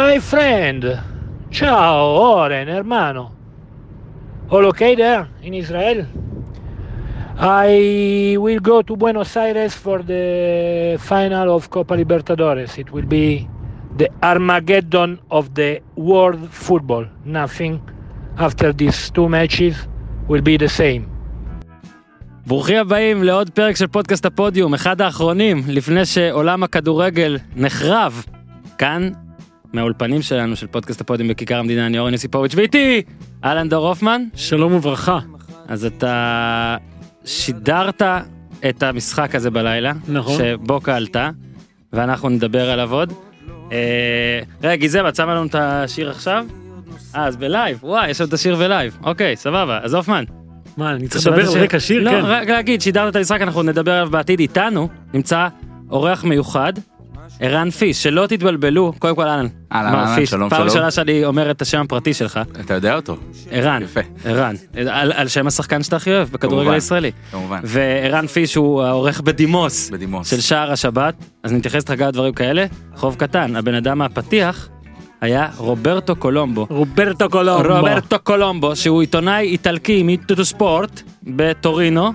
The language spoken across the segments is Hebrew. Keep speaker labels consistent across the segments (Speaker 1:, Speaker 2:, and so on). Speaker 1: My friend, ciao Oren, hermano. All okay there in Israel? I will go to Buenos Aires for the final of Copa Libertadores. It will be the Armageddon of the world football. Nothing after these two matches will be the same.
Speaker 2: ברוכים הבאים לעוד פרק של פודקאסט הפודיום, אחד האחרונים, לפני שעולם הכדורגל נחרב. כאן, מהאולפנים שלנו של פודקאסט הפודיום בכיכר המדינה, אני אורן יוסיפוביץ' ואיתי, אהלן דור הופמן.
Speaker 3: שלום וברכה.
Speaker 2: אז אתה שידרת את המשחק הזה בלילה,
Speaker 3: נכון.
Speaker 2: שבוקה עלתה, ואנחנו נדבר עליו עוד. אה, רגע, גיזם, את שמה לנו את השיר עכשיו? אה, אז בלייב, וואי, יש לנו את השיר בלייב. אוקיי, סבבה, אז הופמן.
Speaker 3: מה, אני צריך
Speaker 2: אתה
Speaker 3: לדבר
Speaker 2: שומע את
Speaker 3: על
Speaker 2: השיר?
Speaker 3: רקע שיר?
Speaker 2: לא,
Speaker 3: כן.
Speaker 2: רק להגיד, שידרת את המשחק, אנחנו נדבר עליו בעתיד איתנו, נמצא אורח מיוחד, ערן פיש, שלא תתבלבלו, קודם כל אהלן.
Speaker 4: אהלן,
Speaker 2: מר
Speaker 4: אהלן,
Speaker 2: פיש,
Speaker 4: שלום,
Speaker 2: פעם
Speaker 4: שלום.
Speaker 2: ראשונה שאני אומר את השם הפרטי שלך,
Speaker 4: אתה יודע אותו,
Speaker 2: ערן,
Speaker 4: יפה.
Speaker 2: ערן, על על שם השחקן שאתה הכי אוהב בכדורגל
Speaker 4: כמובן.
Speaker 2: הישראלי.
Speaker 4: כמובן,
Speaker 2: וערן פיש הוא העורך בדימוס
Speaker 4: בדימוס.
Speaker 2: של שער השבת, אז נתייחס לך גם לדברים כאלה. חוב קטן, הבן אדם הפתיח היה רוברטו קולומבו.
Speaker 3: רוברטו קולומבו.
Speaker 2: רוברטו קולומבו, שהוא עיתונאי איטלקי מאיטוטו ספורט בטורינו,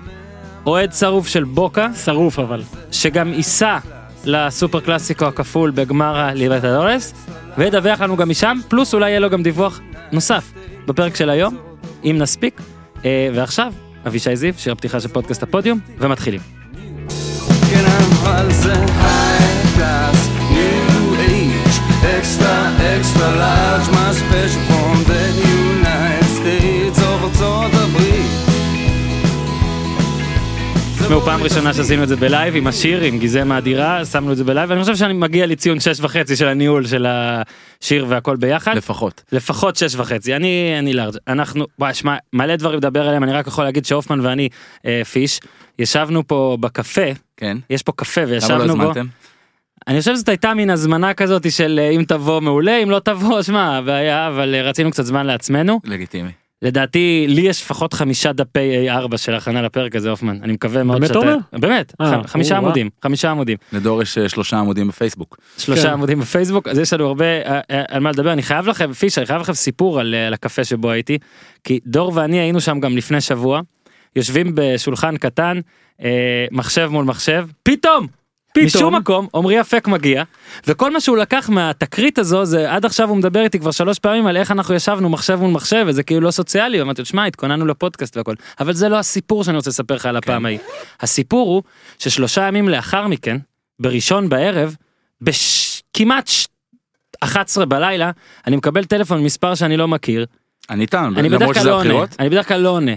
Speaker 2: אוהד שרוף של בוקה,
Speaker 3: שרוף אבל.
Speaker 2: שגם ייסע לסופר קלאסיקו הכפול בגמר הליברטדורס, וידווח לנו גם משם, פלוס אולי יהיה לו גם דיווח נוסף בפרק של היום, אם נספיק. אה, ועכשיו, אבישי זיו, שיר הפתיחה של פודקאסט הפודיום, ומתחילים.
Speaker 5: כן, אבל זה
Speaker 3: אה,
Speaker 5: high class, new age, extra, extra large, my special from the United States of ארצות הברית.
Speaker 2: תשמעו, פעם ראשונה שעשינו את זה בלייב עם השיר, עם גיזם האדירה, שמנו את זה בלייב, ואני חושב שאני מגיע לציון שש וחצי של הניהול של השיר והכל ביחד.
Speaker 4: לפחות.
Speaker 2: לפחות שש וחצי אני אני לארג' אנחנו וואי, יש מה- מלא דברים לדבר עליהם אני רק יכול להגיד שהופמן ואני אה, פיש ישבנו פה בקפה
Speaker 4: כן.
Speaker 2: יש פה קפה
Speaker 4: למה לא
Speaker 2: וישבנו בו
Speaker 4: הזמנתם?
Speaker 2: אני חושב שזאת הייתה מין הזמנה כזאת של אה, אם תבוא מעולה אם לא תבוא שמע הבעיה אבל אה, רצינו קצת זמן לעצמנו
Speaker 4: לגיטימי.
Speaker 2: לדעתי לי יש לפחות חמישה דפי A4 של הכנה לפרק הזה הופמן אני מקווה מאוד
Speaker 3: באמת,
Speaker 2: שאתה
Speaker 3: תומר?
Speaker 2: באמת
Speaker 3: אה,
Speaker 2: ח- חמישה
Speaker 3: או, וואו.
Speaker 2: עמודים חמישה עמודים
Speaker 4: לדור יש אה, שלושה עמודים בפייסבוק.
Speaker 2: שלושה
Speaker 3: כן.
Speaker 2: עמודים בפייסבוק אז יש לנו הרבה אה, אה, על מה לדבר אני חייב לכם פיש אני חייב לכם סיפור על, אה, על הקפה שבו הייתי כי דור ואני היינו שם גם לפני שבוע יושבים בשולחן קטן אה, מחשב מול מחשב פתאום.
Speaker 3: פתאום.
Speaker 2: משום מקום עמרי אפק מגיע וכל מה שהוא לקח מהתקרית הזו זה עד עכשיו הוא מדבר איתי כבר שלוש פעמים על איך אנחנו ישבנו מחשב מול מחשב וזה כאילו לא סוציאלי ואמרתי לו שמע התכוננו לפודקאסט והכל אבל זה לא הסיפור שאני רוצה לספר לך על הפעם ההיא. הסיפור הוא ששלושה ימים לאחר מכן בראשון בערב בכמעט 11 בלילה אני מקבל טלפון מספר שאני לא מכיר
Speaker 4: ענית,
Speaker 2: אני בדרך
Speaker 4: למרות
Speaker 2: כלל
Speaker 4: שזה
Speaker 2: לא עונה
Speaker 4: הבחירות?
Speaker 2: אני בדרך כלל לא עונה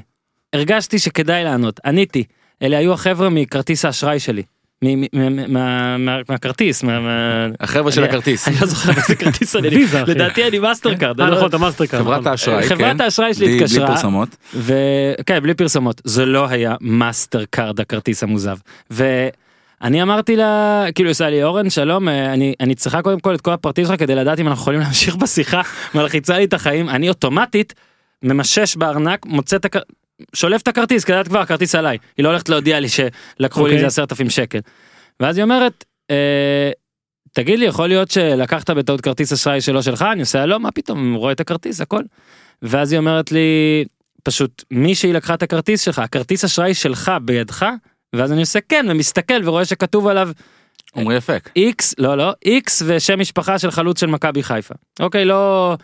Speaker 2: הרגשתי שכדאי לענות עניתי אלה היו החברה מכרטיס האשראי שלי. מ- מ- מ- מה- מה- מהכרטיס מה- מה-
Speaker 4: החבר'ה של
Speaker 2: אני-
Speaker 4: הכרטיס.
Speaker 2: אני לא זוכר איזה כרטיס אני
Speaker 3: ויזה, אחי.
Speaker 2: לדעתי אני מאסטרקארד.
Speaker 3: אה
Speaker 2: אני לא-
Speaker 3: נכון, אתה מאסטרקארד.
Speaker 4: חברת
Speaker 3: נכון.
Speaker 4: האשראי, כן.
Speaker 2: חברת האשראי שלי
Speaker 4: בלי-
Speaker 2: התקשרה.
Speaker 4: בלי פרסומות.
Speaker 2: וכן בלי פרסומות זה לא היה מאסטר קארד הכרטיס המוזב ואני אמרתי לה כאילו היא עושה לי אורן שלום אה, אני אני צריכה קודם כל את כל הפרטים שלך כדי לדעת אם אנחנו יכולים להמשיך בשיחה מלחיצה לי את החיים אני אוטומטית ממשש בארנק מוצא את הכרטיס שולף את הכרטיס כדי לדעת כבר הכרטיס עליי היא לא הולכת להודיע לי שלקחו לי
Speaker 3: אוקיי.
Speaker 2: איזה עשרת אלפים שקל ואז היא אומרת. אה, תגיד לי יכול להיות שלקחת בטעות כרטיס אשראי שלא שלך אני עושה לא מה פתאום רואה את הכרטיס הכל. ואז היא אומרת לי פשוט מישהי לקחה את הכרטיס שלך הכרטיס אשראי שלך בידך ואז אני עושה כן ומסתכל ורואה שכתוב עליו
Speaker 4: עמרי אפק.
Speaker 2: איקס לא לא איקס ושם משפחה של חלוץ של מכבי חיפה אוקיי לא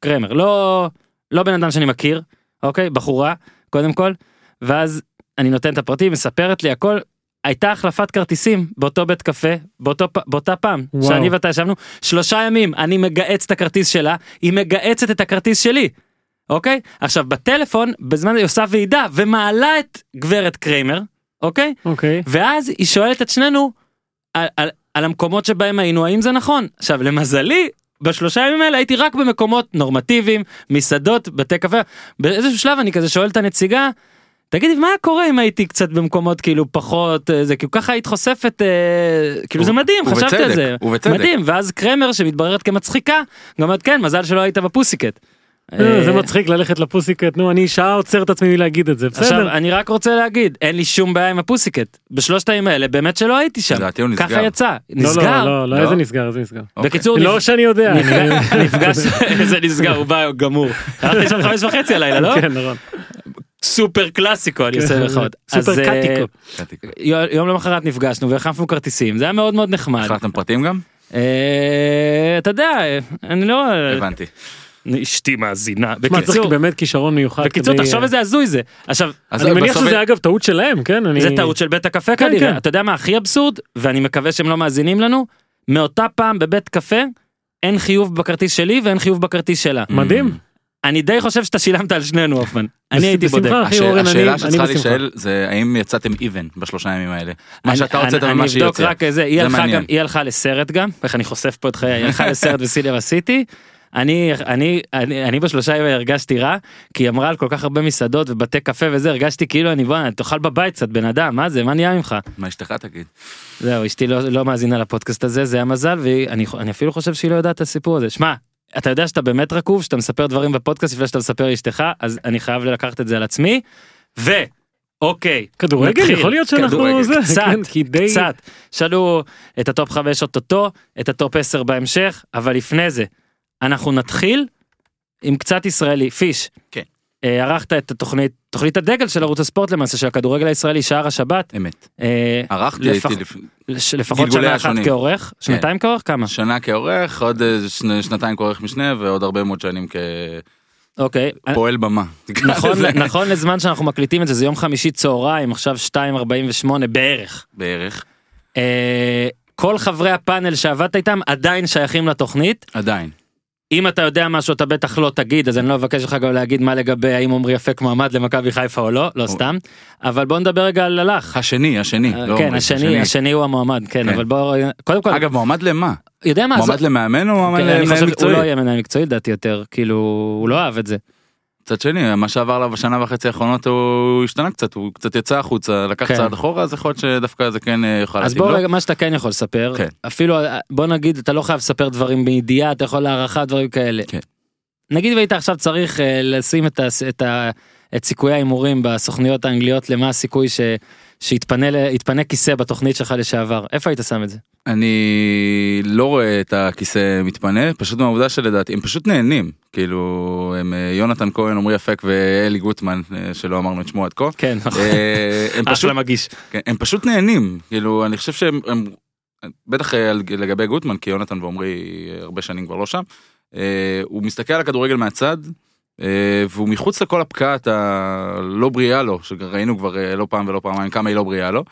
Speaker 2: קרמר לא לא בן אדם שאני מכיר אוקיי בחורה קודם כל ואז אני נותן את הפרטים מספרת לי הכל. הייתה החלפת כרטיסים באותו בית קפה באותו, פ- באותה פעם
Speaker 3: וואו.
Speaker 2: שאני ואתה ישבנו שלושה ימים אני מגהץ את הכרטיס שלה היא מגהצת את הכרטיס שלי. אוקיי עכשיו בטלפון בזמן היא עושה ועידה ומעלה את גברת קריימר אוקיי
Speaker 3: אוקיי.
Speaker 2: ואז היא שואלת את שנינו על, על, על המקומות שבהם היינו האם זה נכון עכשיו למזלי בשלושה ימים האלה הייתי רק במקומות נורמטיביים מסעדות בתי קפה באיזשהו שלב אני כזה שואל את הנציגה. תגידי מה היה קורה אם הייתי קצת במקומות כאילו פחות אה, זה כאילו ככה היית חושפת אה, כאילו
Speaker 4: ו-
Speaker 2: זה מדהים
Speaker 4: ובצדק,
Speaker 2: חשבתי על זה
Speaker 4: ובצדק.
Speaker 2: מדהים ואז קרמר שמתבררת כמצחיקה גם את כן מזל שלא היית בפוסיקט. אה,
Speaker 3: זה מצחיק ללכת לפוסיקט, נו, אני שעה עוצר את עצמי מלהגיד את זה,
Speaker 2: עכשיו אה,
Speaker 3: בסדר? לא,
Speaker 2: אני רק רוצה להגיד אין לי שום בעיה עם הפוסיקט בשלושת הימים האלה באמת שלא הייתי שם
Speaker 4: לדעתי הוא נסגר.
Speaker 2: ככה יצא
Speaker 3: לא, לא,
Speaker 2: נסגר
Speaker 3: לא, לא,
Speaker 4: לא?
Speaker 3: איזה נסגר, איזה נסגר.
Speaker 4: אוקיי.
Speaker 2: בקיצור נפ-
Speaker 3: לא שאני יודע. אני-
Speaker 2: נפגש- נפגש איזה נסגר הוא בא גמור. הלכתי שם חמש וחצי הלילה לא
Speaker 3: כן, נכון.
Speaker 2: סופר קלאסיקו אני עושה
Speaker 3: כן,
Speaker 2: לך עוד.
Speaker 3: סופר
Speaker 2: אז, אה,
Speaker 3: קאטיקו.
Speaker 2: יו- יום למחרת נפגשנו והחלפנו כרטיסים זה היה מאוד מאוד נחמד.
Speaker 4: החלטתם פרטים גם?
Speaker 2: אה, אתה יודע אני לא
Speaker 4: הבנתי.
Speaker 2: אשתי מאזינה
Speaker 3: מה, צריך
Speaker 2: בקיצור
Speaker 3: באמת כישרון מיוחד.
Speaker 2: בקיצור
Speaker 3: כדי-
Speaker 2: תחשוב איזה הזוי זה עכשיו
Speaker 4: אז
Speaker 3: אני מניח
Speaker 4: בסוף-
Speaker 3: שזה אגב טעות שלהם, כן? אני-
Speaker 2: זה טעות של בית הקפה
Speaker 3: כן,
Speaker 2: כנראה.
Speaker 3: כן.
Speaker 2: אתה יודע מה הכי אבסורד? ואני מקווה שהם לא מאזינים לנו, מאותה פעם בבית קפה, אין חיוב בכרטיס שלי ואין חיוב בכרטיס שלה.
Speaker 4: Mm.
Speaker 3: מדהים.
Speaker 2: אני די חושב שאתה שילמת על שנינו, הופמן. אני הייתי
Speaker 3: בשמחה.
Speaker 2: בודק.
Speaker 3: אחי,
Speaker 4: הש-
Speaker 3: אורן, אני-
Speaker 4: השאלה
Speaker 3: אני
Speaker 4: שצריכה
Speaker 3: בשמחה.
Speaker 4: להישאל זה האם יצאתם איבן בשלושה ימים האלה. מה
Speaker 2: אני-
Speaker 4: שאתה
Speaker 2: אני-
Speaker 4: הוצאת
Speaker 2: אני
Speaker 4: ומה שהיא
Speaker 2: אבדוק
Speaker 4: הוציאה.
Speaker 2: רק איזה, היא
Speaker 4: זה
Speaker 2: הלכה
Speaker 4: מעניין.
Speaker 2: גם- היא הלכה לסרט גם, איך אני חושף פה את חיי, היא הלכה לסרט בסילבר סיטי. אני, אני, אני, אני בשלושה ימים הרגשתי רע, כי היא אמרה על כל כך הרבה מסעדות ובתי קפה וזה, הרגשתי כאילו אני בוא, תאכל בבית קצת בן אדם, מה זה, מה נהיה ממך?
Speaker 4: מה אשתך תגיד?
Speaker 2: זהו, אשתי לא, לא מאזינה לפודקאסט הזה, זה המזל, ואני אני אפילו חושב שהיא לא יודעת את הסיפור הזה. שמע, אתה יודע שאתה באמת רקוב, שאתה מספר דברים בפודקאסט לפני שאתה מספר לאשתך, אז אני חייב לקחת את זה על עצמי. ו... אוקיי,
Speaker 3: כדורגל,
Speaker 2: נתחיל.
Speaker 3: יכול להיות שאנחנו
Speaker 4: כדורגל.
Speaker 3: זה,
Speaker 2: קצת,
Speaker 3: כן, כי די...
Speaker 2: קצת. שאלו את הטופ 5 אוטוטו, את הטופ 10 בהמשך, אבל לפני זה, אנחנו נתחיל עם קצת ישראלי. פיש.
Speaker 4: כן.
Speaker 2: אה, ערכת את התוכנית, תוכנית הדגל של ערוץ הספורט למעשה, של הכדורגל הישראלי, שער השבת.
Speaker 4: אמת.
Speaker 2: אה,
Speaker 4: ערכתי
Speaker 2: לפח-
Speaker 4: הייתי לפ-
Speaker 2: לש- לפחות
Speaker 4: גלגולי
Speaker 2: שנה אחת
Speaker 4: השונים. כן.
Speaker 2: כעורך? שנתיים כעורך? כמה?
Speaker 4: שנה כעורך, עוד אה, שני- שנתיים כעורך משנה ועוד הרבה מאוד שנים
Speaker 2: אוקיי.
Speaker 4: כפועל במה.
Speaker 2: נכון,
Speaker 4: זה
Speaker 2: נכון לזמן שאנחנו מקליטים את זה, זה יום חמישי צהריים, עכשיו 2.48 בערך.
Speaker 4: בערך.
Speaker 2: אה, כל חברי הפאנל שעבדת איתם עדיין שייכים לתוכנית.
Speaker 4: עדיין.
Speaker 2: אם אתה יודע משהו אתה בטח לא תגיד, אז אני לא אבקש ממך גם להגיד מה לגבי האם עמרי אפק מועמד למכבי חיפה או לא, לא סתם. אבל בוא נדבר רגע על הלך.
Speaker 4: השני, השני.
Speaker 2: אה,
Speaker 4: לא
Speaker 2: כן,
Speaker 4: אומרים,
Speaker 2: השני, השני הוא המועמד, כן,
Speaker 4: כן.
Speaker 2: אבל בוא, קודם כל,
Speaker 4: אגב, מועמד למה?
Speaker 2: יודע מה,
Speaker 4: מועמד
Speaker 2: זה-
Speaker 4: למאמן או מועמד
Speaker 2: כן, אני
Speaker 4: למנהל
Speaker 2: חושב שהוא
Speaker 4: מקצועי?
Speaker 2: לא יהיה מנהל מקצועי לדעתי יותר, כאילו, הוא לא אהב את זה.
Speaker 4: מצד שני, מה שעבר עליו בשנה וחצי האחרונות הוא השתנה קצת, הוא קצת יצא החוצה, לקח
Speaker 2: כן.
Speaker 4: צעד אחורה, אז יכול להיות שדווקא זה כן אה, יוכל
Speaker 2: אז
Speaker 4: להתאים
Speaker 2: בוא
Speaker 4: לו.
Speaker 2: רגע מה שאתה כן יכול לספר
Speaker 4: כן.
Speaker 2: אפילו בוא נגיד אתה לא חייב לספר דברים בידיעה אתה יכול הערכה דברים כאלה.
Speaker 4: כן.
Speaker 2: נגיד והיית עכשיו צריך אה, לשים את, הס- את, ה- את סיכויי ההימורים בסוכניות האנגליות למה הסיכוי ש, שיתפנה ל- יתפנה כיסא בתוכנית שלך לשעבר איפה היית שם את זה?
Speaker 4: אני לא רואה את הכיסא מתפנה, פשוט מהעובדה שלדעתי, הם פשוט נהנים, כאילו, הם אה, יונתן כהן, עמרי אפק ואלי גוטמן, אה, שלא אמרנו את שמו עד כה.
Speaker 2: כן.
Speaker 4: אה, הם פשוט
Speaker 2: מגיש.
Speaker 4: כן, הם פשוט נהנים, כאילו, אני חושב שהם, הם, בטח אה, על- לגבי גוטמן, כי יונתן ועמרי אה, הרבה שנים כבר לא שם, אה, הוא מסתכל על הכדורגל מהצד, אה, והוא מחוץ לכל הפקעת הלא בריאה לו, שראינו כבר אה, לא פעם ולא פעמיים כמה היא לא בריאה לו,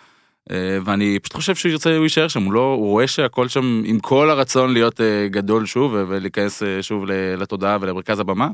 Speaker 4: אה, ואני פשוט חושב שהוא ירצה, הוא יישאר שם, הוא לא, הוא רואה שהכל שם, עם כל הרצון להיות אה, גדול שוב ו- ולהיכנס אה, שוב ל- לתודעה ולמרכז הבמה.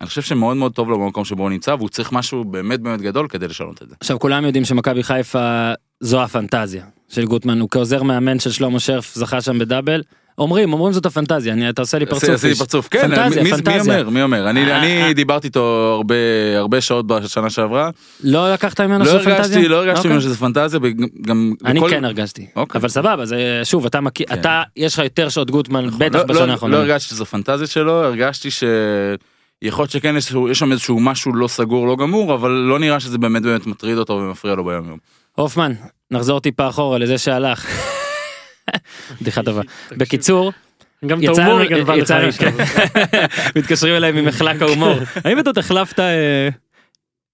Speaker 4: אני חושב שמאוד מאוד טוב לו במקום שבו הוא נמצא והוא צריך משהו באמת באמת גדול כדי לשנות את זה.
Speaker 2: עכשיו כולם יודעים שמכבי חיפה זו הפנטזיה של גוטמן הוא כעוזר מאמן של שלמה שרף זכה שם בדאבל. אומרים אומרים זאת הפנטזיה אני אתה עושה לי פרצוף.
Speaker 4: עשיתי
Speaker 2: איש.
Speaker 4: פרצוף, כן,
Speaker 2: פנטזיה,
Speaker 4: מי- מי- מי
Speaker 2: פנטזיה.
Speaker 4: אומר, מי אומר, אני-
Speaker 2: אה, אה.
Speaker 4: אני דיברתי איתו הרבה הרבה שעות בשנה שעברה,
Speaker 2: לא לקחת ממנו
Speaker 4: לא
Speaker 2: שום פנטזיה?
Speaker 4: הרגשתי, לא הרגשתי
Speaker 2: אוקיי.
Speaker 4: ממנו שזה פנטזיה, וגם- גם,
Speaker 2: אני
Speaker 4: בכל-
Speaker 2: כן הרגשתי
Speaker 4: אוקיי.
Speaker 2: אבל סבבה זה שוב אתה מכיר
Speaker 4: כן.
Speaker 2: אתה יש לך יותר שעות גוטמן בטח
Speaker 4: לא-
Speaker 2: בשנה
Speaker 4: לא-
Speaker 2: האחרונה.
Speaker 4: לא הרגשתי שזו פנטזיה שלו, הרגשתי ש... יכול להיות שכן יש יש שם איזשהו משהו לא סגור לא גמור אבל לא נראה שזה באמת באמת מטריד אותו ומפריע לו ביום יום.
Speaker 2: הופמן נחזור טיפה אחורה לזה שהלך. בדיחה טובה. בקיצור
Speaker 3: גם את
Speaker 2: יצא
Speaker 3: ההומור
Speaker 2: לנו-
Speaker 3: היא גנבה לך.
Speaker 2: יצא לנו-
Speaker 3: איש.
Speaker 2: מתקשרים אליי ממחלק ההומור האם אתה עוד החלפת אה,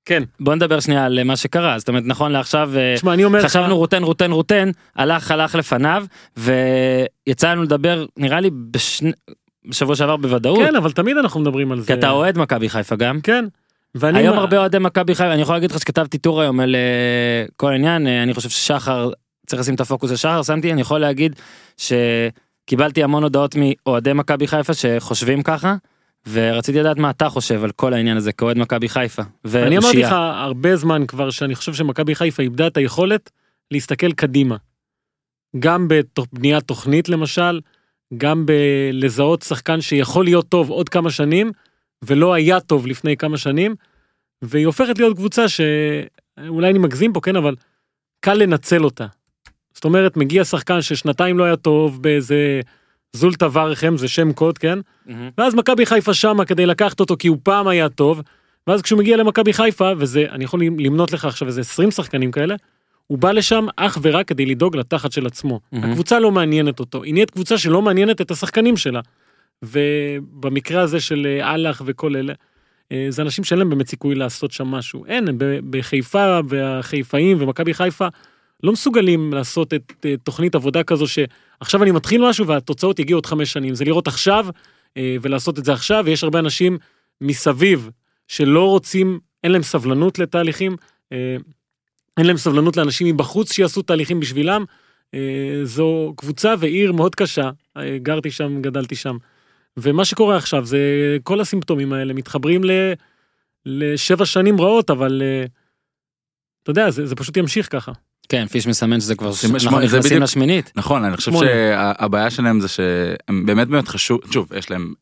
Speaker 3: כן.
Speaker 2: בוא נדבר שנייה על מה שקרה זאת אומרת נכון לעכשיו אה,
Speaker 3: תשמע, אני אומר לך...
Speaker 2: חשבנו רוטן רוטן רוטן הלך הלך לפניו ויצא לנו לדבר נראה לי בשני- בשבוע שעבר בוודאות
Speaker 3: כן, אבל תמיד אנחנו מדברים על זה.
Speaker 2: כי אתה אוהד מכבי חיפה גם.
Speaker 3: כן. ואני...
Speaker 2: היום
Speaker 3: מה-
Speaker 2: הרבה אוהדי מכבי חיפה אני יכול להגיד לך שכתבתי טור היום על אה, כל העניין אה, אני חושב ששחר צריך לשים את הפוקוס לשחר שמתי אני יכול להגיד שקיבלתי המון הודעות מאוהדי מכבי חיפה שחושבים ככה ורציתי לדעת מה אתה חושב על כל העניין הזה כאוהד מכבי חיפה.
Speaker 3: אני אמרתי
Speaker 2: ואושייה.
Speaker 3: לך הרבה זמן כבר שאני חושב שמכבי חיפה איבדה את היכולת להסתכל קדימה. גם בבניית תוכנית למשל, גם בלזהות שחקן שיכול להיות טוב עוד כמה שנים, ולא היה טוב לפני כמה שנים, והיא הופכת להיות קבוצה שאולי אני מגזים פה, כן, אבל קל לנצל אותה. זאת אומרת, מגיע שחקן ששנתיים לא היה טוב באיזה זולטה ורכם זה שם קוד, כן? ואז מכבי חיפה שמה כדי לקחת אותו כי הוא פעם היה טוב, ואז כשהוא מגיע למכבי חיפה, וזה, אני יכול למנות לך עכשיו איזה 20 שחקנים כאלה, הוא בא לשם אך ורק כדי לדאוג לתחת של עצמו.
Speaker 2: מהמם.
Speaker 3: הקבוצה לא מעניינת אותו, היא נהיית קבוצה שלא מעניינת את השחקנים שלה. ובמקרה הזה של אה, אהלך וכל אלה, אה, זה אנשים שאין להם באמת סיכוי לעשות שם משהו. אין, הם ב- בחיפה, והחיפאים ומכבי חיפה לא מסוגלים לעשות את אה, תוכנית עבודה כזו שעכשיו אני מתחיל משהו והתוצאות יגיעו עוד חמש שנים. זה לראות עכשיו אה, ולעשות את זה עכשיו, ויש הרבה אנשים מסביב שלא רוצים, אין להם סבלנות לתהליכים, אה, אין להם סבלנות לאנשים מבחוץ שיעשו תהליכים בשבילם. אה, זו קבוצה ועיר מאוד קשה, אה, גרתי שם, גדלתי שם. ומה שקורה עכשיו זה כל הסימפטומים האלה מתחברים ל... לשבע שנים רעות, אבל אה, אתה יודע, זה, זה פשוט ימשיך ככה.
Speaker 2: כן, פיש מסמן שזה כבר,
Speaker 4: שמונה,
Speaker 2: אנחנו
Speaker 4: זה
Speaker 2: נכנסים
Speaker 4: בדיוק-
Speaker 2: לשמינית.
Speaker 4: נכון, אני חושב
Speaker 3: שמונה.
Speaker 4: שהבעיה שלהם זה שהם באמת באמת חשוב, שוב, יש להם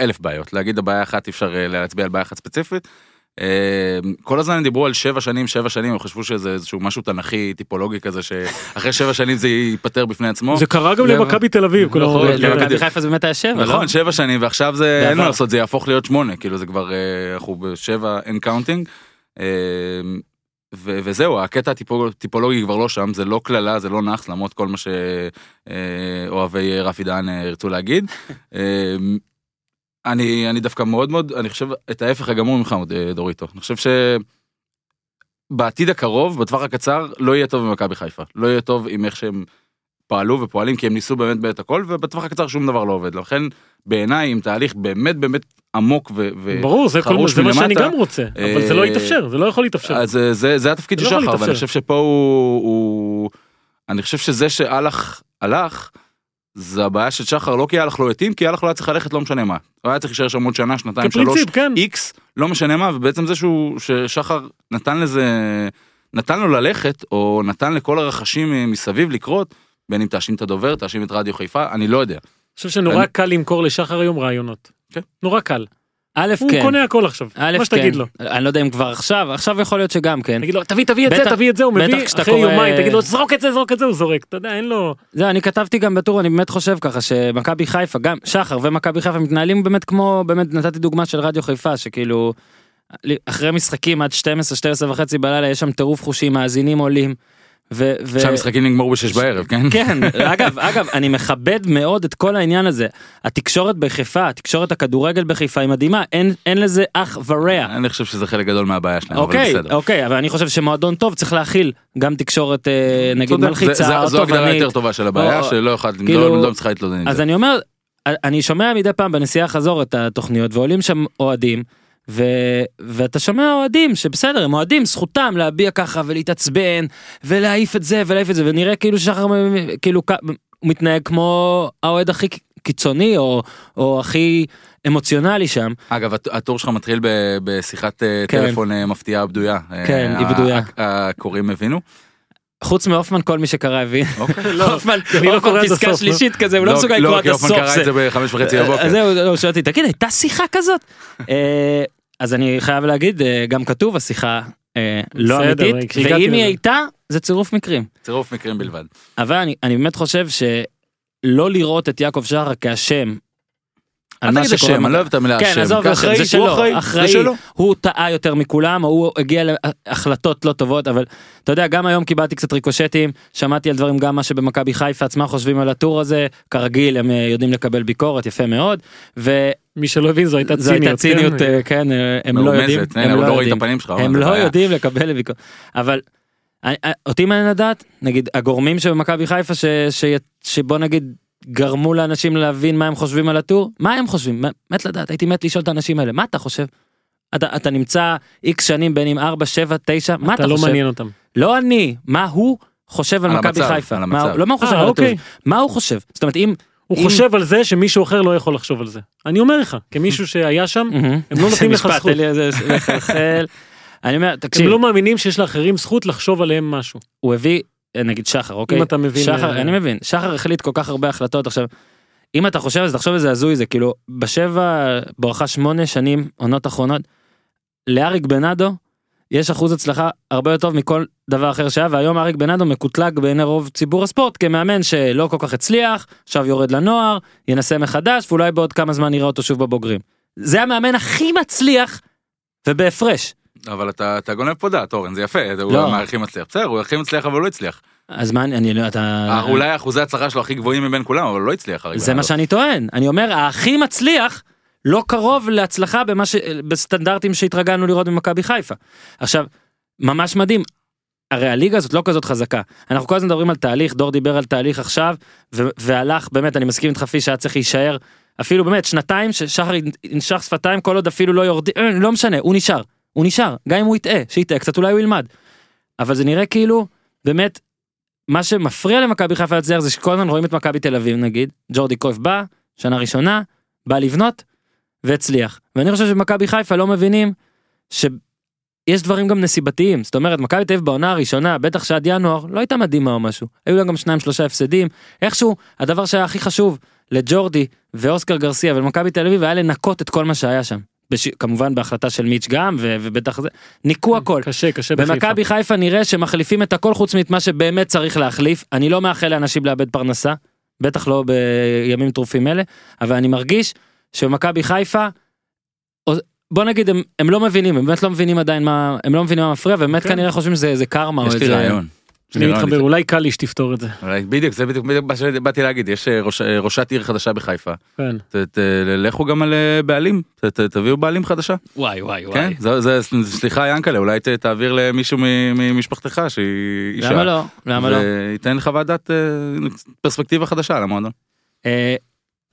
Speaker 4: אלף בעיות, להגיד הבעיה אחת אי אפשר אה, להצביע על בעיה אחת ספציפית. אה, כל הזמן הם דיברו על שבע שנים, שבע שנים, הם חשבו שזה איזשהו משהו תנכי, טיפולוגי כזה, שאחרי שבע שנים זה ייפתר בפני עצמו.
Speaker 3: זה קרה גם
Speaker 4: זה-
Speaker 3: למכבי תל אביב, אה, כל
Speaker 2: לא,
Speaker 3: החורף. אתה יודע.
Speaker 2: למכבי חיפה זה באמת היה שבע, לא?
Speaker 4: נכון, שבע שנים, ועכשיו זה, אין
Speaker 2: בעבר.
Speaker 4: מה לעשות, זה יהפוך להיות שמונה, כאילו זה כבר, אה, אנחנו בשבע אין קאונטינג. אה, ו- וזהו, הקטע הטיפולוגי כבר לא שם, זה לא קללה, זה לא נאחס, למרות כל מה שאוהבי רפי דהן אה, ירצו להגיד. אה, אני, אני דווקא מאוד מאוד, אני חושב את ההפך הגמור ממך, אה, דוריטו. אני חושב ש... בעתיד הקרוב, בטווח הקצר, לא יהיה טוב במכבי חיפה. לא יהיה טוב עם איך שהם פעלו ופועלים, כי הם ניסו באמת את הכל, ובטווח הקצר שום דבר לא עובד. לכן, בעיניי, עם תהליך באמת באמת עמוק ו... ו-
Speaker 3: ברור, זה, כל,
Speaker 4: חרוש
Speaker 3: זה מה שאני
Speaker 4: מלמטה.
Speaker 3: גם רוצה, אבל זה לא
Speaker 4: אה,
Speaker 3: יתאפשר, זה לא יכול להתאפשר.
Speaker 4: אז אה, זה, זה התפקיד
Speaker 3: זה
Speaker 4: של
Speaker 3: לא יכול
Speaker 4: שחר, ואני
Speaker 3: להתאפשר.
Speaker 4: חושב שפה הוא, הוא... אני חושב שזה שהלך הלך, זה הבעיה של שחר, לא כי הלך לא התאים, כי הלך לא היה צריך ללכת, לא משנה מה. הוא היה צריך להישאר שם עוד שנה, שנתיים, שלוש,
Speaker 3: כפרינציפ, כן.
Speaker 4: איקס, לא משנה מה, ובעצם זה שהוא, ששחר נתן לזה, נתן לו ללכת, או נתן לכל הרכשים מסביב לקרות, בין אם תאשים את הדובר, תאשים את רדיו חיפה, אני לא יודע.
Speaker 3: אני חושב שנורא
Speaker 4: אני-
Speaker 3: קל למכור לשחר היום רעיונות.
Speaker 4: כן.
Speaker 3: נורא קל.
Speaker 2: א',
Speaker 3: הוא
Speaker 2: כן.
Speaker 3: קונה הכל עכשיו,
Speaker 2: א',
Speaker 3: מה
Speaker 2: כן.
Speaker 3: שתגיד לו.
Speaker 2: אני לא יודע אם כבר עכשיו, עכשיו יכול להיות שגם כן.
Speaker 3: תגיד לו, תביא, תביא את
Speaker 2: בטח-
Speaker 3: זה, תביא את זה, הוא
Speaker 2: בטח
Speaker 3: מביא,
Speaker 2: כשאתה
Speaker 3: אחרי
Speaker 2: קורא-
Speaker 3: יומיים, תגיד לו, זרוק את זה, זרוק את זה, הוא זורק, אתה יודע, אין לו...
Speaker 2: זהו, אני כתבתי גם בטור, אני באמת חושב ככה, שמכבי חיפה, גם שחר ומכבי חיפה מתנהלים באמת כמו, באמת נתתי דוגמה של רדיו חיפה, שכאילו, אחרי משחקים עד 12, 12 וחצי בלילה, יש שם טירוף חושים, מאזינים עולים. ו- ו-
Speaker 4: שהמשחקים נגמרו בשש בערב, כן?
Speaker 2: כן, אגב, אגב, אני מכבד מאוד את כל העניין הזה. התקשורת בחיפה, התקשורת הכדורגל בחיפה היא מדהימה, אין, אין לזה אח ורע.
Speaker 4: אני חושב שזה חלק גדול מהבעיה שלהם, אה, אבל
Speaker 2: אוקיי,
Speaker 4: בסדר.
Speaker 2: אוקיי, אבל אני חושב שמועדון טוב צריך להכיל גם תקשורת אה, נגיד
Speaker 4: צודק, זה- זה-
Speaker 2: מלחיצה או
Speaker 4: זו הגדרה
Speaker 2: תובענית.
Speaker 4: יותר טובה של הבעיה,
Speaker 2: או-
Speaker 4: שלא יכולת,
Speaker 2: כאילו-
Speaker 4: לא לא מצליחה להתלונן. עם
Speaker 2: אז
Speaker 4: זה.
Speaker 2: אני אומר, אני שומע מדי פעם בנסיעה חזור את התוכניות ועולים שם אוהדים. ו... ואתה שומע אוהדים שבסדר הם אוהדים זכותם להביע ככה ולהתעצבן ולהעיף את זה ולהעיף את זה ונראה כאילו שחר מ- כאילו כ- הוא מתנהג כמו האוהד הכי קיצוני או, או הכי אמוציונלי שם
Speaker 4: אגב, הט- הטור שלך מתחיל ב- בשיחת אה,
Speaker 2: כן.
Speaker 4: טלפון אה, מפתיעה בדויה.
Speaker 2: כן,
Speaker 4: אה,
Speaker 2: היא בדויה.
Speaker 4: ה- ה- הקוראים הבינו?
Speaker 2: חוץ מהופמן כל מי שקרא הבין.
Speaker 4: אוקיי.
Speaker 2: הופמן
Speaker 3: אני לא קורא
Speaker 2: הופמן
Speaker 3: עד
Speaker 2: פסקה
Speaker 3: הסוף, לא.
Speaker 2: שלישית כזה הוא לא מסוגל לקרוא עד הסוף.
Speaker 4: לא, כי אופן קרא
Speaker 2: זה-
Speaker 4: את זה בחמש וחצי
Speaker 2: אז
Speaker 4: בבוקר.
Speaker 2: אה, זהו, הוא שואל אותי, תגיד, הייתה שיחה כזאת? אה, אז אני חייב להגיד, אה, גם כתוב השיחה אה, לא
Speaker 3: בסדר,
Speaker 2: אמיתית,
Speaker 3: כשהגעתי
Speaker 2: ואם היא
Speaker 3: לזה.
Speaker 2: הייתה, זה צירוף מקרים.
Speaker 4: צירוף מקרים בלבד.
Speaker 2: אבל אני- אני באמת חושב שלא לראות את יעקב שחר כאשם. על
Speaker 4: אל
Speaker 2: מה
Speaker 4: תגיד
Speaker 2: שקורה
Speaker 4: השם,
Speaker 2: במכ-
Speaker 4: אני לא אוהב את המילה השם.
Speaker 2: כן, עזוב,
Speaker 4: ככה,
Speaker 2: אחראי
Speaker 4: זה-
Speaker 2: שלו,
Speaker 4: הוא אחראי, זה
Speaker 2: אחראי.
Speaker 4: שלו.
Speaker 2: הוא טעה יותר מכולם, או הוא הגיע להחלטות לא טובות, אבל אתה יודע, גם היום קיבלתי קצת ריקושטים, שמעתי על דברים, גם מה שבמכבי חיפה עצמה חושבים על הטור הזה, כרגיל, הם אה, יודעים לקבל ביקורת, יפה מאוד, ו-
Speaker 3: מי שלא הבין זו הייתה
Speaker 2: זו
Speaker 3: ציניות.
Speaker 2: הייתה ציניות, אה, כן, אה, הם לא יודעים,
Speaker 4: מאומזת, הנה,
Speaker 2: הם
Speaker 4: הוא
Speaker 2: לא
Speaker 4: לא רואה את
Speaker 2: יודעים,
Speaker 4: הפנים שלך.
Speaker 2: הם
Speaker 4: זה
Speaker 2: לא
Speaker 4: בעיה.
Speaker 2: יודעים לקבל ביקורת, אבל אני- אה, אותי מעניין לדעת, נגיד הגורמים שבמכבי חיפה, ש- ש- שבוא נגיד גרמו לאנשים להבין מה הם חושבים על הטור, מה הם חושבים, מה- מת לדעת, הייתי מת לשאול את האנשים האלה, מה אתה חושב? אתה, אתה נמצא איקס שנים בין אם 4, 7, 9, מה אתה,
Speaker 3: אתה לא
Speaker 2: חושב?
Speaker 3: מעניין אותם.
Speaker 2: לא אני, מה הוא חושב על,
Speaker 4: על
Speaker 2: מכבי
Speaker 4: המצב,
Speaker 2: חיפה?
Speaker 4: על
Speaker 2: מה,
Speaker 4: המצב.
Speaker 2: לא מה הוא חושב
Speaker 3: אה,
Speaker 2: על הטור,
Speaker 3: אוקיי.
Speaker 2: מה הוא חושב? זאת אומרת אם...
Speaker 3: הוא
Speaker 2: אם-
Speaker 3: חושב על זה שמישהו אחר לא יכול לחשוב על זה. אני אומר לך, כמישהו שהיה שם,
Speaker 2: מהמם.
Speaker 3: הם לא נותנים
Speaker 2: זה
Speaker 3: לך
Speaker 2: משפט,
Speaker 3: זכות.
Speaker 2: אלי, זה מחלחל. אני אומר, תקשיב,
Speaker 3: הם לא מאמינים שיש לאחרים זכות לחשוב עליהם משהו.
Speaker 2: הוא הביא, אה, נגיד שחר, אוקיי?
Speaker 3: אתה מבין,
Speaker 2: שחר,
Speaker 3: אה,
Speaker 2: אני מבין. שחר החליט כל כך הרבה החלטות עכשיו. אם אתה חושב על זה, תחשוב איזה הזוי זה, כאילו, בשבע, בואכה שמונה שנים, עונות אחרונות, לאריק בנאדו, יש אחוז הצלחה הרבה יותר טוב מכל דבר אחר שהיה, והיום אריק בנאדו מקוטלג בעיני רוב ציבור הספורט כמאמן שלא כל כך הצליח, עכשיו יורד לנוער, ינסה מחדש, ואולי בעוד כמה זמן נראה אותו שוב בבוגרים. זה המאמן הכי מצליח, ובהפרש.
Speaker 4: אבל אתה אתה גונב פה דעת אורן זה יפה הוא
Speaker 2: לא.
Speaker 4: אמר, הכי מצליח בסדר הוא הכי מצליח אבל הוא לא הצליח
Speaker 2: אז מה, אני- אני לא, אתה...
Speaker 4: אה, אולי אחוזי הצלחה שלו הכי גבוהים מבין כולם אבל הוא לא הצליח. הרי
Speaker 2: זה
Speaker 4: בנאדו.
Speaker 2: מה שאני טוען. אני אומר, הכי מצליח לא קרוב להצלחה במה ש... בסטנדרטים שהתרגלנו לראות במכבי חיפה. עכשיו, ממש מדהים. הרי הליגה הזאת לא כזאת חזקה. אנחנו כל הזמן מדברים על תהליך, דור דיבר על תהליך עכשיו, ו- והלך, באמת, אני מסכים איתך, פיש, היה צריך להישאר, אפילו באמת, שנתיים, ששחר ינשך שפתיים, כל עוד אפילו לא יורדים, אה, לא משנה, הוא נשאר, הוא נשאר, גם אם הוא יטעה, שיטעה קצת, אולי הוא ילמד. אבל זה נראה כאילו, באמת, מה שמפריע למכבי חיפה להצליח זה שכל הזמן רואים את מכבי תל אביב נגיד, ג'ורדי קרויף בא, שנה ראשונה, בא לבנות, והצליח. ואני חושב שבמכבי חיפה לא מבינים שיש דברים גם נסיבתיים, זאת אומרת מכבי תל אביב בעונה הראשונה, בטח שעד ינואר, לא הייתה מדהימה או משהו, היו לה גם שניים שלושה הפסדים, איכשהו הדבר שהיה הכי חשוב לג'ורדי ואוסקר גרסיה ולמכבי תל אביב היה לנקות את כל מה שהיה שם. בש... כמובן בהחלטה של מיץ' גם, ו... ובטח זה, ניקו הכל.
Speaker 3: קשה קשה בחיפה.
Speaker 2: במכבי חיפה נראה שמחליפים את הכל חוץ מאת מה שבאמת צריך להחליף. אני לא מאחל לאנשים לאבד פרנסה, בטח לא בימים טרופים אלה, אבל אני מרגיש שבמכבי חיפה, או- בוא נגיד הם, הם לא מבינים, הם באמת לא מבינים עדיין מה, הם לא מבינים מה מפריע, והם באמת
Speaker 3: כן.
Speaker 2: כנראה חושבים שזה איזה קרמה או
Speaker 4: יש לי
Speaker 2: איזה...
Speaker 4: רעיון. יש לי
Speaker 3: אני
Speaker 4: רעיון,
Speaker 3: מתחבר
Speaker 4: לפני-
Speaker 3: אולי קליש תפתור את זה.
Speaker 4: אולי- בדיוק זה בדיוק בדיוק מה שבאתי להגיד יש אה, ראש- אה, ראשת עיר חדשה בחיפה.
Speaker 3: כן.
Speaker 4: ת- ת- לכו גם על אה, בעלים ת- ת- תביאו בעלים חדשה.
Speaker 2: וואי וואי
Speaker 4: כן
Speaker 2: וואי.
Speaker 4: זה זה סליחה ינקלה אולי ת- תעביר למישהו מ- ממשפחתך שהיא אישה.
Speaker 2: למה לא? למה לא?
Speaker 4: וייתן חוות דעת אה, פרספקטיבה חדשה על המועדון.
Speaker 2: אה,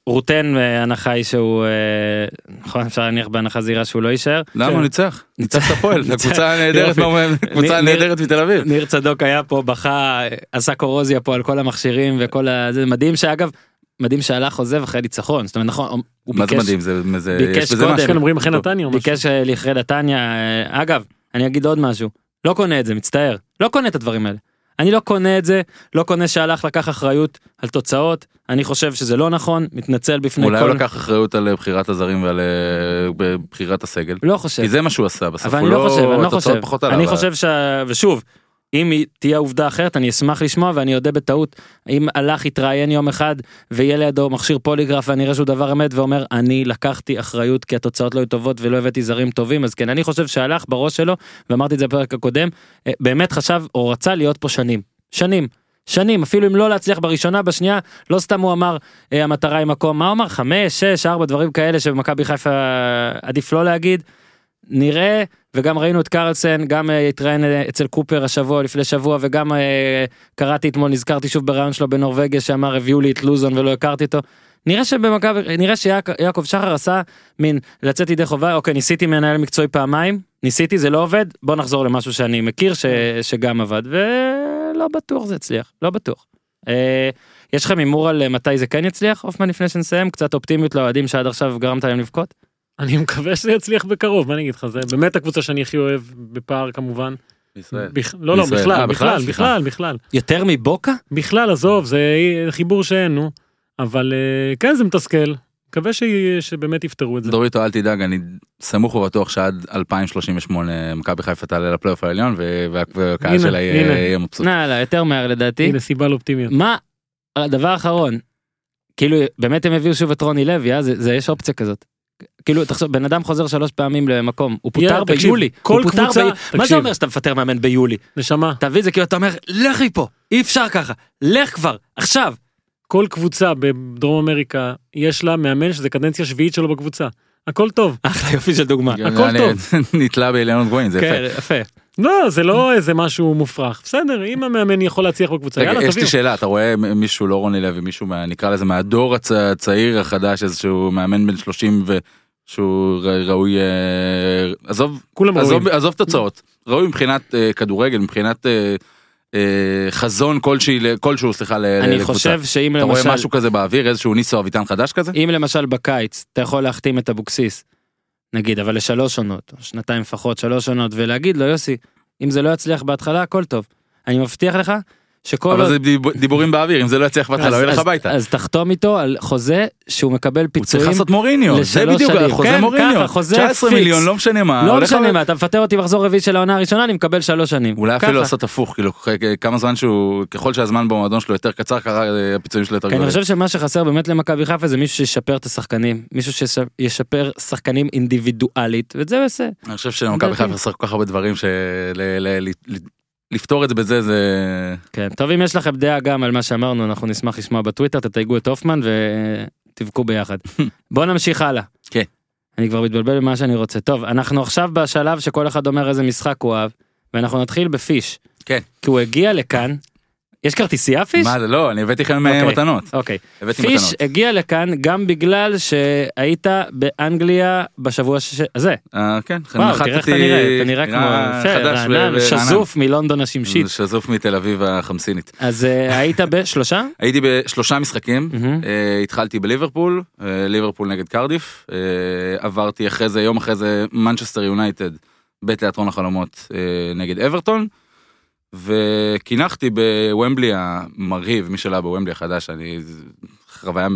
Speaker 2: רוטן אה, ההנחה היא שהוא, אה, נכון אפשר להניח בהנחה זהירה שהוא לא יישאר.
Speaker 4: למה הוא ניצח? ניצח את הפועל, זו
Speaker 2: ניצח.
Speaker 4: קבוצה נהדרת,
Speaker 2: יופי.
Speaker 4: מה- קבוצה
Speaker 2: ניר-
Speaker 4: נהדרת מתל אביב.
Speaker 2: ניר צדוק היה פה בכה עשה קורוזיה פה על כל המכשירים וכל ה... זה מדהים שאגב מדהים שהלך עוזב אחרי ניצחון זאת אומרת נכון הוא
Speaker 4: מה זה
Speaker 2: ביקש
Speaker 4: מדהים, זה- זה-
Speaker 2: ביקש
Speaker 4: יש בזה
Speaker 2: קודם.
Speaker 4: משהו.
Speaker 3: כן אומרים אחרי
Speaker 4: טוב.
Speaker 3: נתניה או משהו.
Speaker 2: ביקש אה, לכרי נתניה אה, אגב אני אגיד עוד משהו לא קונה את זה מצטער לא קונה את הדברים האלה. אני לא קונה את זה לא קונה שהלך לקח אחריות על תוצאות אני חושב שזה לא נכון מתנצל בפני
Speaker 4: אולי הוא
Speaker 2: כל
Speaker 4: לקח אחריות על אה, בחירת הזרים ועל אה, בחירת הסגל.
Speaker 2: לא חושב
Speaker 4: כי זה מה שהוא עשה בסוף,
Speaker 2: אבל
Speaker 4: הוא
Speaker 2: אני לא חושב, אני לא
Speaker 4: התוצאות
Speaker 2: חושב,
Speaker 4: פחות עליו.
Speaker 2: אני חושב ש... ושוב, אם היא- תהיה עובדה אחרת אני אשמח לשמוע ואני אודה בטעות אם הלך יתראיין יום אחד ויהיה לידו מכשיר פוליגרף ואני אראה שהוא דבר אמת ואומר אני לקחתי אחריות כי התוצאות לא היו טובות ולא הבאתי זרים טובים אז כן אני חושב שהלך בראש שלו ואמרתי את זה בפרק הקודם אה, באמת חשב או רצה להיות פה שנים שנים. שנים אפילו אם לא להצליח בראשונה בשנייה לא סתם הוא אמר אה, המטרה היא מקום מה הוא אמר חמש שש ארבע דברים כאלה שבמכבי חיפה עדיף לא להגיד נראה וגם ראינו את קרלסן גם אה, התראיין אה, אצל קופר השבוע לפני שבוע וגם אה, קראתי אתמול נזכרתי שוב ברעיון שלו בנורבגיה שאמר הביאו לי את לוזון ולא הכרתי אותו. נראה שבמכבי נראה שיעקב שחר עשה מין לצאת ידי חובה אוקיי ניסיתי מנהל מקצועי פעמיים ניסיתי זה לא עובד בוא נחזור למשהו שאני מכיר ש, שגם עבד ולא בטוח זה הצליח לא בטוח. אה, יש לכם הימור על אה, מתי זה כן יצליח הופמן לפני שנסיים קצת אופטימיות לאוהדים שעד עכשיו גרמת להם לבכות.
Speaker 3: אני מקווה שזה יצליח בקרוב מה אני אגיד לך זה באמת הקבוצה שאני הכי אוהב בפער כמובן.
Speaker 4: בישראל.
Speaker 3: בכ- לא לא
Speaker 4: ישראל.
Speaker 3: בכלל
Speaker 4: אה, בכלל?
Speaker 3: בכלל
Speaker 4: סליחה.
Speaker 3: בכלל בכלל
Speaker 2: יותר מבוקה?
Speaker 3: בכלל עזוב זה חיבור שאין נו אבל אה, כן זה מתסכל מקווה ש- שבאמת יפתרו את זה.
Speaker 4: דוריטו אל תדאג אני סמוך ובטוח שעד 2038 מכבי חיפה תעלה לפלייאוף העליון ו- וה- והקהל
Speaker 3: הנה,
Speaker 4: שלה יהיה
Speaker 3: הנה.
Speaker 4: יהיה מבסוט.
Speaker 2: נא, לא, יותר מהר לדעתי.
Speaker 3: הנה סיבה לאופטימיות.
Speaker 2: מה הדבר האחרון? כאילו באמת הם הביאו שוב את רוני לוי, אה? זה, זה יש אופציה כזאת. כאילו תחשוב בן אדם חוזר שלוש פעמים למקום הוא פוטר
Speaker 3: יאללה, תקשיב,
Speaker 2: ביולי
Speaker 3: כל
Speaker 2: הוא פוטר
Speaker 3: קבוצה-
Speaker 2: ב... מה זה
Speaker 3: תקשיב.
Speaker 2: אומר שאתה מפטר מאמן ביולי
Speaker 3: נשמה
Speaker 2: אתה מבין זה כאילו אתה אומר לך מפה אי אפשר ככה לך כבר עכשיו
Speaker 3: כל קבוצה בדרום אמריקה יש לה מאמן שזה קדנציה שביעית שלו בקבוצה. הכל טוב.
Speaker 2: אחלה יופי של דוגמה.
Speaker 3: הכל
Speaker 4: אני- נתלה באילנות גבוהים זה יפה.
Speaker 2: כן יפה.
Speaker 3: לא זה לא איזה משהו מופרך בסדר אם המאמן יכול להצליח בקבוצה
Speaker 4: רגע,
Speaker 3: יאללה
Speaker 4: יש לי
Speaker 3: תביאו.
Speaker 4: שאלה, אתה רואה מ- מישהו, לא רוני לוי, מישהו מה, נקרא לזה מהדור הצ- הצעיר החדש, איזשהו מאמן בן 30 ושהוא ר- ראוי, אה, עזוב,
Speaker 3: כולם ראויים.
Speaker 4: עזוב, עזוב תוצאות, ראוי מבחינת אה, כדורגל, מבחינת אה, אה, חזון כלשהי, ל- כלשהו, סליחה, ל- ל-
Speaker 2: אני
Speaker 4: לקבוצה.
Speaker 2: חושב שאם
Speaker 4: אתה רואה
Speaker 2: למשל
Speaker 4: משהו כזה באוויר, איזשהו ניסו אביטן חדש כזה?
Speaker 2: אם למשל בקיץ אתה יכול להחתים את אבוקסיס, נגיד, אבל לשלוש עונות, או שנתיים לפחות, שלוש עונות, ולהגיד לו, יוסי, אם זה לא יצליח בהתחלה, הכל טוב. אני מבטיח לך שכל
Speaker 4: אבל
Speaker 2: עוד-
Speaker 4: זה דיב- דיבורים באוויר, אם זה לא יצליח בך,
Speaker 2: אז-
Speaker 4: לא ילך
Speaker 2: אז-
Speaker 4: הביתה.
Speaker 2: אז תחתום איתו על חוזה שהוא מקבל
Speaker 4: הוא צריך
Speaker 2: פיצויים.
Speaker 4: לעשות מוריניו, זה
Speaker 2: לשלוש
Speaker 4: בדיוק,
Speaker 2: שנים.
Speaker 4: חוזה
Speaker 2: כן,
Speaker 4: מוריניו,
Speaker 2: ככה, חוזה
Speaker 4: 19
Speaker 2: פיקס.
Speaker 4: מיליון, לא משנה מה,
Speaker 2: לא
Speaker 4: הולך
Speaker 2: משנה
Speaker 4: על-
Speaker 2: מה, אתה מפטר אותי מחזור רביעי של העונה הראשונה, אני מקבל שלוש שנים.
Speaker 4: אולי אפילו
Speaker 2: ככה.
Speaker 4: לעשות הפוך, כאילו כ- כמה זמן שהוא, ככל שהזמן במועדון שלו יותר קצר, ככה אה, הפיצויים שלו יותר
Speaker 2: כי כן, אני
Speaker 4: גדולים.
Speaker 2: חושב שמה שחסר באמת למכבי חיפה זה מישהו שישפר את השחקנים, מישהו שישפר שחקנים אינדיבידואלית, ואת זה הוא עושה.
Speaker 4: אני חושב שמכבי
Speaker 2: לדעתי.
Speaker 4: חיפה עושה כל כך הרבה דברים שלפתור את זה בזה זה...
Speaker 2: כן, טוב אם יש לכם דעה גם על מה שאמרנו אנחנו נשמח לשמוע בטוויטר תתייגו את הופמן ותבכו ביחד. בוא נמשיך הלאה.
Speaker 4: כן.
Speaker 2: אני כבר מתבלבל במה שאני רוצה. טוב אנחנו עכשיו בשלב שכל אחד אומר איזה משחק הוא אהב ואנחנו נתחיל בפיש.
Speaker 4: כן.
Speaker 2: כי הוא הגיע לכאן. יש כרטיסייה פיש?
Speaker 4: מה זה לא, אני הבאתי לכם אה,
Speaker 2: אוקיי.
Speaker 4: מתנות.
Speaker 2: אוקיי.
Speaker 4: הבאתי
Speaker 2: פיש
Speaker 4: מתנות.
Speaker 2: הגיע לכאן גם בגלל שהיית באנגליה בשבוע ש- הזה.
Speaker 4: אה, כן, אה,
Speaker 2: וואו תראה איך אתה נראה. אתה נראה כמו יפה, רענן, שזוף מלונדון השמשית.
Speaker 4: שיט. שזוף מתל אביב החמסינית.
Speaker 2: אז אה, היית בשלושה?
Speaker 4: הייתי בשלושה משחקים,
Speaker 2: מהמם.
Speaker 4: אה, התחלתי בליברפול, אה, ליברפול נגד קרדיף, אה, עברתי אחרי זה, יום אחרי זה, מנצ'סטר יונייטד בתיאטרון החלומות אה, נגד אברטון, וקינחתי בוומבלי המרהיב, מי שלא היה בוומבלי החדש, אני... חוויה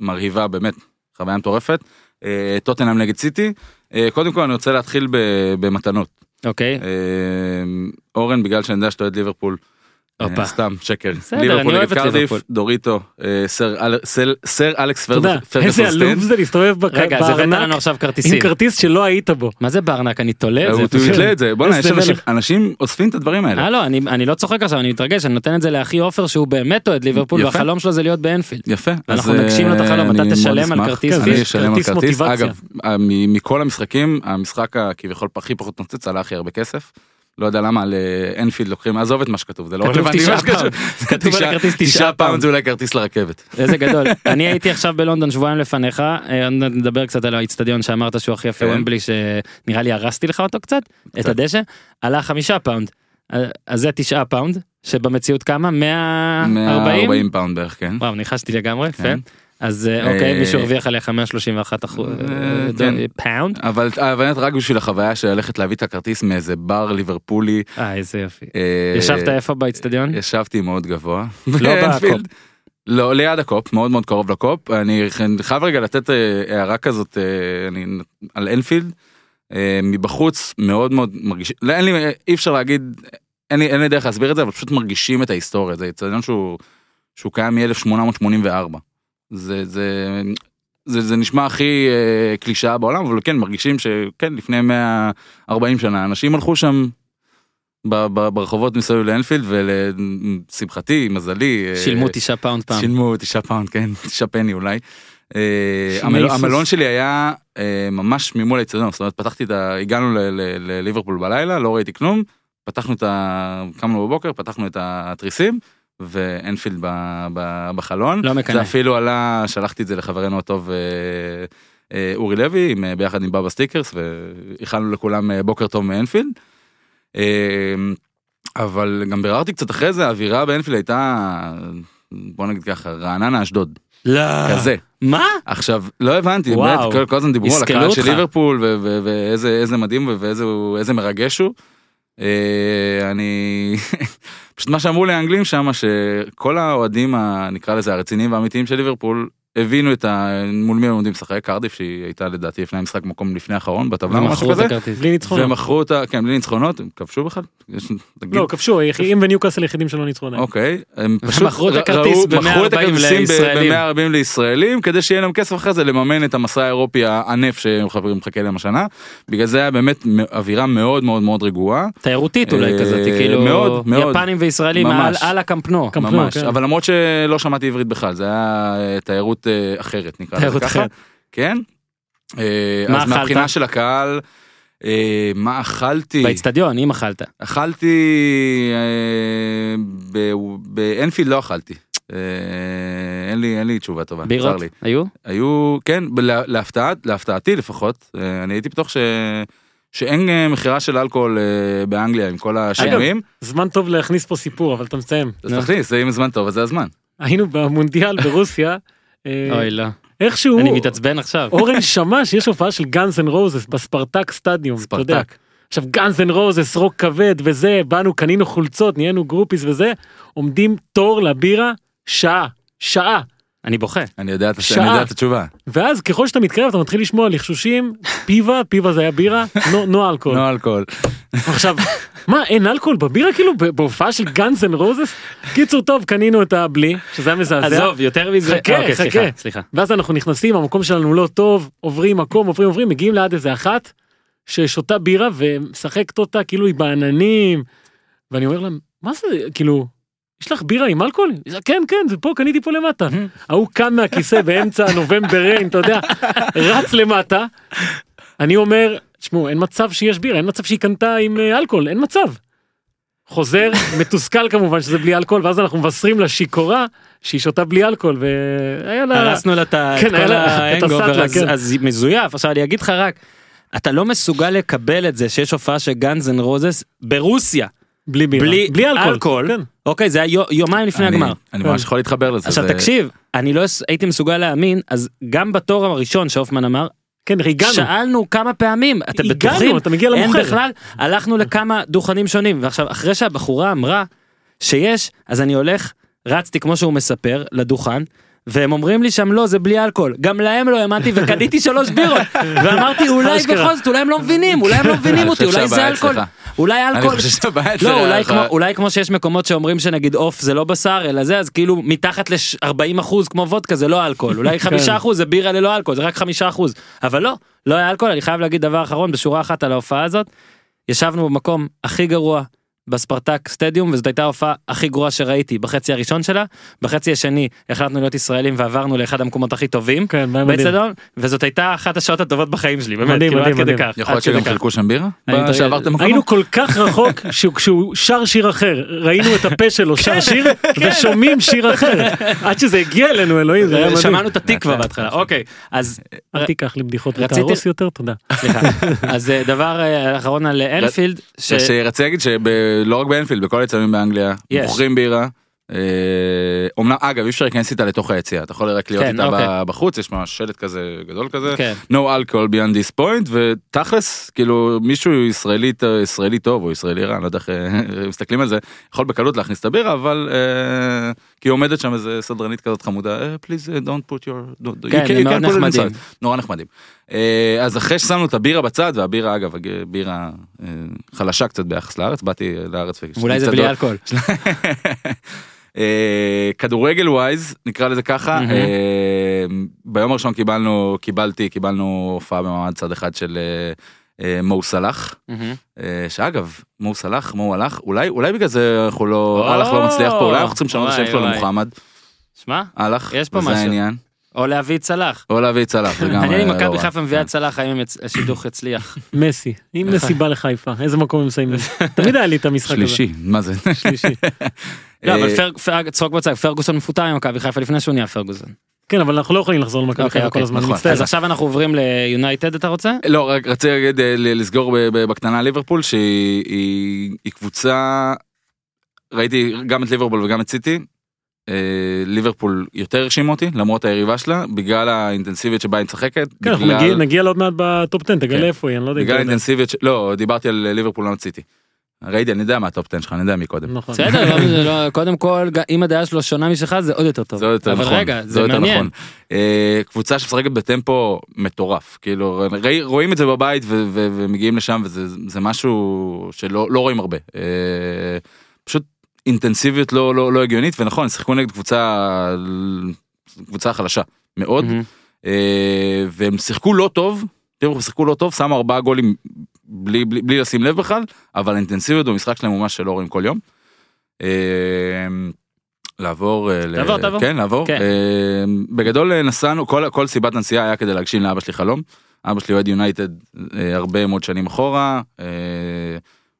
Speaker 4: מרהיבה באמת, חוויה מטורפת, אה, טוטנאם נגד סיטי, אה, קודם כל אני רוצה להתחיל ב- במתנות.
Speaker 2: אוקיי.
Speaker 4: אה, אורן, בגלל שאני יודע שאתה אוהד ליברפול, אה,
Speaker 2: הופה.
Speaker 4: סתם, שקר.
Speaker 2: בסדר, אני אוהב את ליברפול.
Speaker 4: דוריטו, אה, סר אל- סל- סר אלכס
Speaker 3: אתה יודע,
Speaker 4: פרגוסון
Speaker 3: איזה עלוב
Speaker 4: סטיין.
Speaker 3: זה להסתובב בק-
Speaker 2: רגע, אז הבאת לנו
Speaker 3: בארנק
Speaker 2: עכשיו
Speaker 3: עם
Speaker 2: כרטיסים.
Speaker 3: כרטיס שלא היית בו.
Speaker 2: מה זה בארנק? אני תולה את
Speaker 4: אה, הוא
Speaker 2: זה.
Speaker 4: הוא
Speaker 2: פשוט.
Speaker 4: יתלה את זה, בוא'נה, יש
Speaker 3: איזה
Speaker 4: אנשים-
Speaker 3: מלך.
Speaker 4: אנשים אוספים את הדברים האלה.
Speaker 2: אה לא, אני אני לא צוחק עכשיו, אני מתרגש, אני נותן את זה לאחי עופר שהוא באמת אוהד ליברפול,
Speaker 4: יפה.
Speaker 2: והחלום שלו זה להיות באנפילד.
Speaker 4: יפה.
Speaker 2: אנחנו
Speaker 4: אז,
Speaker 2: נגשים לו את
Speaker 4: אה,
Speaker 2: החלום, אתה
Speaker 4: אני
Speaker 2: תשלם
Speaker 4: מאוד
Speaker 2: על
Speaker 4: אשמח.
Speaker 2: כרטיס
Speaker 4: אני
Speaker 3: כרטיס.
Speaker 4: אשלם על
Speaker 3: כרטיס
Speaker 4: כרטיס.
Speaker 3: מוטיבציה.
Speaker 4: אגב, אה, מ- מכל המשחקים, המשחק הכביכול הכי פחות נוצץ עלה הכי הרבה כסף. לא יודע למה, לאנפילד לוקחים, עזוב את מה שכתוב, זה לא
Speaker 2: כתוב
Speaker 4: רלוונטי.
Speaker 2: תשעה
Speaker 4: מה שכתוב.
Speaker 2: פאונד. כתוב על
Speaker 4: תשעה-
Speaker 2: הכרטיס תשעה
Speaker 4: תשעה
Speaker 2: פאונד.
Speaker 4: פאונד זה אולי כרטיס לרכבת.
Speaker 2: איזה גדול. אני הייתי עכשיו בלונדון שבועיים לפניך, אה, עוד מעט נדבר קצת על האיצטדיון שאמרת שהוא הכי יפה,
Speaker 4: כן.
Speaker 2: ומבלי שנראה לי הרסתי לך אותו קצת, את הדשא, עלה חמישה פאונד. אה, אז זה תשעה פאונד, שבמציאות כמה? אה, 140?
Speaker 4: 140 פאונד בערך, כן.
Speaker 2: וואו, ניחשתי לגמרי, יפה.
Speaker 4: כן.
Speaker 2: אז אה, אוקיי,
Speaker 4: אה,
Speaker 2: מישהו הרוויח עליך 131 אחוז,
Speaker 4: אה, כן.
Speaker 2: פאונד?
Speaker 4: אבל אבל באמת רק בשביל החוויה של ללכת להביא את הכרטיס מאיזה בר ליברפולי.
Speaker 2: אה, איזה יופי.
Speaker 4: אה,
Speaker 2: ישבת איפה באצטדיון?
Speaker 4: ישבתי מאוד גבוה.
Speaker 2: לא
Speaker 4: באנפילד.
Speaker 2: בקופ.
Speaker 4: לא, ליד הקופ, מאוד מאוד קרוב לקופ. אני חייב רגע לתת אה, הערה כזאת אה, אני, על אנפילד. אה, מבחוץ מאוד מאוד מרגיש, לא, אין לי, אי אפשר להגיד, אין לי, אין לי דרך להסביר את זה, אבל פשוט מרגישים את ההיסטוריה. זה אצטדיון שהוא, שהוא קיים מ-1884. זה, זה, זה, זה נשמע הכי אה, קלישאה בעולם, אבל כן, מרגישים שכן, לפני 140 שנה אנשים הלכו שם ב- ב- ברחובות מסביב לאנפילד, ולשמחתי, מזלי, אה,
Speaker 2: שילמו תשעה פאונד פעם.
Speaker 4: שילמו תשעה פאונד, כן, תשעה פני אולי. אה,
Speaker 3: שמי
Speaker 4: המלון-
Speaker 3: סוס.
Speaker 4: המלון שלי היה אה, ממש ממול האצטדיון, זאת אומרת, פתחתי את ה... הגענו ל- ל- לליברפול בלילה, לא ראיתי כלום, פתחנו את ה... קמנו בבוקר, פתחנו את התריסים, ואנפילד ב- ב- בחלון.
Speaker 2: לא מקנא.
Speaker 4: זה אפילו עלה, שלחתי את זה לחברנו הטוב אה, אה, אורי לוי, עם, אה, ביחד עם בבא סטיקרס, ואיחלנו לכולם אה, בוקר טוב מאנפילד. אה, אבל גם ביררתי קצת אחרי זה, האווירה באנפילד הייתה, בוא נגיד ככה, רעננה אשדוד,
Speaker 2: לא.
Speaker 4: כזה.
Speaker 2: מה?
Speaker 4: עכשיו, לא הבנתי, באמת,
Speaker 2: וואו.
Speaker 4: כל- כל הזמן דיברו על
Speaker 2: יסקלו
Speaker 4: הקהל של
Speaker 2: אותך.
Speaker 4: ליברפול, ו- ו- ואיזה איזה מדהים ו- ואיזה הוא- איזה מרגש הוא. אה, אני... פשוט מה שאמרו לי האנגלים שם, שכל האוהדים, ה- נקרא לזה, הרציניים והאמיתיים של ליברפול, הבינו את ה... מול מי הם עומדים לשחק, קרדיף, שהיא הייתה לדעתי לפני המשחק מקום לפני האחרון, בטבלה או משהו
Speaker 2: ומכרו את
Speaker 4: כזה,
Speaker 2: הכרטיס.
Speaker 3: בלי ניצחונות.
Speaker 4: ומכרו אותה, כן, בלי ניצחונות, הם כבשו בכלל? יש- תגיד.
Speaker 3: לא, כבשו, היחידים וניוקאסל היחידים שלא ניצחו עדיין.
Speaker 4: אוקיי, הם
Speaker 2: והם
Speaker 4: פשוט
Speaker 2: מכרו את
Speaker 4: ר-
Speaker 2: הכרטיס
Speaker 4: ראו-
Speaker 2: ב-
Speaker 4: מכרו את
Speaker 2: 140
Speaker 4: הכרטיסים
Speaker 2: לישראלים.
Speaker 4: ב-140 לישראלים, כדי שיהיה להם כסף אחרי זה לממן את המסע האירופי הענף שחברים מחכה להם השנה. בגלל זה היה באמת מ- אווירה מאוד מאוד מאוד רגועה.
Speaker 2: תיירותית אולי
Speaker 4: אה,
Speaker 2: כזאת, כאילו
Speaker 4: מאוד, מאוד.
Speaker 2: יפנים וישראלים על
Speaker 4: ממש.
Speaker 2: על הקמפנו.
Speaker 3: קמפ נו,
Speaker 4: ממש,
Speaker 3: כן.
Speaker 4: אבל למרות שלא שמעתי עברית בכלל, זה היה אה, תיירות אה, אחרת נקרא לזה
Speaker 2: תיירות
Speaker 4: ככה.
Speaker 2: אחרת.
Speaker 4: כן. אה,
Speaker 2: מה
Speaker 4: אז
Speaker 2: אכלת?
Speaker 4: מהבחינה של הקהל, אה, מה אכלתי?
Speaker 2: באצטדיון, אם אכלת.
Speaker 4: אכלתי אה, ב- באנפילד לא אכלתי. אה, אין לי אין לי תשובה טובה, צר
Speaker 2: בירות
Speaker 4: לי.
Speaker 2: היו?
Speaker 4: היו כן ב- לה- להפתעת להפתעתי לפחות אה, אני הייתי בטוח ש... שאין אה, מכירה של אלכוהול אה, באנגליה עם כל השינויים.
Speaker 3: זמן טוב להכניס פה סיפור, אבל אתה מסיים.
Speaker 4: אז
Speaker 2: נו.
Speaker 4: תכניס זה אם זמן טוב אז זה הזמן.
Speaker 3: היינו במונדיאל ברוסיה, אה,
Speaker 2: אוי לא.
Speaker 3: איכשהו
Speaker 2: אני מתעצבן עכשיו.
Speaker 3: אורן שמע שיש הופעה של גאנס אנד רוזס בספרטק סטדיום, אתה יודע.
Speaker 4: ספרטק.
Speaker 3: עכשיו גאנז אנד רוזס, רוק כבד וזה, באנו, קנינו חולצות, נהיינו גרופיס וזה, עומדים תור לבירה שעה, שעה.
Speaker 2: אני בוכה.
Speaker 4: אני יודע את
Speaker 3: שעה.
Speaker 4: אני יודע את התשובה.
Speaker 3: ואז ככל שאתה מתקרב אתה מתחיל לשמוע לחשושים, פיבה, פיבה זה היה בירה, נו- נו אלכוהול.
Speaker 4: נו לא אלכוהול.
Speaker 3: עכשיו, מה, אין אלכוהול בבירה כאילו? ב- בהופעה של גאנז אנד רוזס? קיצור, טוב, קנינו את הבלי, שזה היה מזעזע.
Speaker 2: עזוב, יותר מזה.
Speaker 3: חכה,
Speaker 2: אה, אוקיי,
Speaker 3: חכה.
Speaker 2: סליחה, סליחה.
Speaker 3: ואז אנחנו נכנסים, המקום שלנו לא טוב, עוברים מקום, עוברים, עוברים, מגיעים ליד איזה אחת ששותה בירה ומשחקת אותה כאילו היא בעננים. ואני אומר לה, מה זה, כאילו, יש לך בירה עם אלכוהול? היא אומרת, כן, כן, זה פה, קניתי פה למטה. ההוא קם מהכיסא באמצע נובמבר ריין, אתה יודע, רץ למטה. אני אומר, תשמעו, אין מצב שיש בירה, אין מצב שהיא קנתה עם אה, אלכוהול, אין מצב. חוזר, מתוסכל כמובן שזה בלי אלכוהול, ואז אנחנו מבשרים לה שיכורה שהיא שותה בלי אלכוהול, והיה
Speaker 4: לא.
Speaker 3: לה...
Speaker 2: הרסנו לה את ה-
Speaker 3: כן,
Speaker 2: את
Speaker 3: היה
Speaker 2: כל
Speaker 3: לה- את
Speaker 2: ההנגובר,
Speaker 3: הסטלה,
Speaker 2: אז-
Speaker 3: כן.
Speaker 2: אז היא מזויף. עכשיו אני אגיד לך רק, אתה לא מסוגל לקבל את זה שיש הופעה של גאנז אנד רוזס ברוסיה.
Speaker 3: בלי בירה.
Speaker 2: בלי-
Speaker 3: בלי אלכוהול.
Speaker 2: אלכוהול.
Speaker 3: כן.
Speaker 2: אוקיי, זה היה יו- יומיים לפני
Speaker 4: אני-
Speaker 2: הגמר. כן.
Speaker 4: אני ממש יכול להתחבר לזה.
Speaker 2: עכשיו
Speaker 4: זה-
Speaker 2: תקשיב, אני לא הס- הייתי מסוגל להאמין, אז גם בתור הראשון שהופמן אמר,
Speaker 3: כן, הגענו.
Speaker 2: שאלנו כמה פעמים, אתם
Speaker 3: הגענו,
Speaker 2: בטוחים?
Speaker 3: אתה מגיע
Speaker 2: אין
Speaker 3: למוכר.
Speaker 2: בכלל, הלכנו לכמה דוכנים שונים, ועכשיו אחרי שהבחורה אמרה שיש, אז אני הולך, רצתי כמו שהוא מספר לדוכן. והם אומרים לי שם לא זה בלי אלכוהול גם להם לא האמנתי וקניתי שלוש בירות ואמרתי אולי
Speaker 3: אשכרה.
Speaker 2: בכל זאת אולי הם לא מבינים אולי הם לא מבינים
Speaker 4: אני
Speaker 2: אותי
Speaker 4: חושב
Speaker 2: אולי זה
Speaker 4: שהבעיה
Speaker 2: אלכוהול
Speaker 4: אצלך.
Speaker 2: אולי
Speaker 4: אני
Speaker 2: אלכוהול
Speaker 4: חושב שהבעיה אצלך.
Speaker 2: לא, אולי כמו, אולי כמו שיש מקומות שאומרים שנגיד עוף זה לא בשר אלא זה, אז כאילו מתחת ל-40 אחוז כמו וודקה זה לא אלכוהול, אולי
Speaker 3: כן.
Speaker 2: 5 אחוז זה בירה ללא אלכוהול, זה רק 5 אחוז, אבל לא, לא היה אלכוהול, אני חייב להגיד דבר אחרון בשורה אחת על ההופעה הזאת, ישבנו במקום הכי גרוע בספרטק סטדיום, וזאת הייתה ההופעה הכי גרועה שראיתי בחצי הראשון שלה, בחצי השני החלטנו להיות ישראלים ועברנו לאחד המקומות הכי טובים,
Speaker 3: כן, מה מדהים.
Speaker 2: באצטדיון, וזאת הייתה אחת השעות הטובות בחיים שלי, באמת,
Speaker 3: מדהים,
Speaker 2: כאילו עד
Speaker 3: מדהים,
Speaker 2: כדי
Speaker 3: מדהים.
Speaker 2: כך,
Speaker 4: יכול
Speaker 2: עד
Speaker 4: להיות
Speaker 2: כדי
Speaker 4: שגם
Speaker 2: כך.
Speaker 4: חילקו שם בירה?
Speaker 2: אני מתרגש.
Speaker 4: שעברתם מקום?
Speaker 3: היינו כל כך רחוק שכשהוא שר שיר אחר ראינו את הפה שלו
Speaker 2: כן,
Speaker 3: שר שיר ושומעים שיר אחר עד שזה הגיע אלינו אלוהים זה היה מדהים.
Speaker 2: שמענו את התקווה בהתחלה, אוקיי, אז
Speaker 3: אל תיקח לי בדיחות
Speaker 2: רציתי-
Speaker 3: ותהרוס יותר תודה.
Speaker 2: סליחה. אז אה, דבר אה, אחרון על אה, אנפילד, ש-
Speaker 4: שרציתי להגיד שלא רק באנפילד, בכל היצרים באנגליה,
Speaker 2: יש.
Speaker 4: מוכרים בירה. אה, אומנם אגב אי אפשר להיכנס איתה לתוך היציאה אתה יכול רק להיות
Speaker 2: כן,
Speaker 4: איתה
Speaker 2: אוקיי.
Speaker 4: ב- בחוץ יש ממש שלט כזה גדול כזה
Speaker 2: כן.
Speaker 4: no alcohol beyond this point ותכלס כאילו מישהו ישראלי ישראלי טוב או ישראלי רע אני לא יודע איך אה, מסתכלים על זה יכול בקלות להכניס את הבירה אבל אה, כי עומדת שם איזה סדרנית כזאת חמודה אה, please אה, don't put your don't,
Speaker 2: כן,
Speaker 4: you can-
Speaker 2: הם
Speaker 4: you
Speaker 2: מאוד
Speaker 4: can put it
Speaker 2: נחמדים.
Speaker 4: inside." נורא נחמדים. אה, אז אחרי ששמנו את הבירה בצד, והבירה אגב, הג- בירה אה, חלשה קצת ביחס לארץ, באתי אה, לארץ ו...
Speaker 2: אולי זה
Speaker 4: קצת
Speaker 2: בלי
Speaker 4: לא-
Speaker 2: אלכוהול.
Speaker 4: אה, כדורגל ווייז, נקרא לזה ככה,
Speaker 2: מהמם.
Speaker 4: אה, ביום הראשון קיבלנו, קיבלתי, קיבלנו הופעה במעמד צד אחד של אה, אה, מו סלאח. אה, שאגב, מו סלאח, מו הלך, אולי אולי בגלל זה אנחנו לא,
Speaker 2: או,
Speaker 4: הלך לא מצליח פה, אולי אנחנו צריכים לשנות את
Speaker 2: וואי,
Speaker 4: השם שלו
Speaker 2: וואי.
Speaker 4: למוחמד,
Speaker 2: שמע,
Speaker 4: הלך,
Speaker 2: יש פה
Speaker 4: וזה
Speaker 2: משהו.
Speaker 4: העניין,
Speaker 2: או להביא את צלח.
Speaker 4: או להביא את סלאח, זה גם
Speaker 2: מעניין אם
Speaker 4: אה, לא
Speaker 2: מכבי
Speaker 4: רע.
Speaker 2: חיפה מביאה את צלח, האם הם יצ- השידוך יצליח.
Speaker 3: מסי אם מסי בא לחיפה איזה מקום הם מסיימים תמיד היה לי את המשחק הזה.
Speaker 4: שלישי, מה זה?
Speaker 3: שלישי.
Speaker 2: לא, אבל
Speaker 4: אה,
Speaker 2: פר- פר- צחוק בצד, פרגוסון מפוטר עם מכבי חיפה לפני שהוא נהיה פרגוסון.
Speaker 3: כן אבל אנחנו לא יכולים לחזור למכבי
Speaker 2: אוקיי,
Speaker 3: חיפה כל
Speaker 2: אוקיי,
Speaker 3: הזמן
Speaker 4: נכון.
Speaker 3: מצטער.
Speaker 2: אז עכשיו אנחנו עוברים ליונייטד, אתה רוצה?
Speaker 4: לא, רק רציתי להגיד, אה, ל- לסגור ב- ב- בקטנה ליברפול, שהיא היא- היא קבוצה, ראיתי גם את ליברפול וגם את סיטי. אה, ליברפול יותר הרשימה אותי, למרות היריבה שלה, בגלל האינטנסיביות שבה היא משחקת.
Speaker 3: כן, אנחנו
Speaker 4: בגלל-
Speaker 3: נגיע- נגיע לעוד מעט בטופ 10
Speaker 2: כן.
Speaker 3: תגלה איפה היא אני לא יודע. אם
Speaker 4: בגלל
Speaker 3: אתה יודע.
Speaker 4: האינטנסיביות, ש- לא, דיברתי על ליברפול, לא על סיטי. ראיתי, אני יודע מה הטופ 10 שלך, אני יודע מקודם.
Speaker 3: נכון.
Speaker 2: בסדר, לא, זה לא- קודם כל, ג- אם הדעה שלו שונה משלך זה עוד יותר טוב.
Speaker 4: זה עוד יותר נכון.
Speaker 2: אבל רגע, זה
Speaker 4: עוד יותר
Speaker 2: מעניין.
Speaker 4: נכון. אה, קבוצה שמשחקת בטמפו מטורף, כאילו ראי- רואים את זה בבית ו- ו- ומגיעים לשם וזה זה משהו שלא לא רואים הרבה. אה, פשוט אינטנסיביות לא, לא, לא הגיונית ונכון, שיחקו נגד קבוצה, קבוצה חלשה מאוד,
Speaker 2: מהמם.
Speaker 4: אה, והם שיחקו לא טוב, ליברפול שיחקו לא טוב, שמו ארבעה גולים בלי, בלי, בלי לשים לב בכלל, אבל האינטנסיביות במשחק שלהם הוא מה שלא רואים כל יום. אה, לעבור, אה, ל-
Speaker 2: תעבור, תעבור.
Speaker 4: כן, לעבור.
Speaker 2: כן.
Speaker 4: אה, בגדול אה, נסענו, כל, כל סיבת הנסיעה היה כדי להגשים לאבא שלי חלום. אבא שלי אוהד יונייטד אה, הרבה מאוד שנים אחורה. אה,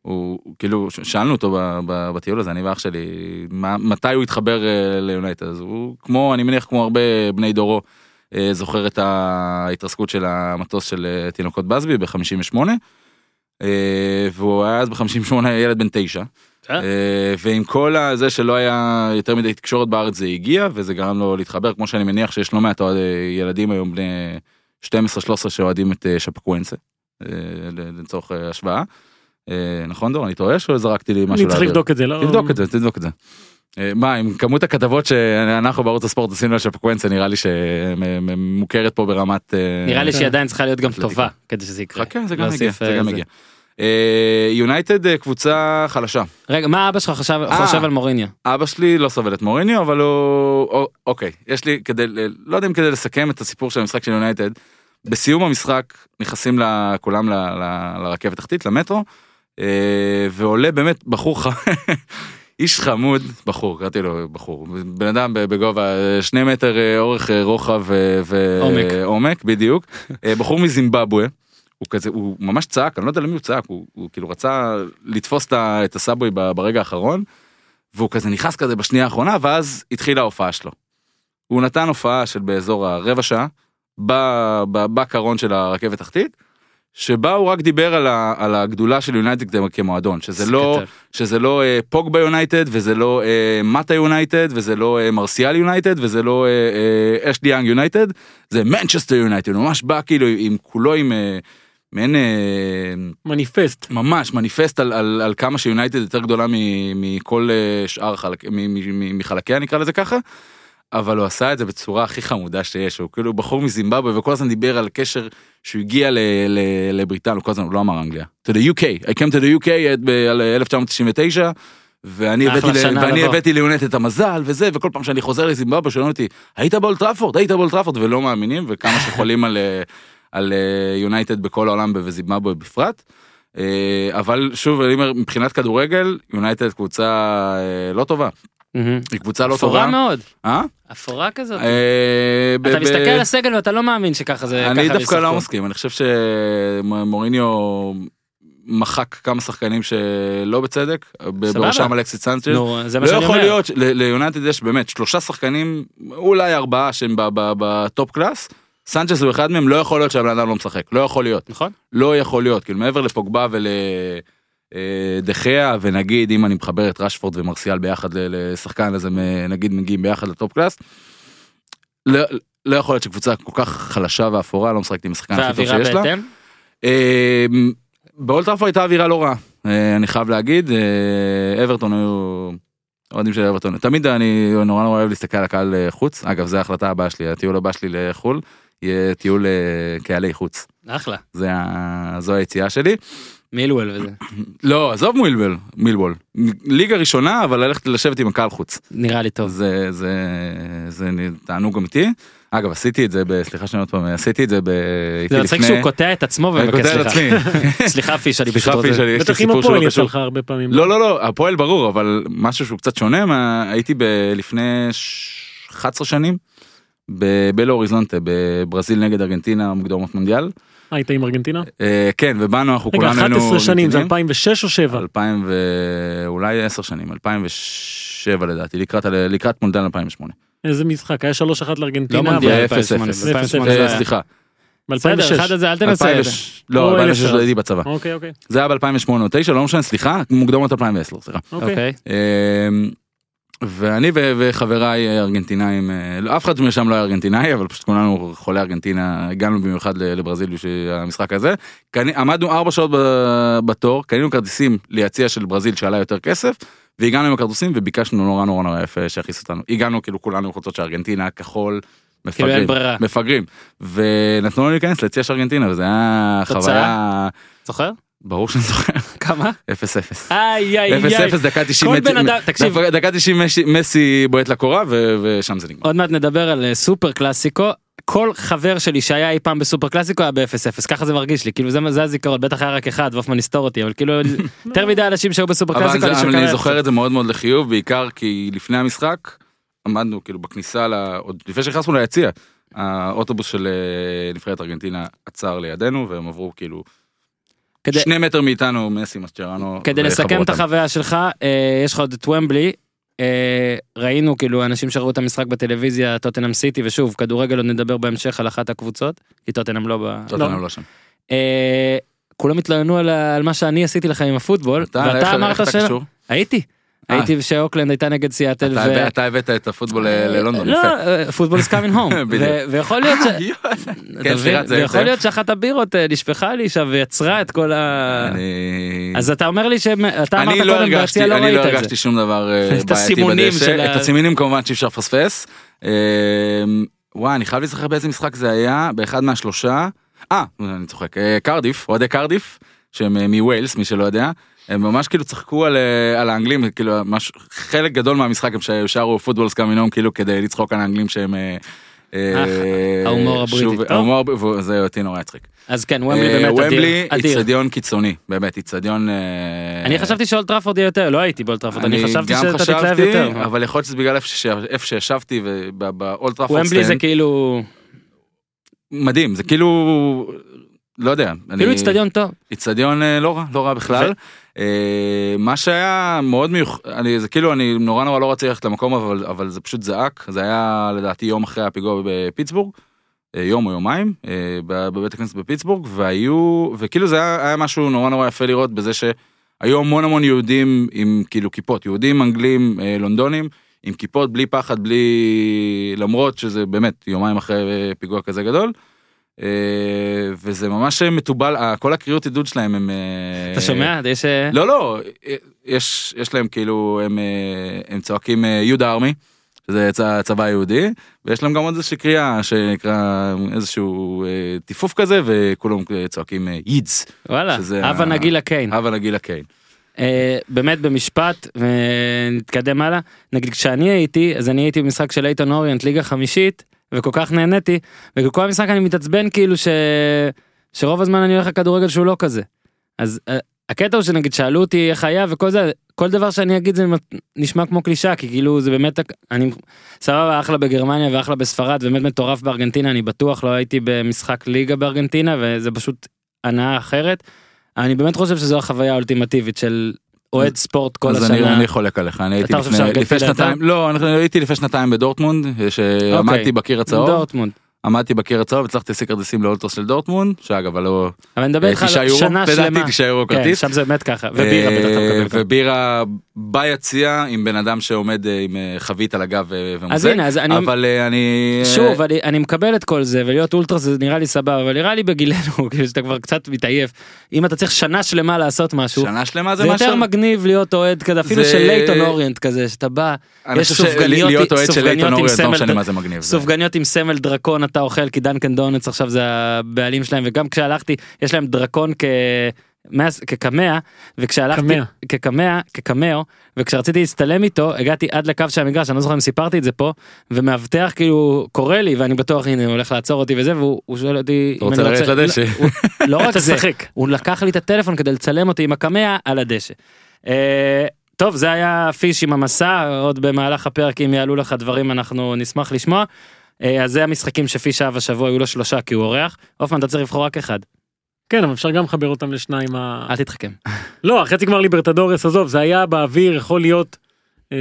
Speaker 4: הוא הוא- כאילו ש- שאלנו אותו ב- ב- בטיול הזה אני ואח שלי מה, מתי הוא התחבר אה, ליונייטד אז הוא כמו אני מניח כמו הרבה בני דורו אה, זוכר את ההתרסקות של המטוס של אה, תינוקות בסבי ב-58. אה, והוא היה אז ב-58 ילד בן תשע.
Speaker 2: אה.
Speaker 4: אה, ועם כל זה שלא היה יותר מדי תקשורת בארץ זה הגיע וזה גרם לו להתחבר כמו שאני מניח שיש לא מעט אוהד- ילדים היום בני 12-13 שאוהדים את אה, שפקונסה אה, ל- לצורך אה, השוואה. אה, נכון דור אני טועה או זרקתי לי משהו?
Speaker 3: אני צריך
Speaker 4: לאוויר?
Speaker 3: לבדוק את זה, לא...
Speaker 4: תבדוק את זה תבדוק את זה. אה, מה עם כמות הכתבות שאנחנו בערוץ הספורט עשינו על שפקוונצה נראה לי שמוכרת פה ברמת אה,
Speaker 2: נראה לי שהיא עדיין צריכה להיות גם
Speaker 4: אתלטיקה.
Speaker 2: טובה כדי שזה יקרה.
Speaker 4: חכה זה גם
Speaker 2: להוסיף,
Speaker 4: מגיע זה
Speaker 2: אה,
Speaker 4: גם
Speaker 2: זה.
Speaker 4: מגיע. אה, יונייטד אה, קבוצה חלשה
Speaker 2: רגע, מה אבא שלך חשב-
Speaker 4: אה.
Speaker 2: חושב על מוריניו?
Speaker 4: אבא שלי לא סובל את מוריניו אבל הוא או- אוקיי יש לי כדי ל- לא יודע אם כדי לסכם את הסיפור של המשחק של יונייטד. בסיום המשחק נכנסים ל- כולם ל- ל- לרכבת תחתית למטרו אה, ועולה באמת בחור ח- איש חמוד בחור קראתי לו בחור בן אדם ב- בגובה אה, שני מטר אה, אורך אה, רוחב אה, ו-
Speaker 2: עומק.
Speaker 4: אה, עומק בדיוק אה, בחור מזימבבואה. הוא כזה הוא ממש צעק אני לא יודע למי הוא צעק הוא, הוא כאילו רצה לתפוס את ה- את הסאבווי ב- ברגע האחרון. והוא כזה נכנס כזה בשנייה האחרונה, ואז התחילה ההופעה שלו. הוא נתן הופעה של באזור הרבע שעה, ב- ב- בקרון של הרכבת תחתית, שבה הוא רק דיבר על, ה, על הגדולה של יונייטד כמועדון, שזה לא,
Speaker 2: כתב.
Speaker 4: שזה לא אה, פוגבה יונייטד, וזה לא אה, מטה יונייטד, וזה לא אה, מרסיאל יונייטד, וזה לא אה, אה, אשלי יאנג יונייטד, זה מנצ'סטר יונייטד, הוא ממש בא כאילו עם כולו עם אה, מעין... אה,
Speaker 3: מניפסט.
Speaker 4: ממש מניפסט על, על, על כמה שיונייטד יותר גדולה מ- מכל אה, שאר חלק, מ- מ- מ- מחלקיה נקרא לזה ככה. אבל הוא עשה את זה בצורה הכי חמודה שיש הוא כאילו בחור מזימבבואה וכל הזמן דיבר על קשר שהוא הגיע ל, ל, לבריטן הוא כל הזמן הוא לא אמר אנגליה. to the UK I came to the UK at- ב- על 1999 ואני
Speaker 2: אחלה
Speaker 4: הבאתי, ל-
Speaker 2: שנה
Speaker 4: ואני
Speaker 2: לבוא.
Speaker 4: הבאתי ליונט את המזל וזה וכל פעם שאני חוזר לזימבבואה שואלים אותי היית באולטראפורד היית באולטראפורד ולא מאמינים וכמה שחולים על אה, על אה, יונייטד בכל העולם ובזימבבואה בפרט. אה, אבל שוב אני אומר מבחינת כדורגל יונייטד קבוצה אה, לא טובה
Speaker 2: מהמם.
Speaker 4: היא קבוצה לא
Speaker 2: אפורה
Speaker 4: טובה.
Speaker 2: מאוד,
Speaker 4: אה?
Speaker 2: אפורה כזאת.
Speaker 4: אה, ב-
Speaker 2: אוקיי. אתה
Speaker 4: ב-
Speaker 2: מסתכל על הסגל ואתה לא מאמין שככה זה, ככה
Speaker 4: אני דווקא לא
Speaker 2: ישחקו.
Speaker 4: מסכים, אני חושב שמוריניו מחק כמה שחקנים שלא בצדק, ב-
Speaker 2: סבבה.
Speaker 4: בראשם אלכסיס סנצ'ל.
Speaker 2: נו, זה מה
Speaker 4: לא
Speaker 2: שאני
Speaker 4: יכול
Speaker 2: אומר.
Speaker 4: להיות, ש- ל- ליונייטד יש באמת שלושה שחקנים, אולי ארבעה שהם ב- ב- בטופ קלאס, סנצ'ס הוא אחד מהם, לא יכול להיות שהבן אדם לא משחק, לא יכול להיות.
Speaker 2: נכון?
Speaker 4: לא יכול להיות, כאילו מעבר לפוגבה ולדחיה, ונגיד אם אני מחבר את רשפורד ומרסיאל ביחד ל- לשחקן, אז הם אה, נגיד מגיעים ביחד לטופ קלאס. לא, לא יכול להיות שקבוצה כל כך חלשה ואפורה לא משחקת עם השחקן הכי טוב
Speaker 2: והאווירה
Speaker 4: שיש לה.
Speaker 2: בהתאם.
Speaker 4: אה, באולטראפו הייתה אווירה לא רעה, אה, אני חייב להגיד, אה, אברטון היו... אוהדים של אברטון, תמיד אני נורא נורא אוהב להסתכל על הקהל אה, חוץ, אגב זו ההחלטה הבאה שלי, הטיול הבא שלי לחו"ל, יהיה טיול אה, קהלי חוץ.
Speaker 2: אחלה.
Speaker 4: זה ה... זו היציאה שלי.
Speaker 2: מילואל וזה.
Speaker 4: לא, עזוב מילבול, מילבול. ליגה ראשונה, אבל ללכת לשבת עם הקהל חוץ.
Speaker 2: נראה לי טוב.
Speaker 4: זה, זה, זה תענוג אמיתי. אגב, עשיתי את זה, ב... סליחה שאני עוד פעם, עשיתי את זה ב...
Speaker 2: זה
Speaker 4: הייתי
Speaker 2: מצחיק שהוא קוטע את עצמו
Speaker 4: אני
Speaker 2: ומבקש
Speaker 4: קוטע את
Speaker 2: סליחה.
Speaker 4: עצמי.
Speaker 2: סליחה פיש, אני פשוט
Speaker 4: סליחה
Speaker 2: רוצה...
Speaker 4: פיש, אני- יש לי
Speaker 3: בטח עם
Speaker 4: סיפור שלא
Speaker 3: הפועל יצא
Speaker 4: קשור.
Speaker 3: לך הרבה פעמים.
Speaker 4: לא, לא, לא, הפועל ברור, אבל משהו שהוא קצת שונה, מה... הייתי ב... לפני ש- 11 שנים. בבלו אוריזונטה בברזיל נגד ארגנטינה מוקדמות מונדיאל
Speaker 3: אה, היית עם ארגנטינה?
Speaker 4: אה, כן ובאנו אנחנו
Speaker 3: רגע,
Speaker 4: כולנו היינו
Speaker 3: 11 שנים, זה
Speaker 4: ארגנטינאים.
Speaker 3: 2006 או 7?
Speaker 4: 2000 ו- אולי 10 שנים 2007 לדעתי לקראת ה- לקראת מונדיאל 2008
Speaker 3: איזה משחק, היה 3-1
Speaker 2: לא
Speaker 3: לארגנטינה,
Speaker 2: מונדיאל
Speaker 4: ב-
Speaker 2: 2008.
Speaker 4: אפס,
Speaker 3: אפס.
Speaker 2: ב- 2008
Speaker 4: אה,
Speaker 2: זה היה-
Speaker 4: סליחה
Speaker 2: בסדר, אחד
Speaker 3: ב-2006.
Speaker 2: הזה, אל תנסה את זה.
Speaker 4: 2006 לא
Speaker 3: או
Speaker 4: 2006
Speaker 3: אלף.
Speaker 4: לא הייתי בצבא
Speaker 3: אוקיי, אוקיי,
Speaker 4: זה היה ב2008 או 2009 לא משנה סליחה מוקדמות 2010 סליחה.
Speaker 3: אוקיי.
Speaker 2: אוקיי.
Speaker 4: אמ, ואני ו- וחבריי אה, ארגנטינאים אה, לא- אף אחד משם לא היה ארגנטינאי אבל פשוט כולנו חולי ארגנטינה הגענו במיוחד ל- לברזיל בשביל המשחק הזה. קני- עמדנו ארבע שעות ב- בתור קנינו כרטיסים ליציע של ברזיל שעלה יותר כסף והגענו עם הכרטיסים וביקשנו נורא נורא נורא יפה שיכניס אותנו הגענו כאילו כולנו עם חולצות של ארגנטינה כחול.
Speaker 2: כאילו אין
Speaker 4: מפגרים,
Speaker 2: ברירה.
Speaker 4: מפגרים ונתנו לנו להיכנס ליציע של ארגנטינה וזה היה
Speaker 2: תוצאה?
Speaker 4: חוויה
Speaker 2: זוכר?
Speaker 4: ברור שאני זוכר
Speaker 2: כמה?
Speaker 4: 0-0.
Speaker 2: איי איי
Speaker 4: אפס
Speaker 2: איי.
Speaker 4: אפס דקה 90
Speaker 2: כל
Speaker 4: מטר-
Speaker 2: בן אדם- תקשיב.
Speaker 4: דקה- דקה 90 מסי- מסי בועט לקורה ו- ושם זה נגמר.
Speaker 2: עוד מעט נדבר על אה, סופר קלאסיקו. כל חבר שלי שהיה אי פעם בסופר קלאסיקו היה ב-0-0, ככה זה מרגיש לי, כאילו זה, זה הזיכרון, בטח היה רק אחד והופמן יסתור אותי, אבל כאילו יותר מדי אנשים שהיו בסופר
Speaker 4: אבל
Speaker 2: קלאסיקו,
Speaker 4: זה-
Speaker 2: אנשים
Speaker 4: אבל אני
Speaker 2: כאלה.
Speaker 4: זוכר את זה מאוד מאוד לחיוב בעיקר כי לפני המשחק עמדנו כאילו בכניסה ל- עוד לפני שנכנסנו ליציע האוטובוס של אה, נבחרת ארגנטינה עצר לידינו והם עברו כאילו
Speaker 2: כדי-
Speaker 4: שני מטר מאיתנו מסי מסצ'רנו.
Speaker 2: כדי
Speaker 4: וחברו
Speaker 2: לסכם את
Speaker 4: אותם.
Speaker 2: החוויה שלך, אה, יש לך עוד את ומבלי, אה, ראינו כאילו אנשים שראו את המשחק בטלוויזיה, טוטנאם סיטי, ושוב, כדורגל עוד נדבר בהמשך על אחת הקבוצות, כי טוטנאם לא ב...
Speaker 4: טוטנהאם לא שם.
Speaker 2: אה, כולם התלוננו על ה- על מה שאני עשיתי לך עם הפוטבול,
Speaker 4: אתה, איך-
Speaker 2: ואתה
Speaker 4: איך
Speaker 2: אמרת
Speaker 4: אתה
Speaker 2: ש...
Speaker 4: קשור?
Speaker 2: הייתי.
Speaker 4: אה.
Speaker 2: הייתי כשאוקלנד הייתה נגד סיאטל.
Speaker 4: אתה-
Speaker 2: ו-
Speaker 4: אתה הבאת את הפוטבול ל- ללונדון.
Speaker 2: לא,
Speaker 4: יפה.
Speaker 2: פוטבול is coming home.
Speaker 4: בדיוק.
Speaker 2: ו- ויכול להיות ש...
Speaker 4: אה, יואו,
Speaker 2: אתה
Speaker 4: כן,
Speaker 2: מבין?
Speaker 4: סליחה, זה
Speaker 2: ויכול
Speaker 4: זה-
Speaker 2: להיות שאחת הבירות אה, נשפכה לי שם ויצרה את כל ה...
Speaker 4: אני-
Speaker 2: אז אתה אומר לי שאתה אמרת
Speaker 4: אני לא
Speaker 2: קודם, ביציע
Speaker 4: הרגשתי,
Speaker 2: לא
Speaker 4: אני
Speaker 2: ראית
Speaker 4: לא
Speaker 2: את זה.
Speaker 4: הרגשתי שום דבר אה,
Speaker 2: את
Speaker 4: בעייתי
Speaker 2: הסימונים של
Speaker 4: בדשא,
Speaker 2: ה-
Speaker 4: את הסימונים כמובן שאי אפשר לפספס. אה, וואי, אני חייב להיזכר באיזה משחק זה היה, באחד מהשלושה. אה, אני צוחק, אה, קרדיף, אוהדי קרדיף, שהם אה, מווילס, מי שלא יודע. הם ממש כאילו צחקו על, אה, על האנגלים, כאילו ממש, חלק גדול מהמשחק הם ש- שרו פוטבולס קאמי נום, כאילו כדי לצחוק על האנגלים שהם... אה, אה,
Speaker 2: אך, ההומור הבריטי,
Speaker 4: שוב,
Speaker 2: טוב.
Speaker 4: ההומור, הב- זה אותי נורא הצחיק.
Speaker 2: אז כן,
Speaker 4: אה,
Speaker 2: ומבלי באמת
Speaker 4: ומבלי,
Speaker 2: אדיר. אדיר.
Speaker 4: איצטדיון קיצוני, באמת, איצטדיון... אה,
Speaker 2: אני חשבתי שאולט טראפורד יהיה יותר, לא הייתי באולט טראפורד, אני חשבתי
Speaker 4: גם
Speaker 2: שאתה תתלהב
Speaker 4: חשבתי,
Speaker 2: יותר.
Speaker 4: אבל יכול להיות שזה בגלל איפה ש- איפה שישבתי ובאולט טראפורד
Speaker 2: ומבלי זה
Speaker 4: סטנד.
Speaker 2: כאילו,
Speaker 4: מדהים, זה כאילו, לא יודע. אני-
Speaker 2: כאילו איצטדיון טוב.
Speaker 4: איצטדיון אה, לא רע, לא רע בכלל. אה, מה שהיה מאוד מיוחד, זה כאילו אני נורא נורא לא רציתי ללכת למקום אבל, אבל זה פשוט זעק, זה היה לדעתי יום אחרי הפיגוע בפיטסבורג, אה, יום או יומיים, אה, ב- בבית הכנסת בפיטסבורג, והיו, וכאילו זה היה, היה משהו נורא נורא יפה לראות בזה שהיו המון המון יהודים עם כאילו כיפות, יהודים, אנגלים, אה, לונדונים, עם כיפות בלי פחד, בלי... למרות שזה באמת יומיים אחרי אה, פיגוע כזה גדול. אה, וזה ממש מתובל, אה, כל הקריאות עידוד שלהם הם... אה,
Speaker 2: אתה שומע? יש... אה,
Speaker 4: לא, לא, אה, יש, יש להם כאילו, הם, אה, הם צועקים אה, יהודה ארמי, שזה צ, צבא יהודי, ויש להם גם עוד איזושהי קריאה שנקרא איזשהו אה, טיפוף כזה, וכולם אה, צועקים אה, יידס,
Speaker 2: וואלה,
Speaker 4: שזה
Speaker 2: הווה
Speaker 4: ה-
Speaker 2: נגילה קיין.
Speaker 4: הבה נגילה קיין.
Speaker 2: אה, באמת במשפט ונתקדם הלאה נגיד כשאני הייתי אז אני הייתי במשחק של אייטון אוריינט ליגה חמישית וכל כך נהניתי וכל המשחק אני מתעצבן כאילו ש... שרוב הזמן אני הולך לכדורגל שהוא לא כזה. אז אה, הקטע הוא שנגיד שאלו אותי איך היה וכל זה כל דבר שאני אגיד זה מת- נשמע כמו קלישאה כי כאילו זה באמת הק- אני סבבה אחלה בגרמניה ואחלה בספרד באמת מטורף בארגנטינה אני בטוח לא הייתי במשחק ליגה בארגנטינה וזה פשוט הנאה אחרת. אני באמת חושב שזו החוויה האולטימטיבית של אוהד ספורט כל
Speaker 4: אז אני,
Speaker 2: השנה.
Speaker 4: אני חולק עליך, אני הייתי
Speaker 2: חושב
Speaker 4: לפני,
Speaker 2: שהרגנטינה
Speaker 4: לפני
Speaker 2: הייתה?
Speaker 4: שנתיים, לא, אני הייתי לפני שנתיים בדורטמונד, שעמדתי
Speaker 2: אוקיי.
Speaker 4: בקיר הצהוב,
Speaker 2: דורטמונד.
Speaker 4: עמדתי בקיר הצהוב, הצלחתי להשיג כרטיסים לאולטרס של דורטמונד, שאגב, הלא...
Speaker 2: אבל אני מדבר
Speaker 4: אה,
Speaker 2: איתך על
Speaker 4: תשעה יורו?
Speaker 2: שנה שלמה.
Speaker 4: לדעתי תשעה יורו
Speaker 2: כן,
Speaker 4: כרטיס.
Speaker 2: שם זה באמת ככה. ובירה בטח אתה
Speaker 4: אה,
Speaker 2: מקבל. ככה.
Speaker 4: ובירה ביציע עם בן אדם שעומד אה, עם אה, חבית על הגב אה,
Speaker 2: אז
Speaker 4: ומוזג.
Speaker 2: הנה, אז אני...
Speaker 4: אבל אה, אני... אה,
Speaker 2: שוב, אני, אני מקבל את כל זה, ולהיות אולטרס זה נראה לי סבבה, אבל נראה לי בגילנו, כאילו שאתה כבר קצת מתעייף, אם אתה צריך שנה שלמה לעשות משהו,
Speaker 4: שנה שלמה
Speaker 2: זה
Speaker 4: זה
Speaker 2: יותר
Speaker 4: משהו...
Speaker 2: מגניב להיות אוהד כזה, אפילו
Speaker 4: זה-
Speaker 2: של לייטון אוריינט כזה, שאתה בא,
Speaker 4: אני
Speaker 2: יש
Speaker 4: חושב של-
Speaker 2: סופגניות-
Speaker 4: להיות אוהד של
Speaker 2: סופגניות
Speaker 4: איתן
Speaker 2: עם
Speaker 4: אורי, לא
Speaker 2: סמל
Speaker 4: משנה
Speaker 2: ד-
Speaker 4: מה זה מגניב. זה-
Speaker 2: סופגניות עם סמל דרקון אתה אוכל כי דנקן דונלדס עכשיו זה הבעלים שלהם וגם כשהלכתי יש להם דרקון כ... מאז- כקמע וכשהלכתי
Speaker 3: קמע.
Speaker 2: כקמע כקמאו וכשרציתי להצטלם איתו הגעתי עד לקו של המגרש אני לא זוכר אם סיפרתי את זה פה ומאבטח כאילו קורא לי ואני בטוח הנה הוא הולך לעצור אותי וזה והוא הוא שואל אותי
Speaker 4: אתה
Speaker 2: אם
Speaker 4: רוצה
Speaker 2: אני
Speaker 4: לרדת לדשא?
Speaker 2: לא, הוא- לא רק זה
Speaker 3: תשחק.
Speaker 2: הוא לקח לי את הטלפון כדי לצלם אותי עם הקמע על הדשא. אה, טוב זה היה פיש עם המסע עוד במהלך הפרק אם יעלו לך דברים אנחנו נשמח לשמוע. אה, אז זה המשחקים שפיש אהב השבוע היו לו שלושה כי הוא אורח. הופמן אתה צריך לבחור רק אחד
Speaker 3: כן, אבל אפשר גם לחבר אותם לשניים. ה-
Speaker 2: אל תתחכם.
Speaker 3: לא, החצי גמר ליברטדורס, עזוב, זה היה באוויר, יכול להיות, אה,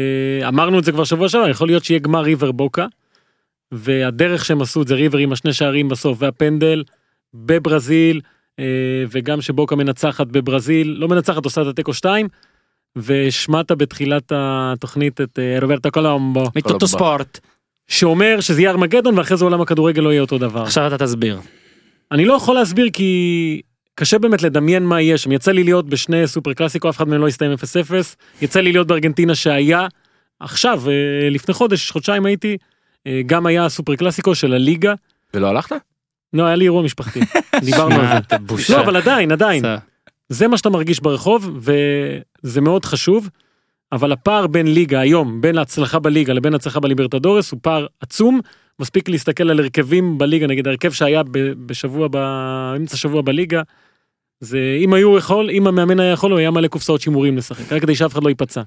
Speaker 3: אמרנו את זה כבר שבוע שעבר, יכול להיות שיהיה גמר ריבר בוקה, והדרך שהם עשו את זה ריבר עם השני שערים בסוף, והפנדל בברזיל, אה, וגם שבוקה מנצחת בברזיל, לא מנצחת, עושה את התיקו 2, והשמעת בתחילת התוכנית את אה, רוברטו קולומבו,
Speaker 2: מטוטו ספורט
Speaker 3: שאומר שזה יהיה ארמגדון, ואחרי זה עולם הכדורגל לא יהיה אותו דבר.
Speaker 2: עכשיו אתה תסביר.
Speaker 3: אני לא יכול להסביר כי קשה באמת לדמיין מה יהיה שם. יצא לי להיות בשני סופר קלאסיקו, אף אחד מהם לא הסתיים 0-0. יצא לי להיות בארגנטינה שהיה, עכשיו, אה, לפני חודש, חודשיים הייתי, אה, גם היה סופר קלאסיקו של הליגה.
Speaker 4: ולא הלכת?
Speaker 3: לא, היה לי אירוע משפחתי, דיברנו על
Speaker 2: שמע,
Speaker 3: זה.
Speaker 2: אתה בושה.
Speaker 3: לא, אבל עדיין, עדיין.
Speaker 2: סע.
Speaker 3: זה מה שאתה מרגיש ברחוב, וזה מאוד חשוב, אבל הפער בין ליגה היום, בין ההצלחה בליגה לבין ההצלחה בליברטדורס, הוא פער עצום. מספיק להסתכל על הרכבים בליגה, נגיד ההרכב שהיה ב- בשבוע, באמצע שבוע בליגה, זה אם היו יכול, אם המאמן היה יכול, הוא היה מלא קופסאות שימורים לשחק, רק כדי שאף אחד לא ייפצע.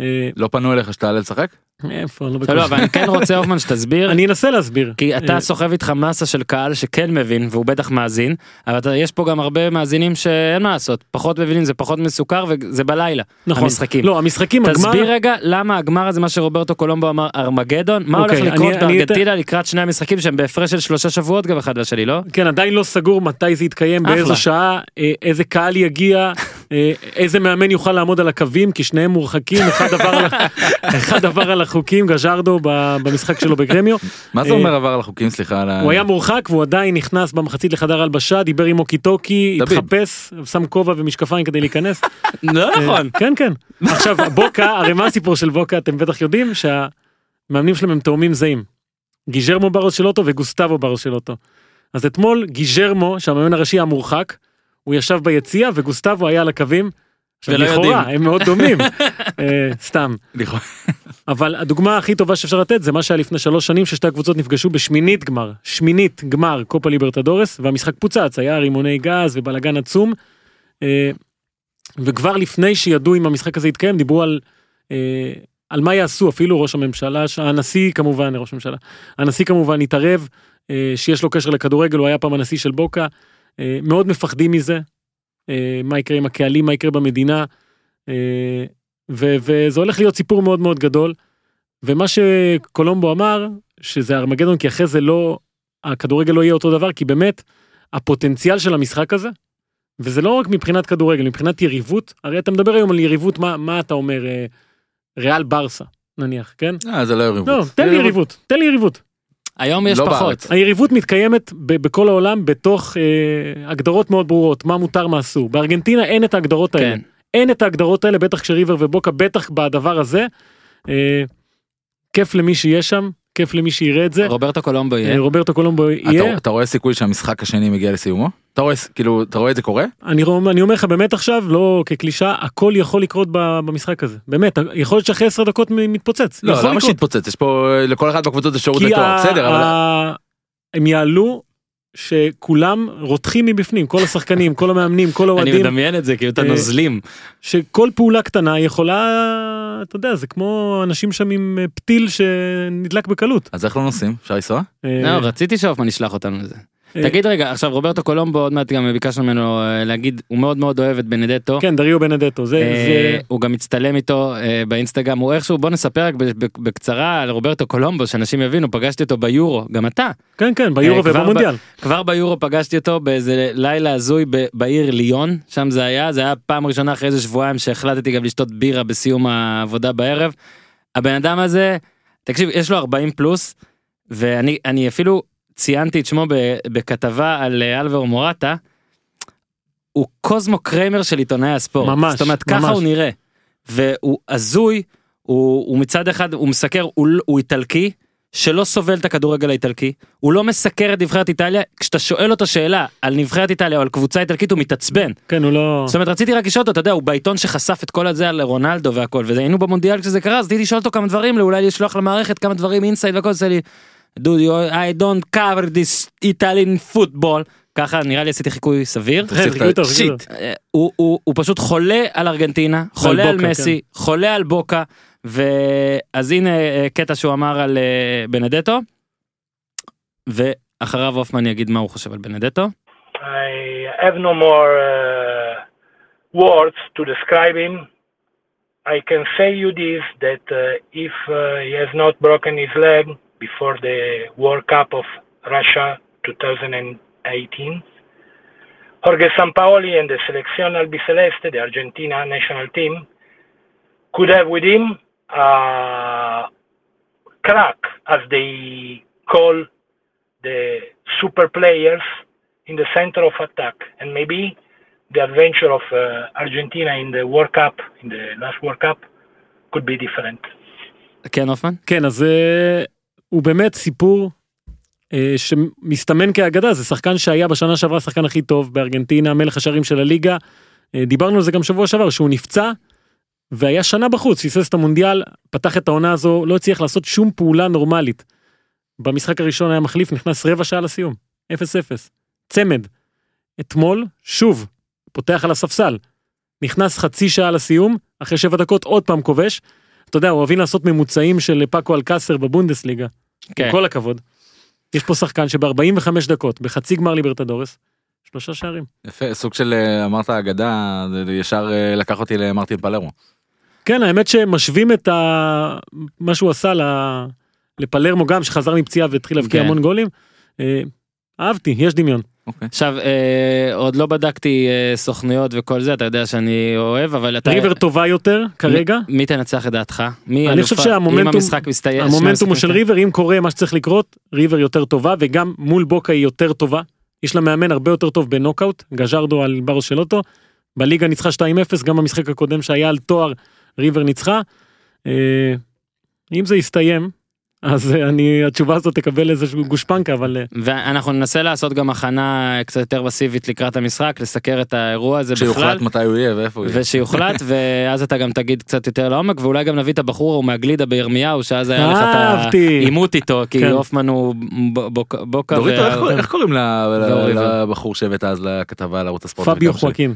Speaker 3: אה,
Speaker 4: לא פנו אליך שתעלה לשחק?
Speaker 3: איפה, אני לא
Speaker 2: לא, לא,
Speaker 3: בקושי.
Speaker 2: אבל כן, אני כן רוצה הופמן שתסביר.
Speaker 3: אני אנסה להסביר.
Speaker 2: כי
Speaker 3: אה,
Speaker 2: אתה סוחב איתך מסה של קהל שכן מבין והוא בטח מאזין אבל אתה, יש פה גם הרבה מאזינים שאין מה לעשות פחות מבינים זה פחות מסוכר וזה בלילה
Speaker 3: נכון.
Speaker 2: המשחקים.
Speaker 3: לא, המשחקים, הגמר...
Speaker 2: תסביר רגע למה הגמר הזה מה שרוברטו קולומבו אמר ארמגדון מה הולך
Speaker 3: אוקיי,
Speaker 2: לקרות
Speaker 3: אני- אני
Speaker 2: בארגנטינה לקראת שני המשחקים שהם בהפרש של שלושה שבועות גם אחד לשני לא?
Speaker 3: כן, עדיין לא סגור מתי זה יתקיים,
Speaker 2: אחלה.
Speaker 3: באיזו שעה, אה, איזה קהל יגיע, אה, איזה מאמן יוכל לעמוד על הקווים כי שניהם מורחקים אחד עבר על, ה- אחד עבר על החוקים גז'רדו ב- במשחק שלו בגרמיו
Speaker 4: מה זה
Speaker 3: אה,
Speaker 4: אומר עבר על החוקים? סליחה על ה...
Speaker 3: הוא היה מורחק והוא עדיין נכנס במחצית לחדר הלבשה דיבר עם אוקיטוקי
Speaker 4: דוד.
Speaker 3: התחפש שם כובע ומשקפיים כדי להיכנס
Speaker 2: לא נכון.
Speaker 3: אה, כן כן עכשיו בוקה הרי מה הסיפור של בוקה אתם בטח יודעים שהמאמנים שלהם הם תאומים זהים. גיז'רמו ברוס של אוטו וגוסטבו ברוס של אוטו. אז אתמול גיז'רמו שהמאמן הראשי המורחק הוא ישב ביציע וגוסטבו היה על הקווים. עכשיו,
Speaker 2: ולא
Speaker 3: לכאורה,
Speaker 2: יודעים.
Speaker 3: הם מאוד דומים אה, סתם
Speaker 4: לכאורה.
Speaker 3: אבל הדוגמה הכי טובה שאפשר לתת זה מה שהיה לפני שלוש שנים ששתי הקבוצות נפגשו בשמינית גמר שמינית גמר קופה ליברטדורס והמשחק פוצץ היה רימוני גז ובלאגן עצום. אה, וכבר לפני שידעו אם המשחק הזה יתקיים דיברו על אה, על מה יעשו אפילו ראש הממשלה ש- הנשיא כמובן ראש הממשלה הנשיא כמובן התערב אה, שיש לו קשר לכדורגל הוא היה פעם הנשיא של בוקה אה, מאוד מפחדים מזה אה, מה יקרה עם הקהלים מה יקרה במדינה. אה, ו- וזה הולך להיות סיפור מאוד מאוד גדול. ומה שקולומבו אמר שזה ארמגדון כי אחרי זה לא הכדורגל לא יהיה אותו דבר כי באמת הפוטנציאל של המשחק הזה. וזה לא רק מבחינת כדורגל מבחינת יריבות הרי אתה מדבר היום על יריבות מה מה אתה אומר אה, ריאל ברסה נניח כן.
Speaker 4: אה, זה לא
Speaker 3: לא,
Speaker 4: יריבות.
Speaker 3: תן לי יריבות, תן לי יריבות.
Speaker 2: היום יש
Speaker 4: לא
Speaker 2: פחות.
Speaker 4: בארץ.
Speaker 3: היריבות מתקיימת ב- בכל העולם בתוך אה, הגדרות מאוד ברורות, מה מותר, מה אסור. בארגנטינה אין את ההגדרות האלה.
Speaker 2: כן.
Speaker 3: אין את ההגדרות האלה, בטח כשריבר ובוקה, בטח בדבר הזה. אה, כיף למי שיהיה שם, כיף למי שיראה את זה.
Speaker 2: רוברטו קולומבו
Speaker 3: אה,
Speaker 2: יהיה.
Speaker 3: רוברטו קולומבו יהיה.
Speaker 4: אתה- אתה רואה סיכוי שהמשחק השני מגיע לסיומו? אתה רואה, כאילו, אתה רואה את זה קורה?
Speaker 2: לא,
Speaker 3: אני רוא- אני אומר לך באמת עכשיו, לא כקלישאה, הכל יכול לקרות ב- במשחק הזה. באמת, יכול להיות שאחרי 10 דקות מ- מתפוצץ.
Speaker 4: לא,
Speaker 3: יכול
Speaker 4: למה
Speaker 3: לקרות.
Speaker 4: שיתפוצץ? יש פה, אה, לכל אחד בקבוצות יש שירות
Speaker 3: כי
Speaker 4: לתואר,
Speaker 3: ה-
Speaker 4: בסדר, אבל...
Speaker 3: ה- הם יעלו שכולם רותחים מבפנים, כל השחקנים, כל המאמנים, כל
Speaker 2: אני
Speaker 3: האוהדים,
Speaker 2: מדמיין את זה כאילו את
Speaker 3: אה,
Speaker 2: הנוזלים.
Speaker 3: שכל פעולה קטנה יכולה, אתה יודע, זה כמו אנשים שם עם אה, פתיל שנדלק בקלות.
Speaker 4: אז איך לא נוסעים? אפשר לנסוע?
Speaker 3: אה,
Speaker 2: לא, רציתי שהופמן ישלח אותנו לזה.
Speaker 3: אה,
Speaker 2: תגיד רגע, עכשיו רוברטו קולומבו עוד מעט גם ביקשנו ממנו אה, להגיד, הוא מאוד מאוד אוהב את בנדטו.
Speaker 3: כן, דריו בנדטו, זה,
Speaker 2: לא. אה,
Speaker 3: זה,
Speaker 2: הוא גם מצטלם איתו אה, באינסטגרם הוא איכשהו בוא נספר רק ב- ב- בקצרה על רוברטו קולומבו שאנשים יבינו פגשתי אותו ביורו גם אתה
Speaker 3: כן, כן, ביורו
Speaker 2: אה, כבר
Speaker 3: ובמונדיאל.
Speaker 2: כבר ביורו פגשתי אותו באיזה לילה הזוי ב- בעיר ליון שם זה היה זה היה פעם ראשונה אחרי איזה שבועיים שהחלטתי גם לשתות בירה בסיום העבודה בערב. הבן אדם הזה תקשיב יש לו 40 פלוס ואני אני אפילו ציינתי את שמו ב- בכתבה על אה, אלבר מורטה. הוא קוזמו קריימר של עיתונאי הספורט.
Speaker 3: ממש,
Speaker 2: זאת אומרת
Speaker 3: ממש.
Speaker 2: ככה הוא נראה. והוא הזוי הוא, הוא מצד אחד הוא מסקר הוא, ל- הוא איטלקי שלא סובל את הכדורגל האיטלקי הוא לא מסקר את נבחרת איטליה כשאתה שואל אותו שאלה על נבחרת איטליה או על קבוצה איטלקית הוא מתעצבן.
Speaker 3: כן, הוא לא...
Speaker 2: זאת אומרת רציתי רק לשאול אותו אתה יודע הוא בעיתון שחשף את כל הזה על רונלדו והכל והיינו במונדיאל כשזה קרה אז רציתי לשאול אותו כמה דברים אולי לשלוח למערכת כמה דברים אינסייד והכל זה לי. דודי I don't cover this Italian football ככה נראה לי עשיתי חיקוי סביר.
Speaker 3: כן,
Speaker 4: תוסיף את ה-
Speaker 3: תגיד אותו, תגיד
Speaker 4: שיט.
Speaker 3: אותו.
Speaker 2: אה, הוא, הוא, הוא פשוט חולה על ארגנטינה, חולה על
Speaker 3: בוקה,
Speaker 2: מסי, חולה על בוקה, ואז הנה אה, קטע שהוא אמר על אה, בנדטו, ואחריו הופמן יגיד מה הוא חושב על בנדטו.
Speaker 1: I have no more uh, words to describe him. I can say you this that uh, if uh, he has not broken his leg before the World Cup of Russia 2018, Jorge Sampaoli and the Selección Albiceleste, the Argentina national team, could have with him a crack, as they call the super players in the center of attack and maybe the adventure of uh, Argentina in the World Cup, in the last World Cup, could be different.
Speaker 2: כן הופמן?
Speaker 3: כן, אז אה, הוא באמת סיפור אה, שמסתמן כאגדה, זה שחקן שהיה בשנה שעברה השחקן הכי טוב בארגנטינה, מלך השערים של הליגה. אה, דיברנו על זה גם שבוע שעבר, שהוא נפצע, והיה שנה בחוץ, היסס את המונדיאל, פתח את העונה הזו, לא הצליח לעשות שום פעולה נורמלית. במשחק הראשון היה מחליף, נכנס רבע שעה לסיום, 0-0. צמד. אתמול, שוב, פותח על הספסל. נכנס חצי שעה לסיום, אחרי שבע דקות עוד פעם כובש. אתה יודע, אוהבים לעשות ממוצעים של פאקו אלקסר בבונדסליגה.
Speaker 2: כן.
Speaker 3: עם כל הכבוד. יש פה שחקן שב-45 דקות, בחצי גמר ליברטדורס, שלושה שערים.
Speaker 4: יפה, סוג של אה, אמרת אגדה, זה ישר אה, לקח אותי למרטין פלרמו.
Speaker 3: כן, האמת שמשווים את ה... מה שהוא עשה ל... לפלרמו גם, שחזר מפציעה והתחיל להבקיע
Speaker 2: כן.
Speaker 3: המון גולים. אה, אהבתי, יש דמיון.
Speaker 4: אוקיי.
Speaker 2: עכשיו אה, עוד לא בדקתי אה, סוכנויות וכל זה אתה יודע שאני אוהב אבל אתה
Speaker 3: ריבר טובה יותר כרגע.
Speaker 2: מי, מי תנצח את דעתך מי
Speaker 3: אני חושב שהמומנטום-
Speaker 2: אם המשחק מסתיים
Speaker 3: המומנטום אה, הוא
Speaker 2: כן.
Speaker 3: של ריבר, אם קורה מה שצריך לקרות, ריבר יותר טובה, וגם מול בוקה היא יותר טובה. יש לה מאמן הרבה יותר טוב בנוקאוט, גז'רדו על ברוס של אוטו. בליגה ניצחה 2-0, גם במשחק הקודם שהיה על תואר, ריבר ניצחה. אה, אם זה יסתיים, אז אה, אני, התשובה הזאת תקבל איזשהו גושפנקה, אבל אה,
Speaker 2: ואנחנו ננסה לעשות גם הכנה אה, קצת יותר פסיבית לקראת המשחק לסקר את האירוע הזה בכלל.
Speaker 4: שיוחלט מתי הוא יהיה ואיפה הוא יהיה.
Speaker 2: ושיוחלט ואז אתה גם תגיד קצת יותר לעומק ואולי גם נביא את הבחור ההוא מהגלידה בירמיהו שאז היה לך את
Speaker 3: אהבתי.
Speaker 2: העימות איתו כי
Speaker 3: כן.
Speaker 2: הופמן הוא ב- בוק- בוקה.
Speaker 4: דוריטו,
Speaker 2: וה-
Speaker 4: איך קוראים- איך קוראים ל- ל-
Speaker 2: ואורי ו-
Speaker 4: לבחור שהבאת אז לכתבה על ערוץ הספורט?
Speaker 3: פביו
Speaker 4: וגם של-
Speaker 3: חואקין.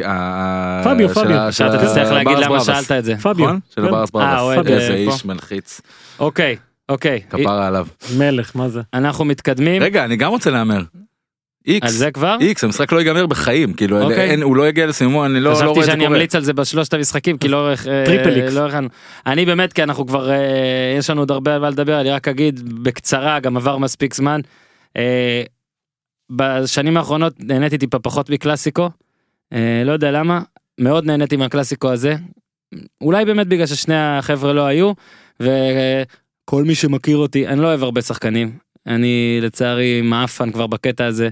Speaker 4: אה,
Speaker 3: פביו,
Speaker 4: של
Speaker 3: פביו.
Speaker 4: ה- של
Speaker 2: עכשיו אתה
Speaker 4: ה-
Speaker 2: תצטרך להגיד
Speaker 4: ברס
Speaker 2: למה
Speaker 4: בראבס.
Speaker 2: שאלת את זה.
Speaker 3: פביו,
Speaker 4: נכון? של
Speaker 3: כן.
Speaker 4: הברס
Speaker 2: אה,
Speaker 4: ברבס.
Speaker 2: אוהד,
Speaker 4: איזה
Speaker 2: אה, פה.
Speaker 4: איש מלחיץ,
Speaker 2: אוקיי אוקיי
Speaker 4: כפרה אה, עליו.
Speaker 3: מלך, מה זה?
Speaker 2: אנחנו מתקדמים
Speaker 4: רגע, אני גם רוצה להמר.
Speaker 2: על
Speaker 4: איקס,
Speaker 2: זה כבר.
Speaker 4: איקס, המשחק לא ייגמר בחיים, כאילו,
Speaker 2: אוקיי.
Speaker 4: אין- הוא לא יגיע לסיומו, אני לא לא
Speaker 2: חשבתי
Speaker 4: רואה את זה
Speaker 2: שאני
Speaker 4: קורה.
Speaker 2: אמליץ על זה בשלושת המשחקים כי לא איך- אה,
Speaker 3: טריפל איקס.
Speaker 2: לא הכנו. אני באמת כי אנחנו כבר אה, יש לנו עוד הרבה על מה לדבר אני רק אגיד בקצרה גם עבר מספיק זמן. אה, בשנים האחרונות נהניתי טיפה פחות מקלאסיקו. אה, לא יודע למה מאוד נהניתי מהקלאסיקו הזה. אולי באמת בגלל ששני החבר'ה לא היו וכל מי שמכיר אותי אני לא אוהב הרבה שחקנים אני לצערי מעפן כבר בקטע הזה.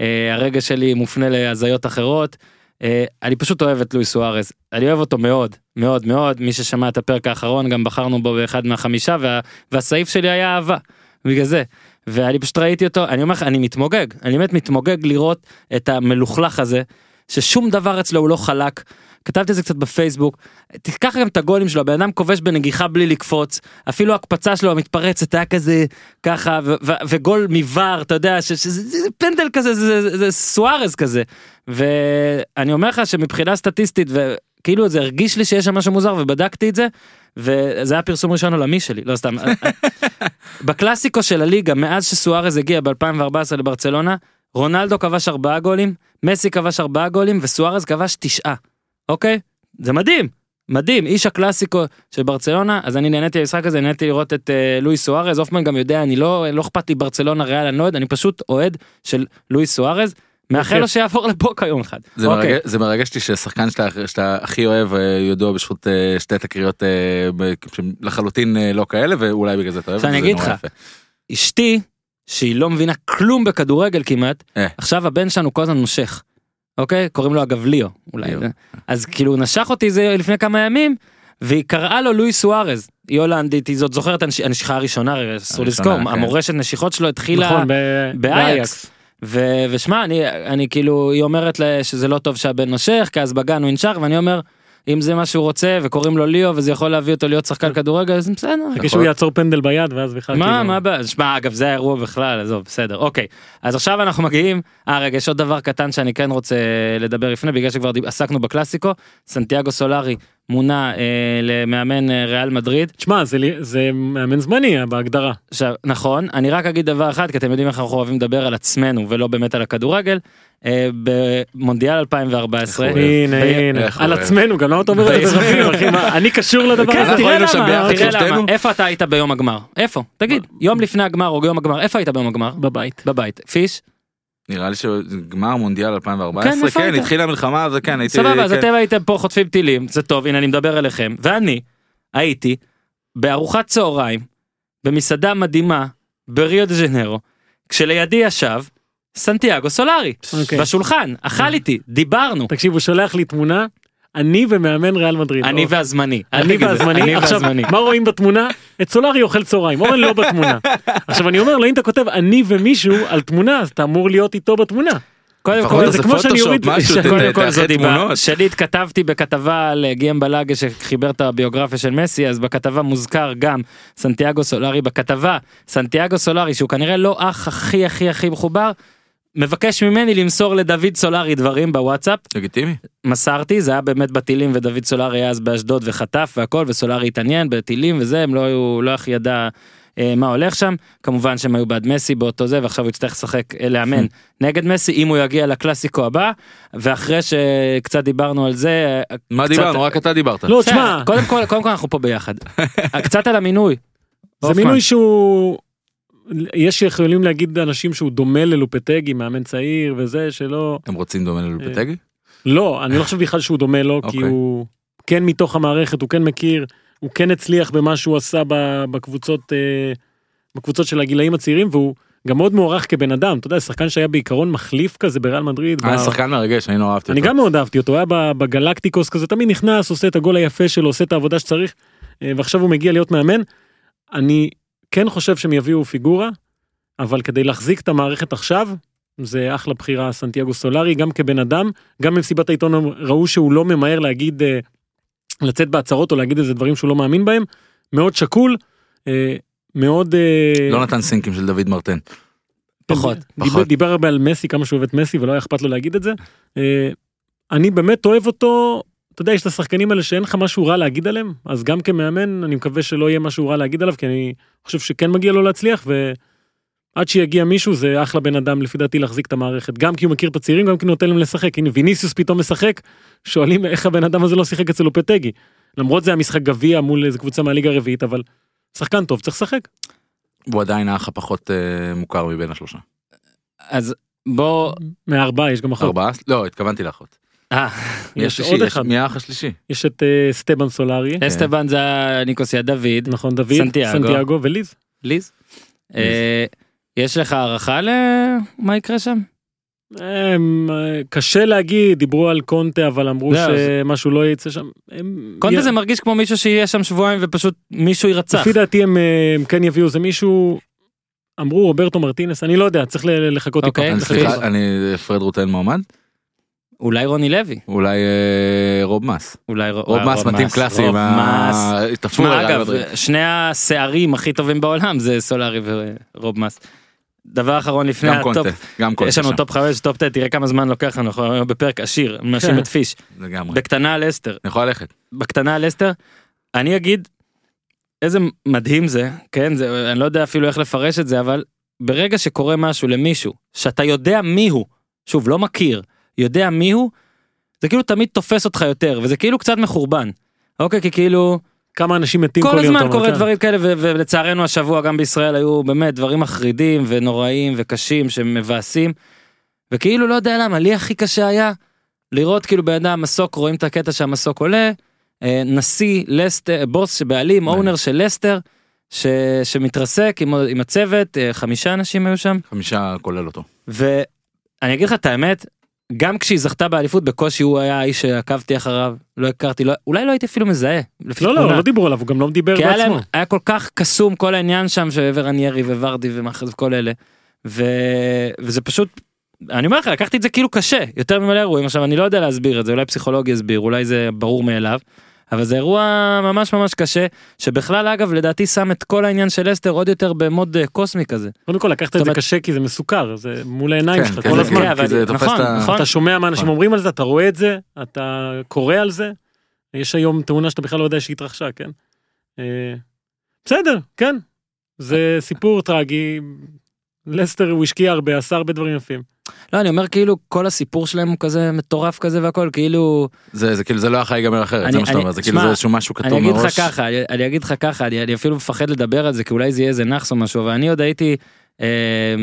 Speaker 2: אה, הרגע שלי מופנה להזיות אחרות. אה, אני פשוט אוהב את לואיס סוארז, אני אוהב אותו מאוד, מאוד מאוד, מי ששמע את הפרק האחרון גם בחרנו בו באחד מהחמישה וה, והסעיף שלי היה אהבה, בגלל זה. ואני פשוט ראיתי אותו, אני אומר לך, אני מתמוגג, אני באמת מתמוגג לראות את המלוכלך הזה, ששום דבר אצלו הוא לא חלק. כתבתי את זה קצת בפייסבוק, תיקח גם את הגולים שלו, הבן אדם כובש בנגיחה בלי לקפוץ, אפילו ההקפצה שלו המתפרצת היה כזה ככה, ו- ו- וגול מוואר, אתה יודע, ש- שזה זה- זה פנדל כזה, זה- זה- זה סוארז כזה. ואני אומר לך שמבחינה סטטיסטית וכאילו זה הרגיש לי שיש שם משהו מוזר ובדקתי את זה וזה היה פרסום ראשון עולמי שלי לא סתם בקלאסיקו של הליגה מאז שסוארז הגיע ב2014 לברצלונה רונלדו כבש ארבעה גולים מסי כבש ארבעה גולים וסוארז כבש תשעה אוקיי זה מדהים מדהים איש הקלאסיקו של ברצלונה אז אני נהניתי למשחק הזה נהניתי לראות את אה, לואיס סוארז הופמן גם יודע אני לא לא אכפת לי ברצלונה ריאל אני לא אוהד אני פשוט אוהד של לואיס סוארז מאחל לו שיעבור לבוקה יום אחד.
Speaker 4: זה
Speaker 2: אוקיי.
Speaker 4: מרגש- זה מרגש אותי ששחקן שאתה- שאתה הכי אוהב אה, ידוע בזכות אה, שתי תקריות אה, ב- שהן לחלוטין אה, לא כאלה, ואולי בגלל זה אתה אוהב את
Speaker 2: עכשיו
Speaker 4: זה,
Speaker 2: אני
Speaker 4: זה
Speaker 2: אגיד
Speaker 4: נורא
Speaker 2: לך.
Speaker 4: יפה.
Speaker 2: אשתי שהיא לא מבינה כלום בכדורגל כמעט
Speaker 4: אה.
Speaker 2: עכשיו הבן שלנו כל הזמן נושך. אוקיי קוראים לו אגב ליאו אולי
Speaker 4: ליאו.
Speaker 2: זה. אז כאילו הוא נשך אותי זה לפני כמה ימים והיא קראה לו לואי סוארז היא הולנדית היא זאת זוכרת הנש- הנשיכה הראשונה הרי אסור
Speaker 4: הראשונה,
Speaker 2: לזכור
Speaker 4: כן.
Speaker 2: המורשת נשיכות שלו התחילה
Speaker 3: נכון, ב-
Speaker 2: באייקס. ו- ושמע אני אני כאילו היא אומרת לה שזה לא טוב שהבן נושך כי אז בגן הוא ינשך ואני אומר אם זה מה שהוא רוצה וקוראים לו ליאו וזה יכול להביא אותו להיות שחקן כדורגל אז בסדר.
Speaker 4: נכון.
Speaker 3: חכה שהוא יעצור פנדל ביד ואז בכלל
Speaker 2: מה
Speaker 3: כאילו-
Speaker 2: מה הבעיה? שמע אגב זה האירוע בכלל עזוב בסדר אוקיי אז עכשיו אנחנו מגיעים אה רגע יש עוד דבר קטן שאני כן רוצה לדבר לפני בגלל שכבר דיב- עסקנו בקלאסיקו סנטיאגו סולארי מונה אה, למאמן אה, ריאל מדריד
Speaker 3: תשמע זה לי- זה מאמן זמני אה, בהגדרה.
Speaker 2: עכשיו נכון אני רק אגיד דבר אחד כי אתם יודעים איך אנחנו אוהבים לדבר על עצמנו ולא באמת על הכדורגל אה, במונדיאל 2014
Speaker 4: איך הוא
Speaker 3: הנה הנה
Speaker 4: איך הוא
Speaker 3: על
Speaker 4: אוהב.
Speaker 3: עצמנו גם למה אתה אומר את זה ברבים אחי מה, אני קשור לדבר
Speaker 2: כן,
Speaker 3: הזה.
Speaker 4: אנחנו
Speaker 2: תראה
Speaker 4: היינו שם
Speaker 2: למה,
Speaker 4: ביחד,
Speaker 2: תראה
Speaker 4: שלושתנו.
Speaker 2: למה, איפה אתה היית ביום הגמר? איפה? תגיד, יום לפני הגמר או יום הגמר, איפה היית ביום הגמר?
Speaker 3: בבית.
Speaker 2: בבית. פיש?
Speaker 4: נראה לי שגמר מונדיאל 2014,
Speaker 2: איפה
Speaker 4: כן,
Speaker 2: היית?
Speaker 4: התחילה המלחמה, אז כן, הייתי...
Speaker 2: סבבה אז
Speaker 4: כן.
Speaker 2: אתם הייתם פה חוטפים טילים זה טוב הנה אני מדבר אליכם ואני הייתי בארוחת צהריים במסעדה מדהימה בריו דה ז'נרו כשלידי ישב סנטיאגו סולארי
Speaker 3: אוקיי.
Speaker 2: בשולחן אכל איתי דיברנו
Speaker 3: תקשיב הוא שולח לי תמונה אני ומאמן ריאל מדריד.
Speaker 2: אני
Speaker 3: או,
Speaker 2: והזמני
Speaker 3: אוקיי. אני
Speaker 2: אל תגיד את זה,
Speaker 3: והזמני
Speaker 2: אני
Speaker 3: עכשיו
Speaker 2: והזמני.
Speaker 3: מה רואים בתמונה את סולארי אוכל צהריים אורן לא בתמונה עכשיו אני אומר לו אם אתה כותב אני ומישהו על תמונה אז אתה אמור להיות איתו בתמונה.
Speaker 2: קודם
Speaker 4: לפחות
Speaker 2: כל
Speaker 3: זה
Speaker 4: תעשה
Speaker 3: כמו שאני
Speaker 4: פוטושופ,
Speaker 3: אוריד-
Speaker 4: משהו, ת-
Speaker 2: קודם כל
Speaker 4: תאחד
Speaker 2: זאת דיבה,
Speaker 4: תמונות.
Speaker 2: שלי התכתבתי בכתבה על אה, גיהם בלאגה שחיבר את הביוגרפיה של מסי אז בכתבה מוזכר גם סנטיאגו סולארי בכתבה סנטיאגו סולארי שהוא כנראה לא אח הכי הכי הכי מחובר מבקש ממני למסור לדוד סולארי דברים בוואטסאפ
Speaker 4: לגיטימי.
Speaker 2: מסרתי זה היה באמת בטילים ודוד סולארי היה אז באשדוד וחטף והכל וסולארי התעניין בטילים וזה הם לא היו לא הכי ידע אה, מה הולך שם כמובן שהם היו בעד מסי באותו זה ועכשיו הוא יצטרך לשחק אה, לאמן נגד מסי אם הוא יגיע לקלאסיקו הבא ואחרי שקצת דיברנו על זה אה,
Speaker 4: מה
Speaker 2: קצת-
Speaker 4: דיברנו? רק אתה דיברת.
Speaker 3: לא
Speaker 2: בסדר,
Speaker 3: תשמע
Speaker 2: קודם כל קודם כל אנחנו פה ביחד קצת על המינוי.
Speaker 3: זה
Speaker 2: הופמן.
Speaker 3: מינוי שהוא יש שיכולים להגיד אנשים שהוא דומה ללופטגי, מאמן צעיר וזה, שלא...
Speaker 4: אתם רוצים דומה ללופטגי?
Speaker 3: לא, אני לא חושב בכלל שהוא דומה לו, כי
Speaker 4: אוקיי.
Speaker 3: הוא כן מתוך המערכת, הוא כן מכיר, הוא כן הצליח במה שהוא עשה ב- בקבוצות, אה, בקבוצות של הגילאים הצעירים, והוא גם מאוד מוערך כבן אדם, אתה יודע, שחקן שהיה בעיקרון מחליף כזה בריאל מדריד.
Speaker 2: אה,
Speaker 4: היה
Speaker 3: ב-
Speaker 4: אה, שחקן מרגש, אני נורא אהבתי אותו.
Speaker 3: אני גם מאוד אהבתי אותו, הוא היה ב- בגלקטיקוס כזה, תמיד נכנס, עושה את הגול היפה שלו, עושה את העבודה שצריך, אה, ועכשיו הוא מגיע להיות מאמן. אני כן חושב שהם יביאו פיגורה, אבל כדי להחזיק את המערכת עכשיו, זה אחלה בחירה, סנטיאגו סולארי, גם כבן אדם, גם במסיבת העיתון הם ראו שהוא לא ממהר להגיד, אה, לצאת בהצהרות או להגיד איזה דברים שהוא לא מאמין בהם, מאוד שקול, אה, מאוד... אה,
Speaker 4: לא נתן סינקים של דוד מרטן.
Speaker 2: פחות,
Speaker 3: דיבר,
Speaker 4: פחות.
Speaker 3: דיבר הרבה על מסי, כמה שהוא אוהב את מסי ולא היה אכפת לו להגיד את זה. אה, אני באמת אוהב אותו, אתה יודע, יש את השחקנים האלה שאין לך משהו רע להגיד עליהם, אז גם כמאמן אני מקווה שלא יהיה משהו רע להגיד עליו, כי אני חושב שכן מגיע לו להצליח, ועד שיגיע מישהו זה אחלה בן אדם לפי דעתי להחזיק את המערכת, גם כי הוא מכיר את הצעירים, גם כי הוא נותן להם לשחק. הנה ויניסיוס פתאום משחק, שואלים איך הבן אדם הזה לא שיחק אצל לופטגי. למרות זה המשחק גביע מול איזה קבוצה מהליגה הרביעית, אבל שחקן טוב צריך לשחק.
Speaker 4: הוא עדיין האח הפחות אה, מוכר מבין השלושה.
Speaker 2: אז בוא,
Speaker 3: מהארבעה יש גם אחות.
Speaker 4: ארבעה? לא, התכוונתי לאחות.
Speaker 2: אה,
Speaker 4: מי
Speaker 3: יש
Speaker 4: השלישי?
Speaker 3: עוד
Speaker 4: יש-
Speaker 3: אחד.
Speaker 4: מי האח השלישי?
Speaker 3: יש את אה, סטבן סולארי.
Speaker 2: אסטבן זה ניקוס יד דוד,
Speaker 3: נכון דוד,
Speaker 2: סנטיאגו.
Speaker 3: סנטיאגו וליז.
Speaker 2: ליז. אה, יש לך הערכה למה יקרה שם?
Speaker 3: הם, אה, קשה להגיד, דיברו על קונטה אבל אמרו
Speaker 2: לא,
Speaker 3: שמשהו לא יצא שם. הם-
Speaker 2: קונטה
Speaker 3: יה-
Speaker 2: זה מרגיש כמו מישהו שיהיה שם שבועיים ופשוט מישהו יירצח.
Speaker 3: לפי דעתי הם אה, הם כן יביאו איזה מישהו, אמרו רוברטו מרטינס, אני לא יודע, צריך ל- לחכות טיפה.
Speaker 2: אוקיי,
Speaker 4: אני-
Speaker 2: אוקיי.
Speaker 4: סליחה, אני פרד רוטן מועמד?
Speaker 2: אולי רוני לוי.
Speaker 4: אולי אה, רוב מס.
Speaker 2: אולי אה,
Speaker 4: רוב מס מתאים קלאסי.
Speaker 2: רוב
Speaker 4: עם ה-
Speaker 2: מס.
Speaker 4: התעפרו
Speaker 2: שמע
Speaker 4: לריאל
Speaker 2: אגב אה,
Speaker 4: מדריד.
Speaker 2: שני השערים הכי טובים בעולם זה סולארי ורוב מס. דבר אחרון לפני
Speaker 4: גם
Speaker 2: הטופ,
Speaker 4: קונטה. גם קונטה.
Speaker 2: יש לנו
Speaker 4: שם.
Speaker 2: טופ 5 טופ 9 תראה כמה זמן לוקח לנו אנחנו היום בפרק עשיר מאשים
Speaker 3: כן.
Speaker 2: את פיש
Speaker 4: לגמרי.
Speaker 2: בקטנה על אסתר
Speaker 4: אני יכול ללכת.
Speaker 2: בקטנה על אסתר אני אגיד איזה מדהים זה כן זה אני לא יודע אפילו איך לפרש את זה אבל ברגע שקורה משהו למישהו שאתה יודע מיהו שוב לא מכיר יודע מיהו זה כאילו תמיד תופס אותך יותר וזה כאילו קצת מחורבן. אוקיי כי כאילו
Speaker 3: כמה אנשים מתים כל יום.
Speaker 2: כל
Speaker 3: אתה
Speaker 2: הזמן
Speaker 3: אומר,
Speaker 2: קורה
Speaker 3: כן.
Speaker 2: דברים כאלה ו- ולצערנו השבוע גם בישראל היו באמת דברים מחרידים ונוראים וקשים שמבאסים. וכאילו לא יודע למה לי הכי קשה היה לראות כאילו בן אדם מסוק רואים את הקטע שהמסוק עולה אה, נשיא לסטר בוס שבעלים אונר של לסטר ש- שמתרסק עם, עם הצוות אה, חמישה אנשים היו שם
Speaker 4: חמישה כולל אותו.
Speaker 2: ואני אגיד לך את האמת. גם כשהיא זכתה באליפות בקושי הוא היה האיש שעקבתי אחריו לא הכרתי לא, אולי לא הייתי אפילו מזהה. לפי
Speaker 3: לא,
Speaker 2: תמונה.
Speaker 3: לא, לא דיברו עליו, הוא גם לא דיבר
Speaker 2: כי היה להם,
Speaker 3: בעצמו.
Speaker 2: היה כל כך קסום כל העניין שם שברניירי וורדי ומאחז וכל אלה. ו... וזה פשוט, אני אומר לך, לקחתי את זה כאילו קשה, יותר ממלא אירועים. עכשיו, אני לא יודע להסביר את זה, אולי פסיכולוג יסביר, אולי זה ברור מאליו. אבל זה אירוע ממש ממש קשה, שבכלל אגב לדעתי שם את כל העניין של אסתר עוד יותר במוד אה, קוסמי כזה.
Speaker 3: קודם כל לקחת
Speaker 2: זאת
Speaker 3: את זה
Speaker 2: אומרת-
Speaker 3: קשה כי זה מסוכר, זה מול
Speaker 2: אה,
Speaker 3: העיניים
Speaker 4: כן,
Speaker 3: שלך
Speaker 4: כן,
Speaker 3: כל
Speaker 4: זה-
Speaker 3: הזמן.
Speaker 4: כן,
Speaker 2: אבל-
Speaker 4: כי זה תופס
Speaker 2: נכון,
Speaker 4: את ה...
Speaker 2: נכון.
Speaker 3: אתה שומע מה אנשים
Speaker 4: נכון.
Speaker 3: אומרים על זה, אתה רואה את זה, אתה קורא על זה. יש היום תאונה שאתה בכלל לא יודע שהתרחשה, כן? אה, בסדר, כן. זה סיפור טרגי. לסטר הוא השקיע הרבה, עשה הרבה דברים יפים.
Speaker 2: לא, אני אומר כאילו כל הסיפור שלהם הוא כזה מטורף כזה והכל, כאילו...
Speaker 4: זה זה כאילו זה לא יכול להיגמר אחרת,
Speaker 2: אני-
Speaker 4: זה מה שאתה
Speaker 2: אני-
Speaker 4: אומר, זה כאילו
Speaker 2: שמע,
Speaker 4: זה איזשהו משהו
Speaker 2: אני
Speaker 4: כתום
Speaker 2: אגיד לך
Speaker 4: מראש.
Speaker 2: ככה, אני, אני אגיד לך ככה, אני, אני אפילו מפחד לדבר על זה, כי אולי זה יהיה איזה נאחס או משהו, אבל אני עוד הייתי, אה,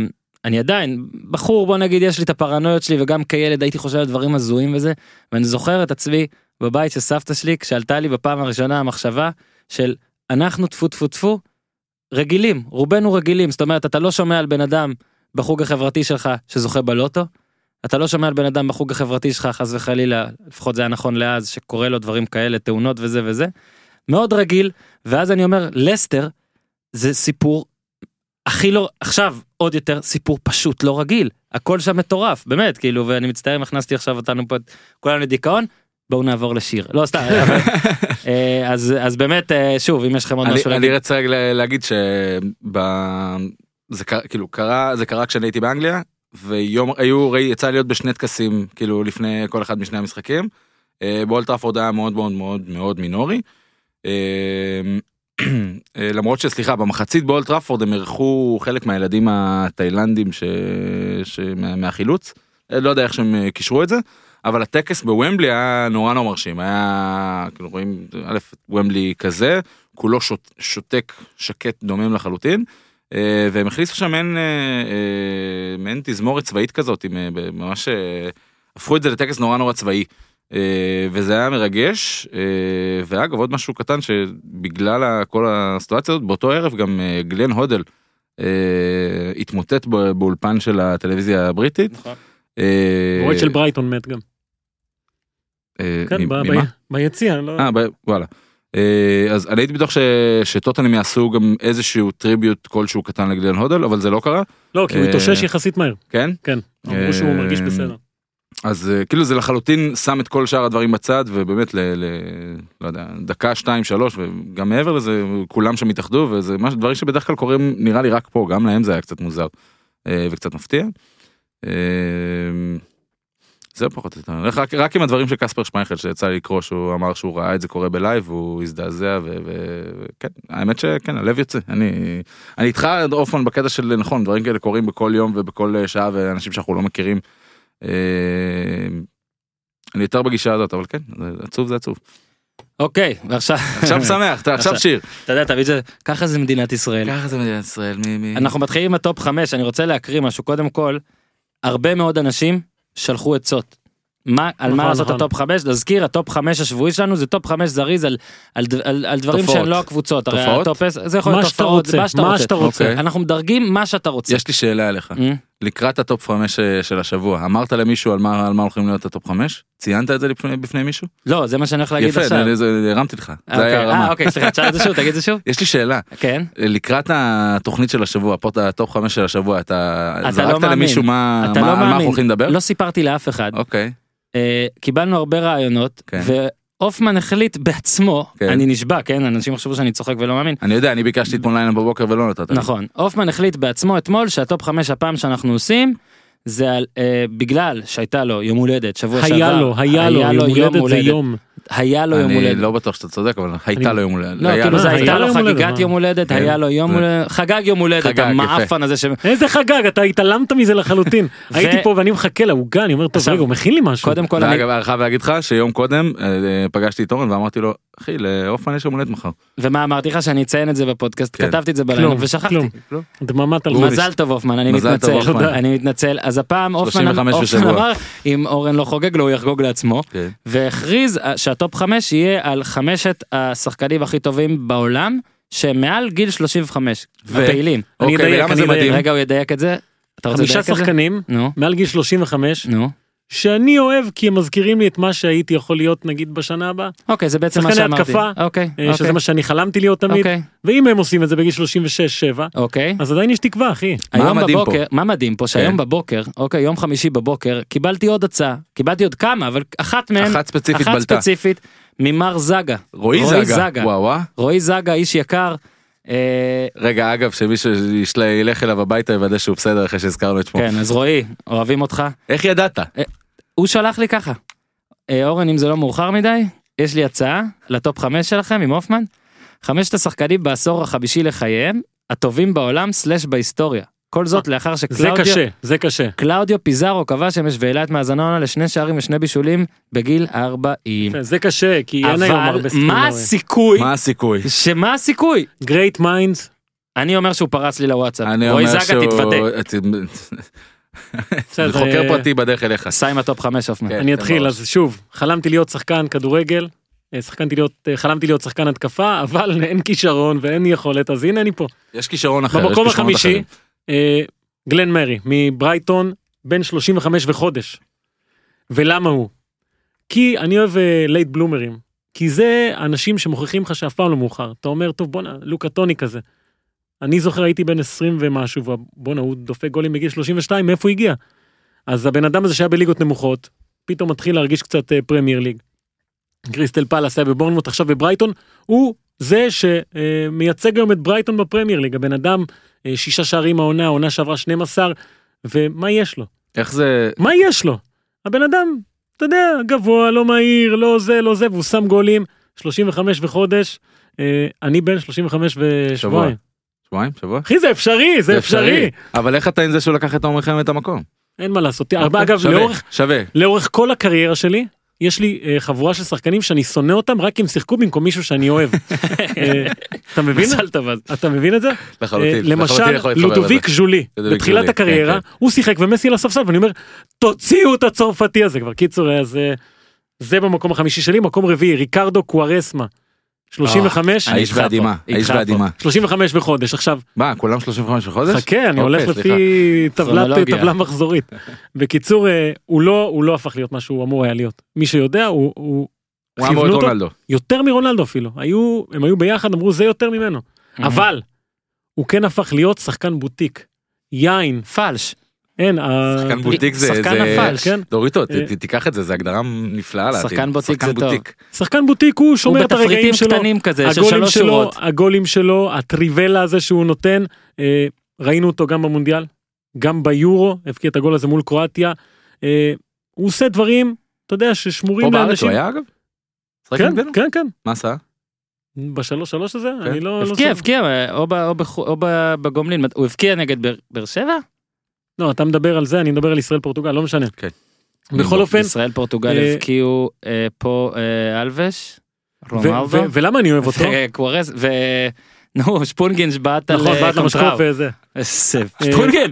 Speaker 2: אני עדיין, בחור בוא נגיד, יש לי את הפרנויות שלי, וגם כילד הייתי חושב על דברים הזויים וזה, ואני זוכר את עצמי בבית של סבתא שלי, כשעלתה לי בפעם הראשונה המחשבה של אנחנו טפו טפו טפו, רגילים, רובנו רגילים, זאת אומרת, אתה לא שומע על בן אדם בחוג החברתי שלך שזוכה בלוטו, אתה לא שומע על בן אדם בחוג החברתי שלך, חס וחלילה, לפחות זה היה נכון לאז, שקורה לו דברים כאלה, תאונות וזה וזה. מאוד רגיל, ואז אני אומר, לסטר זה סיפור הכי לא, עכשיו עוד יותר סיפור פשוט לא רגיל. הכל שם מטורף, באמת, כאילו, ואני מצטער אם הכנסתי עכשיו אותנו פה, את כולנו לדיכאון, בואו נעבור לשיר. לא, סתם, אבל, אה, אז, אז באמת, אה, שוב, אם יש לכם עוד
Speaker 4: אני-
Speaker 2: משהו להגיד.
Speaker 4: אני רוצה רק ל- להגיד שב... זה קרה, כאילו קרה, זה קרה כשאני הייתי באנגליה, ויום, היו, ראי, יצא לי להיות בשני טקסים, כאילו לפני כל אחד משני המשחקים. אה, באולטראפורד היה מאוד מאוד מאוד מאוד מינורי. אה, אה, למרות שסליחה, במחצית באולטראפורד הם אירחו חלק מהילדים התאילנדים ש... ש... מה- מהחילוץ. אה, לא יודע איך שהם אה, קישרו את זה. אבל הטקס בוומבלי היה נורא נורא מרשים, היה, כאילו רואים, א', וומבלי כזה, כולו שות, שותק, שקט, דומם לחלוטין. אה, אה, והם הכניסו שם מעין, אה, אה, מעין תזמורת צבאית כזאת, עם, אה, ב- ממש אה, הפכו את זה לטקס נורא נורא צבאי. אה, וזה היה מרגש, אה, ואגב עוד משהו קטן שבגלל ה- כל הסיטואציה הזאת, באותו ערב גם אה, גלן הודל אה, התמוטט ב- באולפן של הטלוויזיה הבריטית.
Speaker 2: נכון.
Speaker 4: אה,
Speaker 3: מורד של ברייטון מת גם.
Speaker 4: אה,
Speaker 3: כן,
Speaker 4: מ-
Speaker 3: ב-
Speaker 4: ממה?
Speaker 3: ב- ביציע, לא...
Speaker 4: אה, ב- וואלה. אה, אז אני הייתי בטוח ש- שטוטנאם יעשו גם איזשהו טריביוט כלשהו קטן לגלן הודל, אבל זה לא קרה,
Speaker 3: לא, כי הוא
Speaker 4: אה,
Speaker 3: התאושש יחסית מהר.
Speaker 4: כן?
Speaker 3: כן, אמרו שהוא
Speaker 4: אה,
Speaker 3: מרגיש בסדר.
Speaker 4: אז אה, כאילו זה לחלוטין שם את כל שאר הדברים בצד, ובאמת ל... ל- לא יודע, דקה, שתיים, שלוש, וגם מעבר לזה, כולם שם התאחדו, וזה מה- דברים שבדרך כלל קורים, נראה לי רק פה, גם להם זה היה קצת מוזר אה, וקצת מפתיע. אה, זהו פחות או יותר, רק- רק- רק עם הדברים של קספר שמייכל שיצא לי לקרוא שהוא אמר שהוא ראה את זה קורה בלייב והוא הזדעזע ו- ו- וכן האמת שכן הלב יוצא אני אני איתך הופמן בקטע של נכון דברים כאלה קורים בכל יום ובכל אה, שעה ואנשים שאנחנו לא מכירים. אה, אני יותר בגישה הזאת אבל כן זה- עצוב זה עצוב
Speaker 2: אוקיי, ועכשיו,
Speaker 4: עכשיו שמח אתה עכשיו שיר
Speaker 2: אתה יודע, תביא את זה, ככה זה מדינת ישראל.
Speaker 4: ככה זה מדינת ישראל מי מי
Speaker 2: אנחנו מתחילים עם הטופ 5, אני רוצה להקריא משהו. קודם כל, הרבה מאוד אנשים שלחו עצות. מה, על
Speaker 3: נכון,
Speaker 2: מה לעשות את
Speaker 3: נכון.
Speaker 2: הטופ 5? נזכיר, הטופ 5 השבועי שלנו זה טופ 5 זריז על, על, דב- על, על דברים
Speaker 4: תופעות.
Speaker 2: שהם לא הקבוצות. הרי
Speaker 4: תופעות?
Speaker 2: הטופ 10 זה יכול
Speaker 3: מה
Speaker 2: להיות
Speaker 3: שאתה
Speaker 2: תופעות,
Speaker 3: רוצה, מה שאתה רוצה.
Speaker 4: אוקיי.
Speaker 2: אנחנו מדרגים מה שאתה רוצה.
Speaker 4: יש לי שאלה אליך
Speaker 2: Mm?
Speaker 4: לקראת הטופ 5 של השבוע אמרת למישהו על מה על מה הולכים להיות הטופ 5 ציינת את זה לפני- בפני מישהו
Speaker 2: לא, זה מה שאני הולך להגיד
Speaker 4: יפה
Speaker 2: עכשיו.
Speaker 4: אני- זה- הרמתי לך
Speaker 2: אה,
Speaker 4: זה היה
Speaker 2: אוקיי. אה,
Speaker 4: הרמה
Speaker 2: אוקיי, סליחה, תשאל את זה שוב, תגיד את זה שוב.
Speaker 4: יש לי שאלה
Speaker 2: כן.
Speaker 4: לקראת התוכנית של השבוע, פה את הטופ חמש של השבוע, אתה
Speaker 2: אתה לא
Speaker 4: זרקת
Speaker 2: מאמין.
Speaker 4: למישהו מה
Speaker 2: אתה
Speaker 4: מה-
Speaker 2: לא
Speaker 4: על מה
Speaker 2: מאמין.
Speaker 4: אנחנו הולכים לדבר?
Speaker 2: לא סיפרתי לאף אחד.
Speaker 4: אוקיי,
Speaker 2: אה, קיבלנו הרבה רעיונות,
Speaker 4: כן.
Speaker 2: והופמן החליט בעצמו,
Speaker 4: כן.
Speaker 2: אני נשבע, כן? אנשים חשבו שאני צוחק ולא מאמין.
Speaker 4: אני יודע, אני ביקשתי אתמול לילה בבוקר ולא נתת.
Speaker 3: אוקיי.
Speaker 4: לי.
Speaker 2: נכון, הופמן החליט בעצמו אתמול שהטופ חמש הפעם שאנחנו עושים זה על, אה, בגלל שהייתה לו יום הולדת שבוע שעבר.
Speaker 3: היה לו, היה לו, יום הולדת זה יום.
Speaker 2: היה לו יום
Speaker 4: אני
Speaker 2: הולדת.
Speaker 4: לא בטוח שאתה צודק, אבל הייתה
Speaker 3: אני-
Speaker 4: לו יום הולדת.
Speaker 2: לא,
Speaker 4: היה
Speaker 2: כאילו
Speaker 4: לו.
Speaker 2: זה
Speaker 3: אה,
Speaker 2: הייתה לו
Speaker 3: היה לו יום הולדת,
Speaker 2: חגיגת
Speaker 3: אה.
Speaker 2: יום הולדת,
Speaker 4: כן,
Speaker 2: היה לו יום
Speaker 4: זה-
Speaker 2: הולדת, חגג יום הולדת,
Speaker 4: חגג,
Speaker 2: המעפן הזה ש...
Speaker 3: איזה חגג, אתה התעלמת מזה לחלוטין. הייתי פה ואני מחכה לעוגה, אני אומר, טוב,
Speaker 2: עכשיו,
Speaker 3: רגע, הוא מכין לי משהו.
Speaker 2: קודם כל, אני-
Speaker 4: ואגב, אני חייב להגיד לך שיום קודם אה, אה, פגשתי את אורן ואמרתי לו, אחי, לאופן יש יום הולדת מחר.
Speaker 2: ומה אמרתי לך שאני אציין את זה בפודקאסט,
Speaker 4: כן.
Speaker 2: כתבתי את זה בלילה
Speaker 3: כלום,
Speaker 2: ושכחתי.
Speaker 3: כלום.
Speaker 4: כלום.
Speaker 3: דממת על
Speaker 4: הוא
Speaker 3: מזל.
Speaker 2: מזל טוב הופמן, אני
Speaker 4: מזל טוב,
Speaker 2: מתנצל,
Speaker 4: הופמן.
Speaker 2: אני מתנצל. אז הפעם הופמן
Speaker 4: 35
Speaker 2: הופמן
Speaker 4: בשבוע.
Speaker 2: אמר, אם אורן לא חוגג לו, הוא יחגוג לעצמו.
Speaker 4: כן.
Speaker 2: והכריז אה, שהטופ חמש יהיה על חמשת השחקנים הכי טובים בעולם שהם מעל גיל 35
Speaker 4: ו-
Speaker 2: הפעילים.
Speaker 3: אני
Speaker 4: אוקיי,
Speaker 3: אדייק,
Speaker 4: ולמה
Speaker 3: אני
Speaker 4: זה
Speaker 3: אדייק.
Speaker 4: מדהים?
Speaker 2: רגע הוא ידייק את זה? אתה רוצה
Speaker 3: חמישה
Speaker 2: לדייק את זה?
Speaker 3: שחקנים
Speaker 2: נו,
Speaker 3: מעל גיל 35
Speaker 2: נו.
Speaker 3: שאני אוהב כי הם מזכירים לי את מה שהייתי יכול להיות נגיד בשנה הבאה
Speaker 2: אוקיי, זה בעצם מה
Speaker 3: שחקני
Speaker 2: שאמרתי.
Speaker 3: התקפה,
Speaker 2: אוקיי,
Speaker 3: אה, שזה
Speaker 2: אוקיי,
Speaker 3: מה שאני חלמתי להיות תמיד
Speaker 2: אוקיי,
Speaker 3: ואם הם עושים את זה בגיל 36-7
Speaker 2: אוקיי.
Speaker 3: אז עדיין יש תקווה אחי
Speaker 4: מה
Speaker 2: היום
Speaker 4: מדהים
Speaker 2: בבוקר, מה מדהים פה, שהיום בבוקר, אוקיי, יום חמישי בבוקר, קיבלתי עוד הצעה, קיבלתי עוד כמה, אבל אחת מהן,
Speaker 4: אחת ספציפית
Speaker 2: אחת
Speaker 4: בלטה.
Speaker 2: ספציפית, ממר זגה.
Speaker 4: רועי זגה. וואו וואו.
Speaker 2: רועי זגה, איש יקר, אה,
Speaker 4: רגע, אגב, שמישהו יש- ילך אליו הביתה יוודא שהוא בסדר אחרי שהזכרנו את שמו.
Speaker 2: כן, אז רועי, אוהבים אותך.
Speaker 4: איך ידעת?
Speaker 2: הוא שלח לי ככה, "אה, אורן, אם זה לא מאוחר מדי, יש לי הצעה לטופ חמש שלכם עם הופמן. חמשת השחקנים בעשור החמישי לחייהם, הטובים בעולם סלאש בהיסטוריה. כל זאת לאחר
Speaker 3: אה, זה
Speaker 2: שקלאודיו...
Speaker 3: קשה זה קשה
Speaker 2: קלאודיו פיזארו כבש שמש והעלה את מאזנו העונה לשני שערים ושני בישולים בגיל 40.
Speaker 3: כן, זה קשה כי אין היום
Speaker 2: אבל
Speaker 3: הרבה סכימים.
Speaker 2: מה הסיכוי,
Speaker 4: מה הסיכוי?
Speaker 2: שמה הסיכוי?
Speaker 3: גרייט מיינדס
Speaker 2: אני אומר שהוא פרץ לי לוואטסאפ.
Speaker 4: אני
Speaker 2: רועי
Speaker 4: אומר
Speaker 2: זגה תתוודה.
Speaker 4: שהוא... זה חוקר פרטי בדרך אליך.
Speaker 2: סע עם הטופ חמש הופמן.
Speaker 4: כן.
Speaker 3: אה, אני אתחיל
Speaker 4: בראש.
Speaker 3: אז שוב חלמתי להיות שחקן כדורגל. אה, שחקנתי להיות אה, חלמתי להיות שחקן התקפה אבל אין כישרון ואין יכולת אז הנה אני פה.
Speaker 4: יש כישרון אחר. יש
Speaker 3: במקום
Speaker 4: כישרונות
Speaker 3: החמישי
Speaker 4: אחרים.
Speaker 3: אה, גלן מרי מברייטון בן 35 וחודש. ולמה הוא? כי אני אוהב לייט בלומרים. כי זה אנשים שמוכיחים לך שאף פעם לא מאוחר. אתה אומר טוב בואנה לוקה טוני כזה. אני זוכר הייתי בן 20 ומשהו ובואנה הוא דופק גולים בגיל 32 מאיפה הוא הגיע? אז הבן אדם הזה שהיה בליגות נמוכות פתאום מתחיל להרגיש קצת אה, פרמייר ליג. קריסטל פאלאס היה בבורנמוט עכשיו בברייטון הוא זה שמייצג היום את ברייטון בפרמייר ליג הבן אדם אה, שישה שערים העונה העונה שעברה 12 ומה יש לו
Speaker 4: איך זה
Speaker 3: מה יש לו הבן אדם אתה יודע גבוה לא מהיר לא זה לא זה והוא שם גולים 35 וחודש אה, אני בן 35
Speaker 4: שבוע?
Speaker 3: ושבועיים
Speaker 4: שבועיים? שבוע?
Speaker 3: אחי זה אפשרי זה אפשרי
Speaker 4: אבל איך אתה עם זה שהוא לקח את עומר חמד את המקום?
Speaker 3: אין מה לעשות הרבה אגב
Speaker 4: אוקיי, שווה,
Speaker 3: לאורך אה,
Speaker 4: שווה.
Speaker 3: לאורך כל הקריירה שלי יש לי אה, חבורה של שחקנים שאני שונא אותם רק כי הם שיחקו במקום מישהו שאני אוהב. אה, אתה מבין?
Speaker 2: מזל טוב אז.
Speaker 3: אתה מבין את זה?
Speaker 4: לחלוטין.
Speaker 3: אה,
Speaker 4: לחלוטין
Speaker 3: למשל,
Speaker 4: יכול להתחבר
Speaker 3: לודוביק ז'ולי,
Speaker 4: לודוביק
Speaker 3: בתחילת
Speaker 4: ז'ולי,
Speaker 3: הקריירה,
Speaker 4: כן,
Speaker 3: הוא שיחק ומסי על הספסל, ואני אומר, תוציאו את הצרפתי הזה כבר. קיצור, אז אה, זה במקום החמישי שלי, מקום רביעי, ריקרדו קוארסמה, 35,
Speaker 4: לזה. אה, האיש
Speaker 2: איתך פה,
Speaker 4: והדמעה, האיש
Speaker 2: איתך
Speaker 4: והדמעה.
Speaker 3: 35 בחודש. עכשיו,
Speaker 4: מה, כולם 35 בחודש?
Speaker 3: חכה, אני
Speaker 4: אוקיי,
Speaker 3: הולך לפי
Speaker 4: סליחה.
Speaker 3: טבלת- אה,
Speaker 2: כרונולוגיה.
Speaker 3: טבלה מחזורית. בקיצור, אה, הוא לא הוא לא הפך להיות מה שהוא אמור היה להיות. מי שיודע, הוא- הוא...
Speaker 4: הוא אמור
Speaker 3: כיוונו
Speaker 4: את
Speaker 3: אותו
Speaker 4: רונלדו.
Speaker 3: יותר מרונלדו אפילו. היו, הם היו ביחד, אמרו זה יותר ממנו.
Speaker 4: כן.
Speaker 2: Mhm.
Speaker 3: אבל, הוא כן הפך להיות שחקן בוטיק. יין,
Speaker 2: פלש.
Speaker 3: אין, ה-
Speaker 4: שחקן בוטיק זה...
Speaker 2: אה, שחקן
Speaker 4: זה-
Speaker 2: נפל,
Speaker 3: כן.
Speaker 4: דוריטו, ת-
Speaker 3: אה.
Speaker 4: ת- תיקח את זה, זו הגדרה נפלאה לעתיד.
Speaker 2: שחקן בוטיק זה טוב.
Speaker 4: בוטיק.
Speaker 3: שחקן בוטיק הוא
Speaker 2: הוא
Speaker 3: שומר את
Speaker 2: בתפריטים
Speaker 3: הרגעים שלו.
Speaker 2: קטנים כזה של
Speaker 3: הגולים
Speaker 2: שלוש
Speaker 3: שלו,
Speaker 2: שורות.
Speaker 3: הגולים שלו, הטריבלה הזה שהוא נותן, אה, ראינו אותו גם במונדיאל, גם ביורו, הבקיע את הגול הזה מול קרואטיה. אה, הוא עושה דברים, אתה יודע,
Speaker 4: פה
Speaker 3: ששמורים
Speaker 4: בארץ
Speaker 3: לאנשים.
Speaker 4: הוא היה אגב? שחק
Speaker 3: כן,
Speaker 4: נגדנו?
Speaker 3: כן, כן.
Speaker 4: מה עשה?
Speaker 3: בשלוש שלוש הזה, אני לא... לא
Speaker 2: הבקיע,
Speaker 3: שם.
Speaker 2: הבקיע, אה, או ב- או בח- או ב- בגומלין. מת- הוא הבקיע נגד באר- באר שבע?
Speaker 3: לא, אתה מדבר על זה, אני מדבר על ישראל פורטוגל, לא משנה.
Speaker 4: כן.
Speaker 3: בכל אופן,
Speaker 2: ישראל פורטוגל
Speaker 3: אה,
Speaker 2: הבקיעו אה, פה אה, אלבש,
Speaker 3: ו-
Speaker 2: רונלדו,
Speaker 3: ו- ולמה אני אוהב אותו?
Speaker 2: וקוארס, ו... נו, שפונגינש בעט על
Speaker 3: נכון,
Speaker 2: אה,
Speaker 3: בעט למשקוף
Speaker 2: קונטראו.
Speaker 3: וזה.
Speaker 2: איזה שפונגן,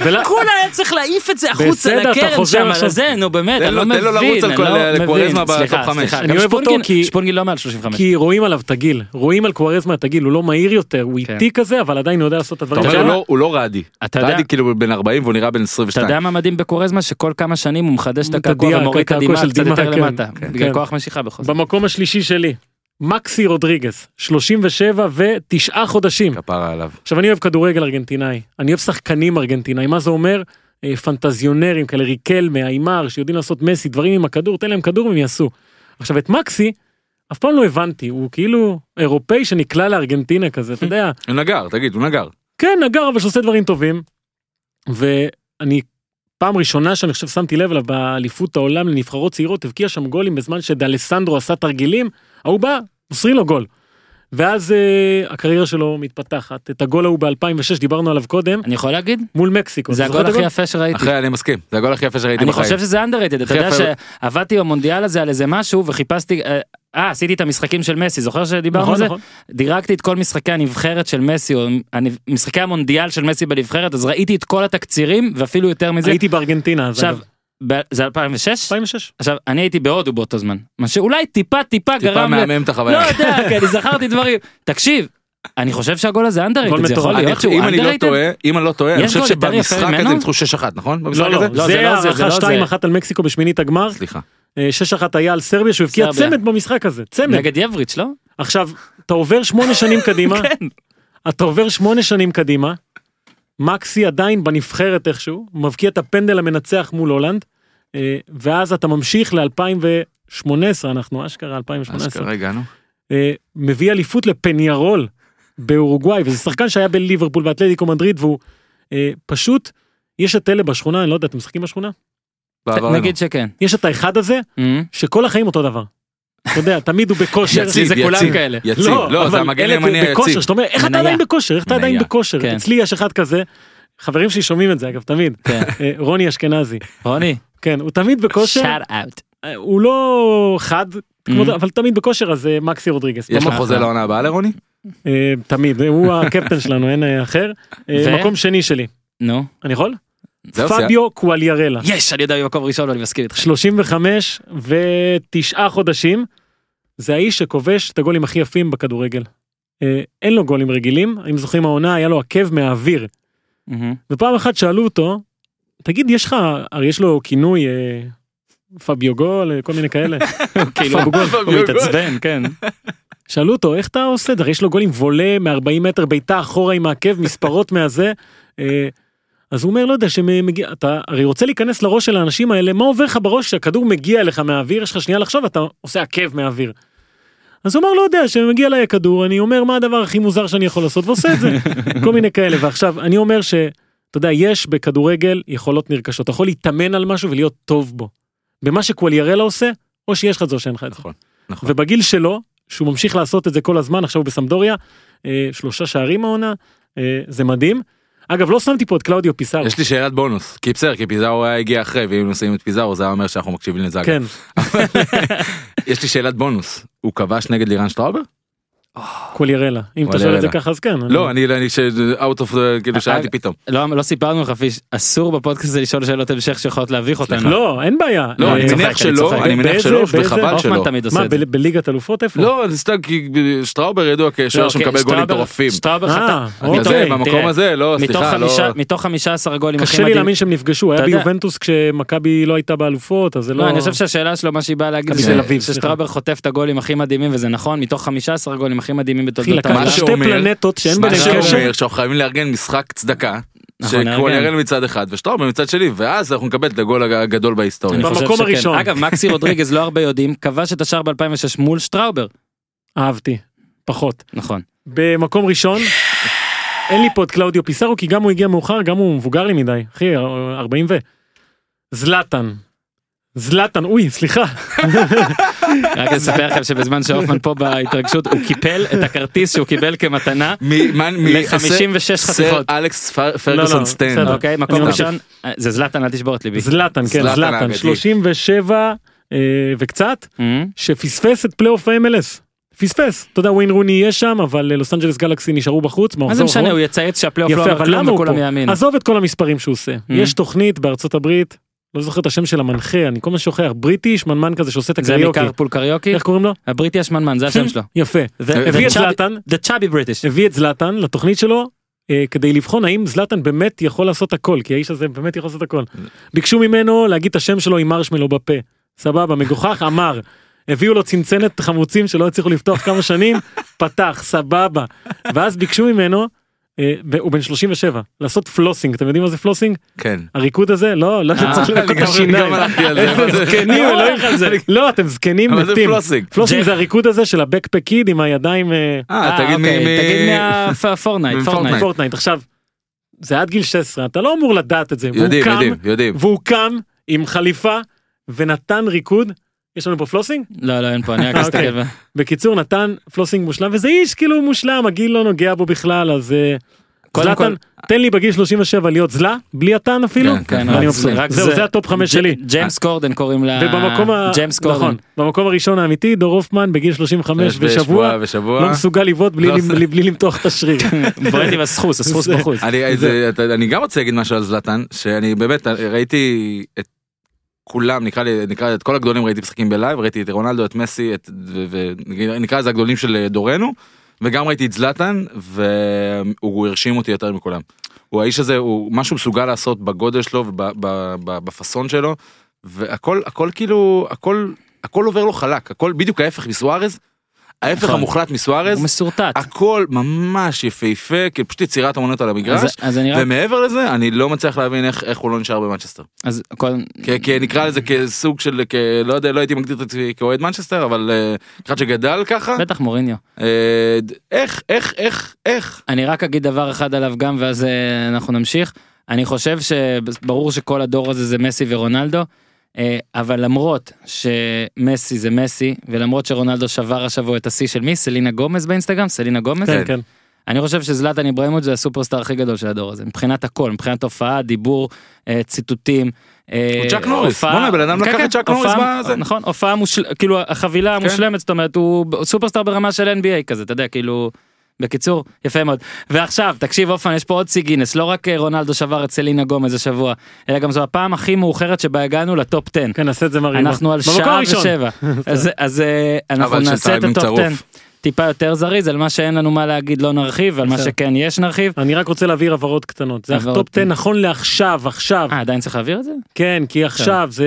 Speaker 3: ול-
Speaker 2: כולה היה צריך להעיף את זה החוצה
Speaker 3: בסדר, אתה
Speaker 2: לקרן
Speaker 3: חוזר
Speaker 2: שם,
Speaker 3: עכשיו.
Speaker 2: על זה, נו באמת,
Speaker 4: תן
Speaker 2: אני
Speaker 4: לו-
Speaker 2: לא
Speaker 4: תן
Speaker 2: מבין,
Speaker 4: לו לרוץ על
Speaker 2: אני
Speaker 4: כל-
Speaker 2: לא
Speaker 4: לקוארזמה
Speaker 2: מבין.
Speaker 4: בטופ
Speaker 2: סליחה,
Speaker 4: חמש.
Speaker 2: סליחה,
Speaker 3: אני
Speaker 2: גם
Speaker 3: אוהב אותו
Speaker 2: שפונגין-
Speaker 3: כי-
Speaker 2: שפונגין לא מעל 35.
Speaker 3: כי רואים עליו את הגיל, רואים על קוארזמה את הגיל, הוא לא מהיר יותר, הוא
Speaker 2: כן.
Speaker 3: איטי כזה, אבל עדיין יודע לעשות את
Speaker 4: אתה
Speaker 3: הדברים
Speaker 4: אומר,
Speaker 3: שלו.
Speaker 4: הוא לא- הוא לא רעדי.
Speaker 2: אתה יודע-
Speaker 4: רעדי כאילו בן 40 והוא נראה בן
Speaker 2: אתה
Speaker 4: 22.
Speaker 2: יודע מה מדהים בקורזמה? שכל כמה שנים הוא מחדש את
Speaker 3: את
Speaker 2: הקעקוע
Speaker 3: הדיה,
Speaker 2: ומוריד את
Speaker 3: הקעקוע
Speaker 2: הדמעה
Speaker 3: של
Speaker 2: קצת
Speaker 3: דמעה,
Speaker 2: יותר
Speaker 3: כן,
Speaker 2: למטה.
Speaker 4: כן.
Speaker 2: בגלל
Speaker 3: כן.
Speaker 2: כוח משיכה בכל זאת.
Speaker 3: במקום השלישי שלי, מקסי רודריגס, 37 ותשעה חודשים.
Speaker 4: כפרה עליו.
Speaker 3: עכשיו אני אוהב כדורגל ארגנטינאי, אני אוהב שחקנים ארגנטינאים, מה זה אומר? אה, פנטזיונרים כאלה, ריקלמה, איימר, שיודעים לעשות מסי, דברים עם הכדור, תן להם כדור והם יעשו. עכשיו את מקסי, אף פעם לא הבנתי, הוא כאילו אירופאי שנקלע לארגנטינה כזה, אתה יודע,
Speaker 4: הוא נגר, תגיד, הוא נגר.
Speaker 3: כן, נגר, אבל שעושה דברים טובים. ואני, פעם ראשונה שאני חושב שמתי לב אליו באליפות העולם לנבחרות צעירות, הבקיע שם גולים בזמן שדלסנדרו עשה תרגילים, ההוא בא, מוסרים לו גול. ואז אה, הקריירה שלו מתפתחת. את הגול ההוא ב-2006, דיברנו עליו קודם,
Speaker 2: אני יכול להגיד?
Speaker 3: מול מקסיקו.
Speaker 2: זה
Speaker 3: אתה זוכר
Speaker 2: הגול
Speaker 3: את
Speaker 2: הכי יפה נכון? שראיתי.
Speaker 4: אחרי, אני מסכים. זה הגול הכי יפה שראיתי
Speaker 2: אני
Speaker 4: בחיים.
Speaker 2: חושב שזה underrated, אתה
Speaker 4: הכי
Speaker 2: יודע
Speaker 4: יפה.
Speaker 2: שעבדתי במונדיאל הזה על איזה משהו וחיפשתי, אה, אה עשיתי את המשחקים של מסי, זוכר שדיברנו על
Speaker 3: נכון,
Speaker 2: זה?
Speaker 3: נכון.
Speaker 2: דירקתי את כל משחקי הנבחרת של מסי, או הנב- משחקי המונדיאל של מסי בנבחרת, אז ראיתי את כל התקצירים ואפילו יותר מזה.
Speaker 3: הייתי בארגנטינה אז.
Speaker 2: עכשיו,
Speaker 3: אגב.
Speaker 2: ב- זה 2006?
Speaker 3: 2006.
Speaker 2: עכשיו, אני הייתי בהודו באותו זמן, מה שאולי טיפה טיפה
Speaker 4: טיפה
Speaker 2: גרם ל...
Speaker 4: מהמם את
Speaker 2: לא
Speaker 4: החוויה.
Speaker 2: יודע, כי אני זכרתי דברים. תקשיב, אני חושב שהגול הזה
Speaker 3: גול
Speaker 2: underrated, זה יכול
Speaker 3: מטורף.
Speaker 2: להיות
Speaker 4: אני-
Speaker 2: שהוא
Speaker 4: אם אני לא
Speaker 2: underrated?
Speaker 4: טועה, אם אני לא טועה, אני
Speaker 2: יש
Speaker 4: חושב
Speaker 2: גול יותר יפה
Speaker 4: שבמשחק הזה
Speaker 2: ממנו?
Speaker 4: ניצחו 6-1, נכון? במשחק
Speaker 3: לא, לא,
Speaker 4: הזה?
Speaker 2: לא, זה
Speaker 3: זה
Speaker 2: לא זה, זה
Speaker 3: הערכה
Speaker 2: לא
Speaker 3: 2-1 על מקסיקו בשמינית הגמר,
Speaker 4: סליחה.
Speaker 3: אה, 6-1 היה על סרביה שהוא הבקיע
Speaker 2: סרביה.
Speaker 3: צמד במשחק הזה, צמד.
Speaker 2: נגד יבריץ', לא?
Speaker 3: עכשיו, אתה עובר שמונה שנים קדימה,
Speaker 2: כן.
Speaker 3: אתה עובר שמונה שנים קדימה, מקסי עדיין בנבחרת איכשהו, הוא מבקיע את הפנדל המנצח מול הולנד, אה, ואז אתה ממשיך ל-2018, אנחנו אשכרה 2018,
Speaker 4: אשכרה הגענו.
Speaker 3: אה, מביא אליפות לפניירול באורוגוואי, וזה שחקן שהיה בליברפול ואתלטיקו מדריד, והוא אה, פשוט, יש את אלה בשכונה, אני לא יודע, אתם משחקים בשכונה?
Speaker 4: בעברנו.
Speaker 2: נגיד שכן.
Speaker 3: יש את האחד הזה,
Speaker 2: אמ.
Speaker 3: שכל החיים אותו דבר. אתה יודע, תמיד הוא בכושר.
Speaker 4: יציב,
Speaker 2: זה כולם
Speaker 4: יציב,
Speaker 2: כאלה.
Speaker 4: יציב. לא, זה
Speaker 3: אבל
Speaker 4: המגן
Speaker 3: אלה
Speaker 4: הימני
Speaker 3: בכושר,
Speaker 4: היציב.
Speaker 3: שאתה אומר, איך אתה
Speaker 2: מניה.
Speaker 3: עדיין בכושר? איך אתה עדיין
Speaker 4: מניה,
Speaker 3: בכושר?
Speaker 2: כן.
Speaker 3: אצלי יש אחד כזה, חברים שלי שומעים את זה אגב, תמיד,
Speaker 2: כן.
Speaker 3: אה, רוני אשכנזי,
Speaker 2: רוני,
Speaker 3: כן, הוא תמיד בכושר,
Speaker 2: שאט אאוט.
Speaker 3: אה, הוא לא חד, כמו
Speaker 2: Mhm.
Speaker 3: זה, אבל תמיד בכושר, אז אה, מקסי רודריגס,
Speaker 4: Mm. יש
Speaker 3: במקום-
Speaker 4: לך חוזה לעונה הבאה לרוני?
Speaker 3: אה, תמיד, אה, הוא הקפטן שלנו, אין אה, אחר. אה,
Speaker 2: ו?
Speaker 3: מקום שני שלי,
Speaker 2: נו.
Speaker 3: אני יכול?
Speaker 4: זהו,
Speaker 3: פביו קואליארלה,
Speaker 2: יש, אני יודע במקום ראשון ואני מסכים איתך.
Speaker 3: 35 ותשעה חודשים, זה האיש שכובש את הגולים הכי יפים בכדורגל. אה, אין לו גולים רגילים, אם זוכרים העונה היה לו עקב מהאוויר.
Speaker 2: Mm-hmm.
Speaker 3: ופעם אחת שאלו אותו, תגיד, יש לך, הרי יש לו כינוי אה, פביו גול, אה, כל מיני כאלה.
Speaker 2: כאילו,
Speaker 3: פביו גול.
Speaker 2: הוא מתעצבן, כן.
Speaker 3: שאלו אותו, איך אתה עושה את זה? הרי יש לו גולים וולה מ-40 מטר, בעיטה אחורה עם העקב, מספרות מהזה. אה, אז הוא אומר, לא יודע, שמגיע, אתה הרי רוצה להיכנס לראש של האנשים האלה, מה עובר לך בראש כשהכדור מגיע אליך מהאוויר, יש לך שנייה לחשוב, אתה עושה עקב מהאוויר. אז הוא אמר, לא יודע, שמגיע אליי הכדור, אני אומר, מה הדבר הכי מוזר שאני יכול לעשות, ועושה את זה. כל מיני כאלה, ועכשיו, אני אומר ש... אתה יודע, יש בכדורגל יכולות נרכשות, אתה יכול להתאמן על משהו ולהיות טוב בו. במה שקווליארלה עושה, או שיש לך את זה או שאין לך את זה.
Speaker 4: נכון, נכון.
Speaker 3: ובגיל שלו, שהוא ממשיך לעשות את זה כל הזמן, עכשיו הוא בסמדוריה, אה, שלושה שערים העונה, אה, זה מדהים, אגב, לא שמתי פה את קלאודיו פיסארו.
Speaker 4: יש לי שאלת בונוס, כי בסדר, כי פיזארו היה הגיע אחרי, ואם היינו שמים את פיזארו זה היה אומר שאנחנו מקשיבים לזה. אגב.
Speaker 3: כן.
Speaker 4: יש לי שאלת בונוס, הוא כבש נגד לירן שטראובר?
Speaker 3: קולירלה. אם אתה שואל את זה
Speaker 4: קולירלה.
Speaker 3: ככה אז כן.
Speaker 4: לא, אני, אני, ש- out of, the- כאילו שאלתי
Speaker 2: אגב,
Speaker 4: פתאום.
Speaker 2: לא, לא סיפרנו לך, פיש, אסור בפודקאסט הזה לשאול שאלות המשך שיכולות להביך אותנו.
Speaker 3: לא, אין בעיה.
Speaker 4: לא,
Speaker 2: אני
Speaker 4: אני
Speaker 2: צוחק,
Speaker 4: מניח
Speaker 2: אני
Speaker 4: שלא,
Speaker 2: צוחק.
Speaker 4: אני מניח
Speaker 3: באיזה-
Speaker 4: שלא,
Speaker 3: באיזה-
Speaker 4: וחבל
Speaker 2: הופמן
Speaker 4: שלא.
Speaker 2: תמיד עושה
Speaker 3: מה,
Speaker 2: את זה.
Speaker 3: ב- בליגת אלופות איפה?
Speaker 4: לא, זה סתם כי שטראובר ידוע כשוער
Speaker 2: לא,
Speaker 4: שמקבל
Speaker 2: אוקיי,
Speaker 4: גולים
Speaker 2: שטראובר-
Speaker 4: מטורפים.
Speaker 2: שטראובר
Speaker 3: אה,
Speaker 2: חטא.
Speaker 4: בגלל זה,
Speaker 3: אוקיי,
Speaker 4: במקום הזה, לא,
Speaker 2: מתוך
Speaker 4: סליחה, לא...
Speaker 2: חמישה- מתוך 15 גולים הכי
Speaker 3: קשה לי
Speaker 2: מדהים.
Speaker 3: להאמין שהם נפגשו, היה
Speaker 2: אתה יודע-
Speaker 3: ביובנטוס כשמכבי לא הייתה באלופות, אז זה לא...
Speaker 2: לא, אני חושב שהשאלה שלו, מה שהיא באה להגיד,
Speaker 3: מכבי
Speaker 2: זה
Speaker 4: תל
Speaker 3: אביב, סליחה.
Speaker 2: ששטראבר חוטף את הגולים הכי מדהימים, וזה נכון, מתוך 15 גולים הכי מדהימים
Speaker 3: אחי,
Speaker 2: בתולדות העולם.
Speaker 3: לקחת
Speaker 4: מה
Speaker 3: שתי
Speaker 4: שאומר-
Speaker 3: פלנטות שאין
Speaker 4: מה
Speaker 3: ביניהם קשר.
Speaker 4: שאומר שאנחנו חייבים לארגן משחק צדקה,
Speaker 2: נכון, נארגן.
Speaker 4: שקוולרל מצד אחד ושטראובר מצד שני, ואז אנחנו נקבל את הגול הג- הגדול בהיסטוריה.
Speaker 2: אני חושב
Speaker 3: במקום
Speaker 2: שכן.
Speaker 3: הראשון.
Speaker 2: אגב, מקסי רודריגז לא הרבה יודעים, כבש את השער ב-2006 מול שטראובר.
Speaker 3: אהבתי, פחות.
Speaker 2: נכון.
Speaker 3: במקום ראשון, אין לי פה את קלאודיו פיסרו, כי גם הוא הגיע מאוחר, גם הוא מבוגר לי מדי. אחי, 40 ו... זלאטן. זלאטן, אוי, סליחה.
Speaker 2: רק לספר לכם שבזמן שהופמן פה בהתרגשות, הוא קיפל את הכרטיס שהוא קיבל כמתנה.
Speaker 4: מ- מה- מ-
Speaker 2: ל-56
Speaker 4: סר-
Speaker 2: חתיכות.
Speaker 4: סר אלכס פר-
Speaker 3: לא, לא,
Speaker 4: פרגוסון סטיין.
Speaker 3: בסדר.
Speaker 2: אוקיי, מקום
Speaker 3: אני
Speaker 2: ראשון. אה, זה זלאטן, אל תשבור את ליבי.
Speaker 3: זלאטן, כן,
Speaker 4: זלאטן
Speaker 3: זלאטן.
Speaker 4: האגדי.
Speaker 3: 37 אה, וקצת,
Speaker 2: אמ?
Speaker 3: שפספס את פלייאוף ה-MLS. פספס. אתה יודע, וויין רוני יהיה שם, אבל אה, לוס אנג'לס גלקסי נשארו בחוץ,
Speaker 2: מה זה
Speaker 3: במחזור
Speaker 2: משנה,
Speaker 3: האחרון.
Speaker 2: הוא יצייץ שהפלייאוף לא
Speaker 3: יפה,
Speaker 2: אומר
Speaker 3: אבל
Speaker 2: כלום
Speaker 3: למה הוא
Speaker 2: וכולם
Speaker 3: פה?
Speaker 2: יאמינו.
Speaker 3: עזוב את כל המספרים שהוא עושה.
Speaker 2: Mm.
Speaker 3: יש תורת בארצות הברית, לא זוכר את השם של המנחה, אני כל הזמן שוכח, בריטי, שמנמן כזה שעושה את
Speaker 2: זה
Speaker 3: הקריוקי.
Speaker 2: מקרפול קריוקי,
Speaker 3: איך קוראים לו? כן,
Speaker 2: הבריטי השמנמן, זה השם שלו.
Speaker 3: יפה.
Speaker 4: אה,
Speaker 2: The-
Speaker 3: הביא את
Speaker 2: the chubby-
Speaker 3: זלאטן,
Speaker 2: The chubby British.
Speaker 3: הביא את זלאטן לתוכנית שלו אה, כדי לבחון האם זלאטן באמת יכול לעשות הכל כי האיש הזה באמת יכול לעשות הכל. ביקשו ממנו להגיד את השם שלו עם מרשמלו בפה. סבבה מגוחך אמר. הביאו לו צנצנת חמוצים שלא הצליחו לפתוח כמה שנים פתח סבבה ואז ביקשו ממנו. אה, ב- הוא בן 37 לעשות פלוסינג אתם יודעים מה זה פלוסינג
Speaker 4: כן.
Speaker 3: הריקוד הזה לא לא
Speaker 4: אה,
Speaker 3: צריך
Speaker 4: אני
Speaker 3: לנקות את
Speaker 4: גם-
Speaker 3: השיניים.
Speaker 4: גם הלכתי על זה.
Speaker 3: איזה
Speaker 4: מה זה?
Speaker 3: זקנים
Speaker 2: לא
Speaker 3: אלוהים
Speaker 2: הולך על זה.
Speaker 3: לא אתם זקנים
Speaker 4: אבל זה
Speaker 3: מתים.
Speaker 4: פלוסינג.
Speaker 3: פלוסינג
Speaker 2: ג'ק-
Speaker 3: זה הריקוד הזה של הבקפק קיד עם הידיים. אה,
Speaker 4: אה, תגיד מי...
Speaker 2: אוקיי,
Speaker 4: מי-
Speaker 2: תגיד מהפורנייט, פורנייט.
Speaker 4: מפורטנייט.
Speaker 3: פורטנייט עכשיו. זה עד גיל 16 אתה לא אמור לדעת את זה והוא
Speaker 4: יודעים,
Speaker 3: קם
Speaker 4: יודעים, יודעים.
Speaker 3: והוא קם עם חליפה ונתן ריקוד יש לנו פה פלוסינג
Speaker 2: לא, לא, אין פה, אני רק
Speaker 3: אה,
Speaker 2: אסתכל.
Speaker 3: אוקיי.
Speaker 4: כן,
Speaker 3: בקיצור נתן פלוסינג מושלם וזה איש כאילו מושלם הגיל לא נוגע בו בכלל אז אה,
Speaker 2: קודם
Speaker 3: זלאטן תן לי בגיל 37 להיות זלה בלי התן אפילו
Speaker 4: כן, כן,
Speaker 3: אני
Speaker 2: רק
Speaker 3: מבסוט
Speaker 2: לא, זה- רק
Speaker 3: זהו
Speaker 2: זה-
Speaker 3: זה הטופ 5 שלי
Speaker 2: ג'- ג'יימס קורדן קוראים לה...
Speaker 3: ובמקום ה-
Speaker 2: אה, ג'יימס קורדן.
Speaker 3: נכון, במקום הראשון האמיתי דור הופמן בגיל 35 ושבוע לא
Speaker 4: אה, ושבוע.
Speaker 3: מסוגל לבעוט בלי
Speaker 4: לא
Speaker 3: למ-
Speaker 4: עושה-
Speaker 3: בלי למתוח את השריר.
Speaker 2: בועט עם הסחוס, הסחוס
Speaker 3: נכון. זה-
Speaker 2: בחוץ.
Speaker 4: אני, זה, אתה, אני גם רוצה להגיד משהו על זלאטן שאני באמת ראיתי את כולם נקרא לי נקרא את כל הגדולים ראיתי משחקים בלייב ראיתי את רונלדו את מסי את ו- ו- נקרא לזה הגדולים של אה, דורנו וגם ראיתי את זלאטן והוא הרשים אותי יותר מכולם. הוא האיש הזה הוא מה שהוא מסוגל לעשות בגודל שלו ובפאסון שלו והכל הכל כאילו הכל הכל עובר לו חלק הכל בדיוק ההפך מסוארז. ההפך
Speaker 2: נכון.
Speaker 4: המוחלט מסוארז.
Speaker 2: הוא מסורטט.
Speaker 4: הכל ממש יפהפה, כאילו פשוט יצירת אמנות על
Speaker 2: אז-
Speaker 4: המגרש.
Speaker 2: אז אני רק...
Speaker 4: ומעבר לזה, אני לא מצליח להבין איך, איך הוא לא נשאר במנצ'סטר.
Speaker 2: אז קודם...
Speaker 4: כי, כי נקרא לזה כסוג של, כ, לא יודע, לא הייתי מגדיר את עצמי כאוהד מנצ'סטר, אבל אה, אחד שגדל ככה,
Speaker 2: בטח מוריניו.
Speaker 4: אה, ד- איך, איך, איך, איך.
Speaker 2: אני רק אגיד דבר אחד עליו גם ואז אה, אנחנו נמשיך. אני חושב שברור שכל הדור הזה זה מסי ורונלדו, אה, אבל למרות שמסי זה מסי, ולמרות שרונלדו שבר השבוע את השיא של מי? סלינה גומז באינסטגרם? סלינה גומז?
Speaker 3: כן כן.
Speaker 2: אני חושב שזלאטן איברהימוביץ' זה הסופרסטאר הכי גדול של הדור הזה, מבחינת הכל, מבחינת הופעה, דיבור, אה, ציטוטים. אה,
Speaker 4: הוא צ'אק נוריס,
Speaker 2: הופעה-
Speaker 4: בוא'נה, בן אדם
Speaker 2: כן,
Speaker 4: לקח
Speaker 2: כן,
Speaker 4: את צ'אק נוריס
Speaker 2: הופעה-
Speaker 4: בזה. כן.
Speaker 2: נכון, הופעה מושלמת, כאילו החבילה המושלמת, זאת אומרת, הוא ב- סופרסטאר ברמה של NBA כזה, אתה יודע, כאילו... בקיצור, יפה מאוד. ועכשיו, תקשיב אופן, יש פה עוד שיא גינס, לא רק אה, רונלדו שבר את סלינה גומז השבוע, אלא גם זו הפעם הכי מאוחרת שבה הגענו לטופ 10.
Speaker 3: כן נעשה את זה מרימה.
Speaker 2: אנחנו על
Speaker 3: במקום
Speaker 2: שעה
Speaker 3: הראשון.
Speaker 2: ושבע. אז- אז אה, אנחנו
Speaker 4: אבל של
Speaker 2: נעשה את
Speaker 4: טיימינג
Speaker 2: הטופ
Speaker 4: צרוף.
Speaker 2: 10 טיפה יותר זריז, על מה שאין לנו מה להגיד לא נרחיב, על מה
Speaker 3: בסדר.
Speaker 2: שכן יש נרחיב.
Speaker 3: אני רק רוצה להבהיר הבהרות קטנות. זה
Speaker 2: הבהרות
Speaker 3: הטופ 10
Speaker 2: קטנות.
Speaker 3: נכון לעכשיו, עכשיו.
Speaker 2: אה, עדיין צריך להעביר את זה?
Speaker 3: כן, כי עכשיו זה,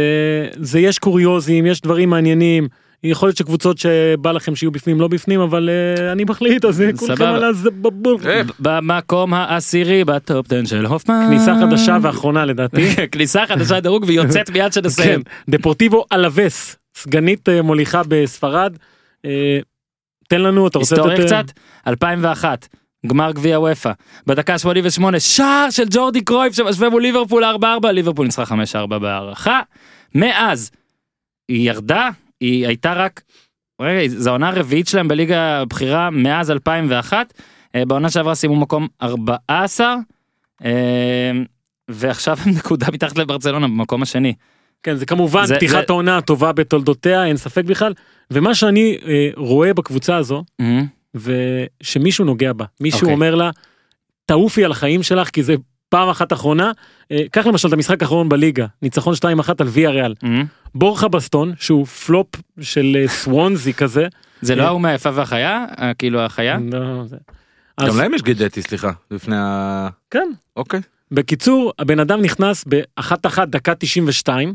Speaker 3: זה יש קוריוזים, יש דברים מעניינים. יכול להיות שקבוצות שבא לכם שיהיו בפנים לא בפנים, אבל אה, אני מחליט, אז אה, כולכם
Speaker 2: סבבה.
Speaker 3: על הזה בבור.
Speaker 4: אה,
Speaker 2: במקום העשירי בטופ 10 של הופמן.
Speaker 3: כניסה חדשה ואחרונה לדעתי.
Speaker 2: כניסה חדשה דירוג ויוצאת מיד
Speaker 3: כן,
Speaker 2: שנסיים.
Speaker 3: דפורטיבו אלווס, סגנית אה, מוליכה בספרד. אה, תן לנו, אתה רוצה
Speaker 2: היסטוריה
Speaker 3: לתת, אה,
Speaker 2: קצת? 2001. גמר גביע וופא, בדקה 88, שער של ג'ורדי קרויף שמשווה מול ליברפול 4-4, ליברפול ניצחה 5-4 בהערכה. מאז היא ירדה, היא הייתה רק, רגע, זו העונה הרביעית שלהם בליגה הבכירה מאז 2001, אה, בעונה שעברה סיימו מקום 14, אה, ועכשיו הם נקודה מתחת לברצלונה במקום השני.
Speaker 3: כן, זה כמובן
Speaker 2: זה-
Speaker 3: זה, פתיחת
Speaker 2: זה-
Speaker 3: העונה הטובה בתולדותיה, אין ספק בכלל. ומה שאני אה, רואה בקבוצה הזו,
Speaker 2: אה,
Speaker 3: ושמישהו נוגע בה, מישהו
Speaker 2: אוקיי.
Speaker 3: okay. אומר לה, תעופי על החיים שלך כי זה פעם אחת אחרונה. אה, קח למשל את המשחק האחרון בליגה, ניצחון 2-1 על ויה ריאל.
Speaker 2: אה.
Speaker 3: בורחה בסטון, שהוא פלופ של אה, סוונזי כזה.
Speaker 2: זה לא
Speaker 3: אה.
Speaker 2: ההוא מהיפה והחיה? אה, כאילו החיה?
Speaker 3: לא, זה- אז-
Speaker 4: גם להם יש גדטי, סליחה, לפני ה...
Speaker 3: כן.
Speaker 4: אוקיי.
Speaker 3: בקיצור, הבן אדם נכנס באחת אחת דקה 92,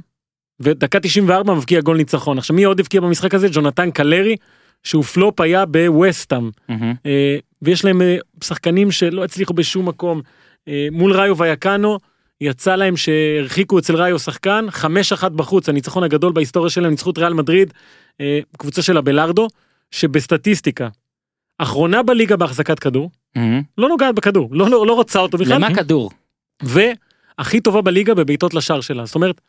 Speaker 3: ודקה 94 מבקיע גול ניצחון. עכשיו מי עוד הבקיע במשחק הזה? ג'ונתן קלרי, שהוא פלופ היה בווסטאם.
Speaker 2: אה.
Speaker 3: אה, ויש להם אה, שחקנים שלא הצליחו בשום מקום. אה, מול ראיו ויקאנו, יצא להם שהרחיקו אצל ראיו שחקן, 5-1 בחוץ, הניצחון הגדול בהיסטוריה שלהם, ניצחו את ריאל מדריד, אה, קבוצה של הבלארדו, שבסטטיסטיקה, אחרונה בליגה בהחזקת כדור,
Speaker 2: אה.
Speaker 3: לא נוגעת בכדור, לא, לא, לא רוצה אותו בכלל,
Speaker 2: למה כדור?
Speaker 3: והכי טובה בליגה בבעיטות לשער שלה, זאת אומרת,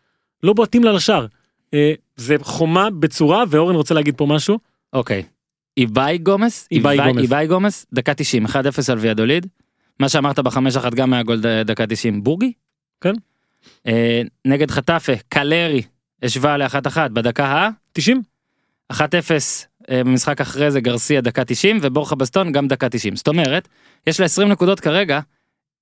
Speaker 3: לא בועטים לה לשער. אה, זה חומה בצורה, ואורן רוצה להגיד פה משהו,
Speaker 2: אוקיי. איבאי גומס?
Speaker 3: איביי גומס.
Speaker 2: איבאי גומס, דקה 90, 1-0 על ויאדוליד. מה שאמרת בחמש אחת גם היה גול ד- דקה 90. בורגי?
Speaker 3: כן.
Speaker 2: אה, נגד חטאפה, קלרי, השווה לאחת אחת בדקה ה...
Speaker 3: 90?
Speaker 2: 1-0 אה, במשחק אחרי זה גרסיה דקה 90 ובורחה בסטון גם דקה 90 זאת אומרת יש לה 20 נקודות כרגע.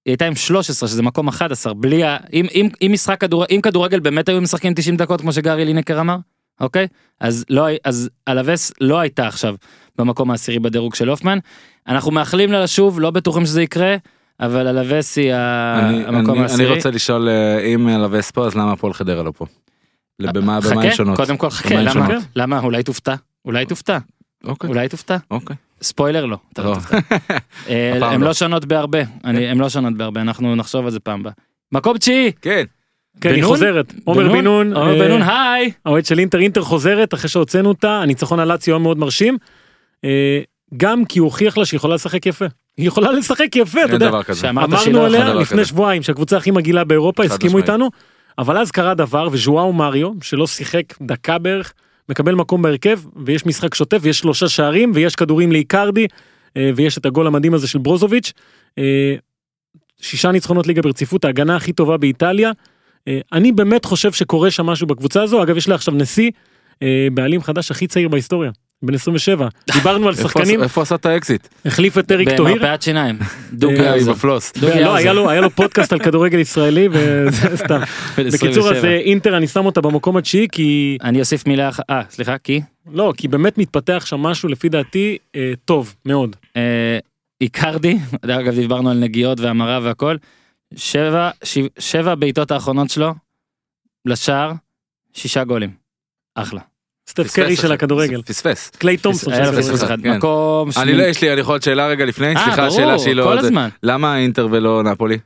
Speaker 2: היא הייתה עם 13 שזה מקום 11 בלי ה... אם, אם, אם משחק כדור... אם כדורגל באמת היו משחקים 90 דקות כמו שגארי לינקר אמר אוקיי אז לא הי- אז אלווס לא הייתה עכשיו במקום העשירי בדירוג של הופמן אנחנו מאחלים לה לשוב לא בטוחים שזה יקרה אבל אלווס היא ה...
Speaker 4: אני-
Speaker 2: אה, המקום
Speaker 4: אני-
Speaker 2: העשירי.
Speaker 4: אני רוצה לשאול אה, אם לווס פה, אז למה הפועל חדרה לא פה? לבמה, במה הן
Speaker 2: אה, חכה,
Speaker 4: שונות?
Speaker 2: קודם כל חכה
Speaker 4: במה הן
Speaker 2: למה
Speaker 4: שונות?
Speaker 2: למה אולי תופתע אולי תופתע
Speaker 4: אוקיי,
Speaker 2: אולי תופתע.
Speaker 4: אוקיי.
Speaker 2: ספוילר לא, אתה לא
Speaker 4: לא.
Speaker 2: תופתע. אה,
Speaker 4: הפעם
Speaker 2: הן
Speaker 4: לא. אה.
Speaker 2: לא שונות בהרבה, אני- הן לא שונות בהרבה, אנחנו נחשוב על זה פעם הבאה. מקום תשיעי,
Speaker 4: כן,
Speaker 3: כן, היא
Speaker 2: בן-נון?
Speaker 3: חוזרת. עומר בן נון,
Speaker 2: עומר
Speaker 3: אה,
Speaker 2: בן נון, היי.
Speaker 3: האוהד של אינטר, אינטר חוזרת אחרי שהוצאנו אותה, הניצחון על לאציו היה מאוד מרשים. אה, גם כי הוא הוכיח לה שהיא יכולה לשחק יפה. היא יכולה לשחק יפה, אתה
Speaker 4: אין
Speaker 3: יודע.
Speaker 4: דבר כזה.
Speaker 2: שאמרת שהיא לא
Speaker 3: אמרנו
Speaker 2: יכולה
Speaker 3: עליה
Speaker 4: דבר
Speaker 3: לפני
Speaker 4: כזה.
Speaker 3: שבועיים שהקבוצה הכי מגעילה באירופה,
Speaker 4: חד
Speaker 3: הסכימו
Speaker 4: משמעית.
Speaker 3: איתנו, אבל אז קרה דבר וז'ואאו מריו, שלא שיחק דקה בערך, מקבל מקום בהרכב, ויש משחק שוטף, ויש שלושה שערים, ויש כדורים לאיקרדי, אה, ויש את הגול המדהים הזה של ברוזוביץ'. אה, שישה ניצחונות ליגה ברציפות, ההגנה הכי טובה באיטליה. אה, אני באמת חושב שקורה שם משהו בקבוצה הזו, אגב יש לה עכשיו נשיא, אה, בעלים חדש הכי צעיר בהיסטוריה, בן 27. דיברנו על
Speaker 4: איפה
Speaker 3: שחקנים,
Speaker 4: עשה- איפה עשה את האקזיט?
Speaker 3: החליף את אריק טוהיר.
Speaker 2: במרפאת שיניים. דוגי
Speaker 4: אה, היא
Speaker 2: האוזר.
Speaker 4: בפלוס.
Speaker 2: דוגי
Speaker 3: לא, היה
Speaker 2: האוזר.
Speaker 3: לו, היה לו פודקאסט על כדורגל ישראלי, וזה סתם.
Speaker 2: בן 27.
Speaker 3: בקיצור, אז אה, אינטר, אני שם אותה במקום התשיעי, כי...
Speaker 2: אני אוסיף מילה אחת, אה, סליחה, כי?
Speaker 3: לא, כי באמת מתפתח שם משהו, לפי דעתי, אה, טוב, מאוד.
Speaker 2: אה, איקרדי, אגב דיברנו על נגיעות והמרה והכל, שבע, שבע, שבע בעיטות האחרונות שלו, לשער, שישה גולים. אחלה.
Speaker 3: סטף קרי
Speaker 4: פספס
Speaker 3: של
Speaker 4: עכשיו.
Speaker 3: הכדורגל.
Speaker 4: פספס.
Speaker 3: קליי תומפסון של
Speaker 2: היה לו פספוס
Speaker 3: הכדורגל.
Speaker 2: אחד,
Speaker 4: כן.
Speaker 2: מקום
Speaker 4: אני לא, יש לי, אני יכול עוד שאלה רגע לפני?
Speaker 2: אה,
Speaker 4: סליחה,
Speaker 2: ברור,
Speaker 4: שאלה שהיא לא...
Speaker 2: כל
Speaker 4: זה-
Speaker 2: הזמן.
Speaker 4: למה אינטר ולא נפולי?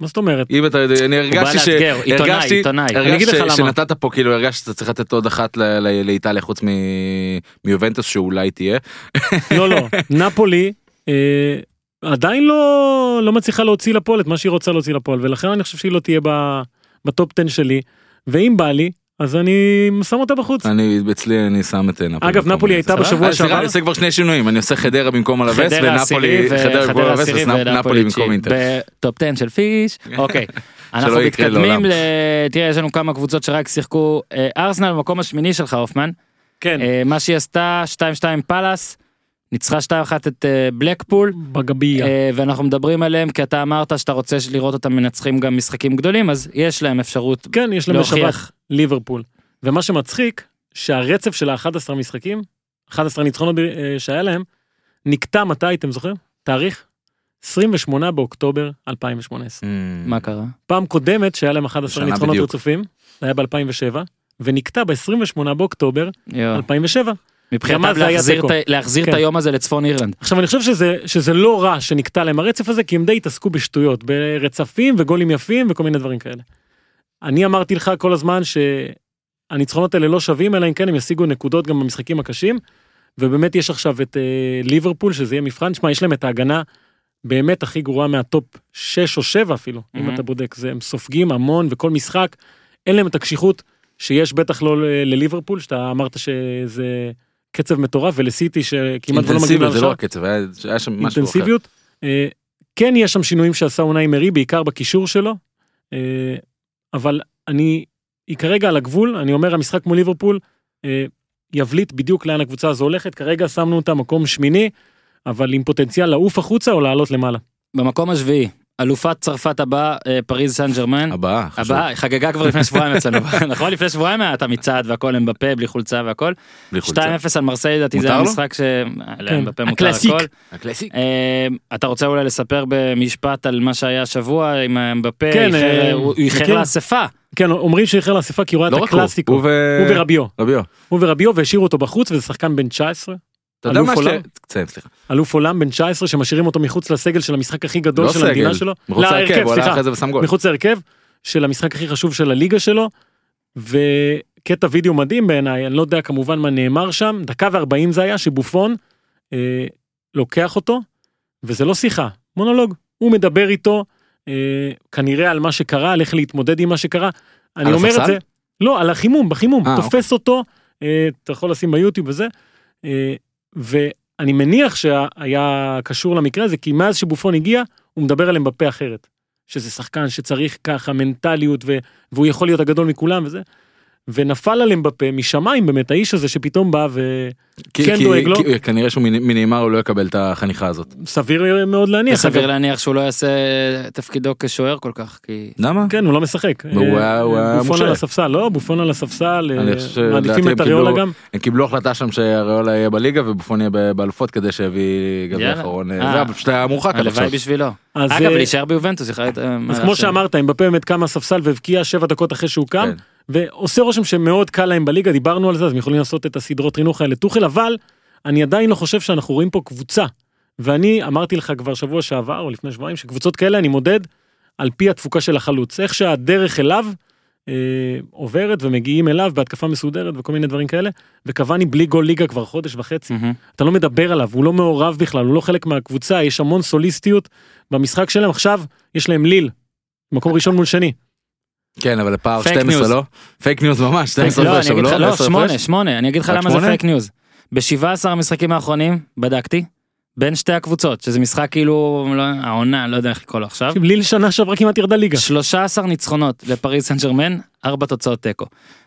Speaker 3: מה זאת אומרת?
Speaker 4: אם אתה יודע, אני
Speaker 2: הוא בא
Speaker 4: הרגשתי ש...
Speaker 2: לאתגר, עיתונאי,
Speaker 4: הרגשתי-
Speaker 2: עיתונאי.
Speaker 3: אני אגיד לך
Speaker 4: הרגשתי ש-
Speaker 3: למה.
Speaker 4: שנתת פה כאילו הרגשתי שאתה צריך לתת עוד אחת ל- ל- לאיטליה חוץ מ- מיובנטוס שאולי תהיה.
Speaker 3: לא, לא. נפולי אה, עדיין לא לא מצליחה להוציא לפועל את מה שהיא רוצה להוציא לפועל, ולכן אני חושב שהיא לא תהיה ב- בטופ 10 שלי, ואם בא לי, אז אני שם אותה בחוץ.
Speaker 4: אני אצלי אני שם את אה, נפולי.
Speaker 3: אגב,
Speaker 4: במקום
Speaker 3: נפולי
Speaker 4: הזה.
Speaker 3: הייתה
Speaker 4: סבבה?
Speaker 3: בשבוע
Speaker 4: אה, סליחה,
Speaker 3: שעבר-
Speaker 4: אני עושה כבר שני שינויים אני עושה חדרה במקום הלווס
Speaker 2: חדרה עשירי
Speaker 4: ונפולי חדרה במקום
Speaker 2: וחדרה
Speaker 4: הלווס
Speaker 2: עשירי
Speaker 4: אז נפ- נפולי
Speaker 2: ונפולי
Speaker 4: במקום
Speaker 2: צ'יפ.
Speaker 4: אינטר.
Speaker 2: בטופ 10 של פיש אוקיי אנחנו
Speaker 4: שלא יקרה
Speaker 2: מתקדמים
Speaker 4: לעולם.
Speaker 2: ל... תראה יש לנו כמה קבוצות שרק שיחקו אה, ארסנל במקום השמיני שלך הופמן
Speaker 3: כן,
Speaker 2: אה, מה שהיא עשתה 2-2 פאלאס ניצחה 2-1 את אה, בלקפול
Speaker 3: בגביע.
Speaker 2: אה, ואנחנו מדברים עליהם כי אתה אמרת שאתה רוצה לראות אותם מנצחים גם משחקים גדולים אז יש להם אפשרות
Speaker 3: כן, יש להם בשבת.
Speaker 2: להוכיח
Speaker 3: ליברפול. ומה שמצחיק, שהרצף של ה-11 משחקים, 11 ניצחונות ב- אה, שהיה להם, נקטע מתי, אתם זוכרים? תאריך? 28 באוקטובר
Speaker 4: Hmm.
Speaker 3: 2018.
Speaker 2: מה קרה
Speaker 3: פעם קודמת שהיה להם 11
Speaker 4: שנה
Speaker 3: ניצחונות
Speaker 4: בדיוק.
Speaker 3: רצופים, זה היה ב-2007, ונקטע ב-28 באוקטובר
Speaker 4: אה.
Speaker 2: יואו.
Speaker 3: 2007. גם
Speaker 2: מבחינתם
Speaker 3: אז זה היה
Speaker 2: להחזיר
Speaker 3: תיקו.
Speaker 2: את ה- להחזיר את
Speaker 3: כן.
Speaker 2: היום הזה לצפון אירלנד
Speaker 3: עכשיו אני חושב שזה, שזה לא רע שנקטע להם הרצף הזה, כי הם די התעסקו בשטויות, ברצפים וגולים יפים וכל מיני דברים כאלה. אני אמרתי לך כל הזמן שהניצחונות האלה לא שווים, אלא אם כן הם ישיגו נקודות גם במשחקים הקשים, ובאמת יש עכשיו את אה, ליברפול, שזה יהיה מבחן, שמע, יש להם את ההגנה באמת הכי גרועה מהטופ 6 או 7 אפילו,
Speaker 2: מהמם.
Speaker 3: אם אתה בודק, זה, הם סופגים המון וכל משחק, אין להם את הקשיחות שיש בטח לא ל- לליברפול, שאתה אמרת שזה... קצב מטורף ולסיטי שכמעט ולא לא מגיעים
Speaker 4: אינטנסיביות זה
Speaker 3: לשער.
Speaker 4: לא הקצב היה היה שם משהו אחר.
Speaker 3: אינטנסיביות. אה, כן יש שם שינויים שעשה אונאי מרי, בעיקר בקישור שלו, אה, אבל אני, היא כרגע על הגבול, אני אומר, המשחק מול ליברפול אה, יבליט בדיוק לאן הקבוצה הזו הולכת, כרגע שמנו אותה מקום שמיני, אבל עם פוטנציאל לעוף החוצה או לעלות למעלה.
Speaker 2: במקום השביעי, אלופת צרפת הבאה, אה, פריז סן ג'רמן.
Speaker 4: הבאה, חשוב.
Speaker 2: הבאה, היא חגגה כבר לפני שבועיים אצלנו, נכון? לפני שבועיים היה את המצעד והכל, הם בפה, בלי חולצה והכל.
Speaker 4: בלי
Speaker 2: 2-0
Speaker 4: חולצה.
Speaker 2: על מרסיי, לדעתי זה
Speaker 4: מותר
Speaker 2: היה
Speaker 4: לו?
Speaker 2: משחק ש... כן, בפה מותר
Speaker 3: הקלאסיק.
Speaker 2: הכל.
Speaker 4: הקלאסיק.
Speaker 2: אה, אתה רוצה אולי לספר במשפט על מה שהיה השבוע עם אה, בפה?
Speaker 3: כן,
Speaker 2: איחר-
Speaker 3: אה,
Speaker 2: הוא הוא איחר
Speaker 3: מכיר?
Speaker 2: לאספה.
Speaker 3: כן, אומרים שאיחר לאספה כי הוא ראה
Speaker 4: לא
Speaker 3: את
Speaker 4: רק הוא,
Speaker 3: הקלאסיקו.
Speaker 4: הוא ו-
Speaker 3: הוא ורביו.
Speaker 4: רביו.
Speaker 3: הוא ורביו והשאירו אותו בחוץ וזה שחקן בן 19
Speaker 4: אתה יודע
Speaker 3: אלוף
Speaker 4: מה ש...
Speaker 3: עולם?
Speaker 4: תציין, סליחה.
Speaker 3: אלוף עולם בן 19 שמשאירים אותו מחוץ לסגל של המשחק הכי גדול
Speaker 4: לא
Speaker 3: של המדינה
Speaker 4: סגל.
Speaker 3: שלו.
Speaker 4: מחוץ
Speaker 3: להרכב,
Speaker 4: להרכב, הוא
Speaker 3: סליחה.
Speaker 4: עלה אחרי זה ושם גול.
Speaker 3: מחוץ להרכב של המשחק הכי חשוב של הליגה שלו. וקטע וידאו מדהים בעיניי אני לא יודע כמובן מה נאמר שם דקה וארבעים זה היה שבופון אה, לוקח אותו וזה לא שיחה מונולוג הוא מדבר איתו אה, כנראה על מה שקרה על איך להתמודד עם מה שקרה. אני
Speaker 4: על
Speaker 3: אומר את
Speaker 4: הספסל?
Speaker 3: זה לא על החימום בחימום
Speaker 4: אה,
Speaker 3: תופס אותו אה, אתה יכול לשים ביוטיוב וזה. אה, ואני מניח שהיה קשור למקרה הזה כי מאז שבופון הגיע הוא מדבר עליהם בפה אחרת. שזה שחקן שצריך ככה מנטליות ו... והוא יכול להיות הגדול מכולם וזה. ונפל עליהם בפה משמיים באמת האיש הזה שפתאום בא וסביר
Speaker 4: כי-
Speaker 3: כן
Speaker 4: כי-
Speaker 3: דואג לו.
Speaker 4: כי- כנראה שהוא מנ- מנאמר הוא לא יקבל את החניכה הזאת.
Speaker 3: מאוד להניח.
Speaker 2: סביר
Speaker 3: אגב.
Speaker 2: להניח שהוא לא יעשה תפקידו כשוער כל כך, כי...
Speaker 4: למה?
Speaker 3: כן הוא לא משחק.
Speaker 4: והוא
Speaker 3: אה,
Speaker 4: היה- הוא היה
Speaker 3: בופון
Speaker 4: מושעה.
Speaker 3: על הספסל לא בופון על הספסל אה,
Speaker 4: אני חושב שלדעתי
Speaker 3: מעדיפים
Speaker 4: הם
Speaker 3: את אריולה
Speaker 4: קיבלו-
Speaker 3: גם.
Speaker 4: הם קיבלו החלטה שם שאריולה יהיה בליגה ובופון יהיה ב- באלופות כדי שיביא גביע
Speaker 2: יאללה.
Speaker 4: אחרון.
Speaker 2: אה.
Speaker 4: אה, זה היה פשוט היה מורחק עד עכשיו.
Speaker 2: הלוואי בשבילו.
Speaker 3: אז,
Speaker 2: אגב,
Speaker 3: אה,
Speaker 2: להישאר ביובנטוס, יכול להיות... אה, מה
Speaker 3: אז כמו
Speaker 2: לעשות?
Speaker 3: שאמרת הם בפה באמת קם מהספסל והבקיע שבע דקות אחרי שהוא קם.
Speaker 4: כן.
Speaker 3: ועושה רושם שמאוד קל להם בליגה דיברנו על זה אז הם יכולים לעשות את הסדרות חינוך האלה טוחל אבל אני עדיין לא חושב שאנחנו רואים פה קבוצה. ואני אמרתי לך כבר שבוע שעבר או לפני שבועיים שקבוצות כאלה אני מודד על פי התפוקה של החלוץ איך שהדרך אליו אה, עוברת ומגיעים אליו בהתקפה מסודרת וכל מיני דברים כאלה וקוואני בלי גול ליגה כבר חודש וחצי
Speaker 2: מהמם.
Speaker 3: אתה לא מדבר עליו הוא לא מעורב בכלל הוא לא חלק מהקבוצה יש המון סוליסטיות במשחק שלהם עכשיו יש להם ליל. מקום ראשון מול שני.
Speaker 4: כן, אבל הפער
Speaker 2: פייק
Speaker 4: 12
Speaker 2: ניוז.
Speaker 4: לא? פייק ניוז ממש, 12
Speaker 2: לא,
Speaker 4: הפרש
Speaker 2: אני
Speaker 4: שם,
Speaker 2: אגיד לך,
Speaker 4: לא?
Speaker 2: לא,
Speaker 4: 10
Speaker 2: שמונה,
Speaker 4: הפרש?
Speaker 2: שמונה, אני אגיד לך
Speaker 4: רק
Speaker 2: למה זה
Speaker 4: שמונה?
Speaker 2: פייק ניוז. ב-17 המשחקים האחרונים, בדקתי, בין שתי הקבוצות, שזה משחק כאילו, לא- העונה, לא יודע איך לקרוא לו עכשיו,
Speaker 3: תקשיב, ליל שנה שעברה כמעט ירדה ליגה.
Speaker 2: 13 ניצחונות לפריז סן ג'רמן, 4 תוצאות תיקו.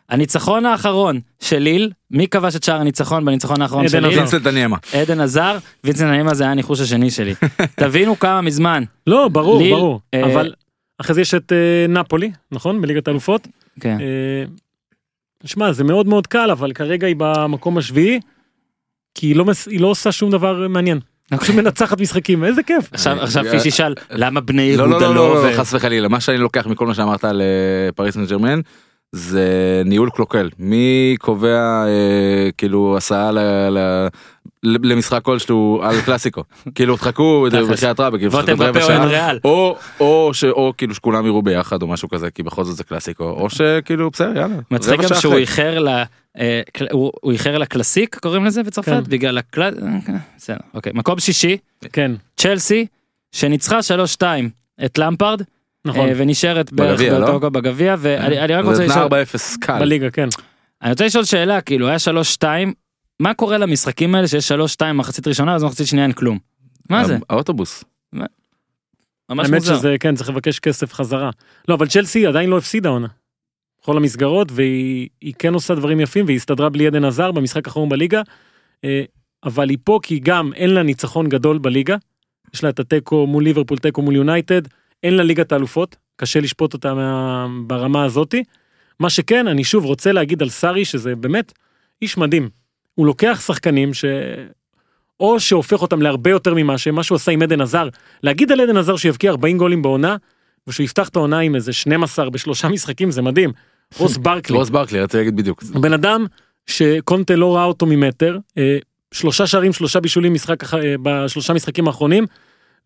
Speaker 2: הניצחון האחרון של ליל, מי כבש את שער הניצחון בניצחון האחרון של
Speaker 3: עדן
Speaker 2: ליל?
Speaker 3: עזרא.
Speaker 4: וינסל דניאמה.
Speaker 2: עדן עזר, וינסטון נעימה זה היה הניחוש השני שלי. תבינו כמה מזמן.
Speaker 3: לא, ברור,
Speaker 2: ליל,
Speaker 3: ברור.
Speaker 2: אה,
Speaker 3: אבל אחרי זה יש את אה, נפולי, נכון? בליגת האלופות.
Speaker 2: כן.
Speaker 3: אה, שמע, זה מאוד מאוד קל, אבל כרגע היא במקום השביעי, כי היא לא, מס- היא לא עושה שום דבר מעניין. פשוט מנצחת משחקים, איזה כיף.
Speaker 2: עכשיו,
Speaker 4: אה,
Speaker 2: עכשיו
Speaker 4: אה,
Speaker 2: פיש ישאל, למה בני
Speaker 4: לא, לא,
Speaker 2: יהודה
Speaker 4: לא,
Speaker 2: לא
Speaker 4: לא,
Speaker 2: עובר?
Speaker 4: לא, חס וחלילה. מה שאני לוקח מכל מה שאמרת על אה, פריס סן ג'רמן, זה ניהול קלוקל. מי קובע אה, כאילו הסעה ל... ל- למשחק כלשהו על קלאסיקו כאילו תחכו
Speaker 2: תכלס.
Speaker 4: בחייאת רבי כאילו
Speaker 2: ואתם
Speaker 4: תחכו רבע
Speaker 2: בפה או אין
Speaker 4: שעה
Speaker 2: ריאל.
Speaker 4: או או ש- או כאילו שכולם יראו ביחד או משהו כזה כי בכל זאת זה קלאסיקו או שכאילו בסדר יאללה
Speaker 2: מצחיק
Speaker 4: רבע
Speaker 2: גם
Speaker 4: שעה
Speaker 2: שהוא
Speaker 4: אחרי.
Speaker 2: איחר ל... אה, קל- הוא הוא איחר לקלאסיק קוראים לזה בצרפת
Speaker 3: כן.
Speaker 2: בגלל הקלאס... בסדר, אוקיי. מקום שישי,
Speaker 3: כן,
Speaker 2: צ'לסי, שניצחה 3-2 את למפרד,
Speaker 3: נכון.
Speaker 2: אה, ונשארת בערך
Speaker 4: בגביע, לא?
Speaker 2: באותו מקום בגביע, ואני אני רק
Speaker 4: זה
Speaker 2: רוצה
Speaker 4: נע
Speaker 2: לשאול...
Speaker 4: 4-0
Speaker 2: אה,
Speaker 4: קל.
Speaker 3: בליגה, כן.
Speaker 2: אני רוצה לשאול שאלה, כאילו, היה 3-2, מה קורה למשחקים האלה שיש 3-2 מחצית ראשונה, אז מחצית שנייה אין כלום? מה זה?
Speaker 4: האוטובוס.
Speaker 2: ממש
Speaker 3: האמת
Speaker 2: מוזר.
Speaker 3: שזה, כן, צריך לבקש כסף חזרה. לא, אבל צ'לסי עדיין לא הפסידה עונה. בכל המסגרות, והיא היא כן עושה דברים יפים, והיא הסתדרה בלי עדן עזר במשחק האחרון בליגה. אה, אבל היא פה כי גם אין לה ניצחון גדול בליגה. יש לה את התיקו מול ליברפול, תיקו מול יונייטד. אין לה ליגת האלופות, קשה לשפוט אותה מה... ברמה הזאתי. מה שכן, אני שוב רוצה להגיד על סארי, שזה באמת איש מדהים. הוא לוקח שחקנים ש... או שהופך אותם להרבה יותר ממה שהם, מה שהוא עשה עם עדן עזר. להגיד על עדן עזר שיבקיע 40 גולים בעונה, ושהוא יפתח את העונה עם איזה 12 בשלושה משחקים, זה מדהים. רוס ברקלי,
Speaker 4: רוס ברקלי רציתי להגיד בדיוק.
Speaker 3: בן אדם שקונטה לא ראה אותו ממטר, אה, שלושה שערים, שלושה בישולים משחק, אח- אה, בשלושה משחקים האחרונים,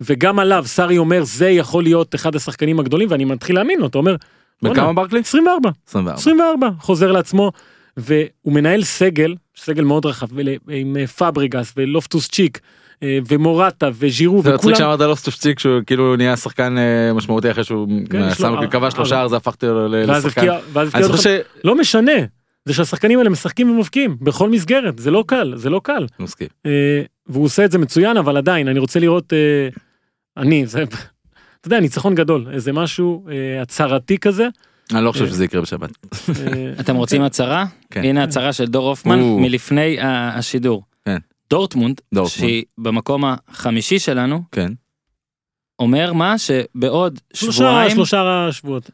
Speaker 3: וגם עליו סארי אומר זה יכול להיות אחד השחקנים הגדולים, ואני מתחיל להאמין לו, אתה אומר,
Speaker 2: לא,
Speaker 4: בן
Speaker 3: "בואנה,
Speaker 4: כמה ברקלי?
Speaker 3: 24.
Speaker 4: 24.
Speaker 3: 24, חוזר לעצמו, והוא מנהל סגל, סגל מאוד רחב, ול- עם אה, פאבריגס ולופטוס צ'יק, אה, ומורטה וז'ירו,
Speaker 4: זה מצחיק
Speaker 3: וכולם,
Speaker 4: שאמרת לו סטופציק לא שהוא כאילו נהיה שחקן אה, משמעותי אחרי שהוא
Speaker 3: כן,
Speaker 4: אה,
Speaker 3: יש לו-
Speaker 4: שם
Speaker 3: אבל-
Speaker 4: כבש לו
Speaker 3: אבל-
Speaker 4: שער זה הפכתי לו ל-
Speaker 3: ואז
Speaker 4: לשחקן.
Speaker 3: הבקיע, ואז
Speaker 4: אני
Speaker 3: הבקיע
Speaker 4: זוכר
Speaker 3: אותך,
Speaker 4: ש...
Speaker 3: לא משנה, זה שהשחקנים האלה משחקים ומבקיעים, בכל מסגרת, זה לא קל, זה לא קל.
Speaker 4: מסכים.
Speaker 3: אה, והוא עושה את זה מצוין אבל עדיין אני רוצה לראות אה, אני, זה, אתה יודע, ניצחון גדול, איזה משהו אה, הצהרתי כזה.
Speaker 4: אני לא חושב שזה יקרה בשבת.
Speaker 3: אה,
Speaker 2: אתם רוצים הצהרה?
Speaker 4: כן.
Speaker 2: הנה הצהרה של דור הופמן
Speaker 4: או.
Speaker 2: מלפני ה- השידור.
Speaker 4: כן.
Speaker 2: דורטמונד,
Speaker 4: דורטמונד.
Speaker 2: שהיא במקום החמישי שלנו,
Speaker 4: כן.
Speaker 2: אומר מה שבעוד
Speaker 3: שלושה,
Speaker 2: שבועיים
Speaker 3: שלושה שבועות,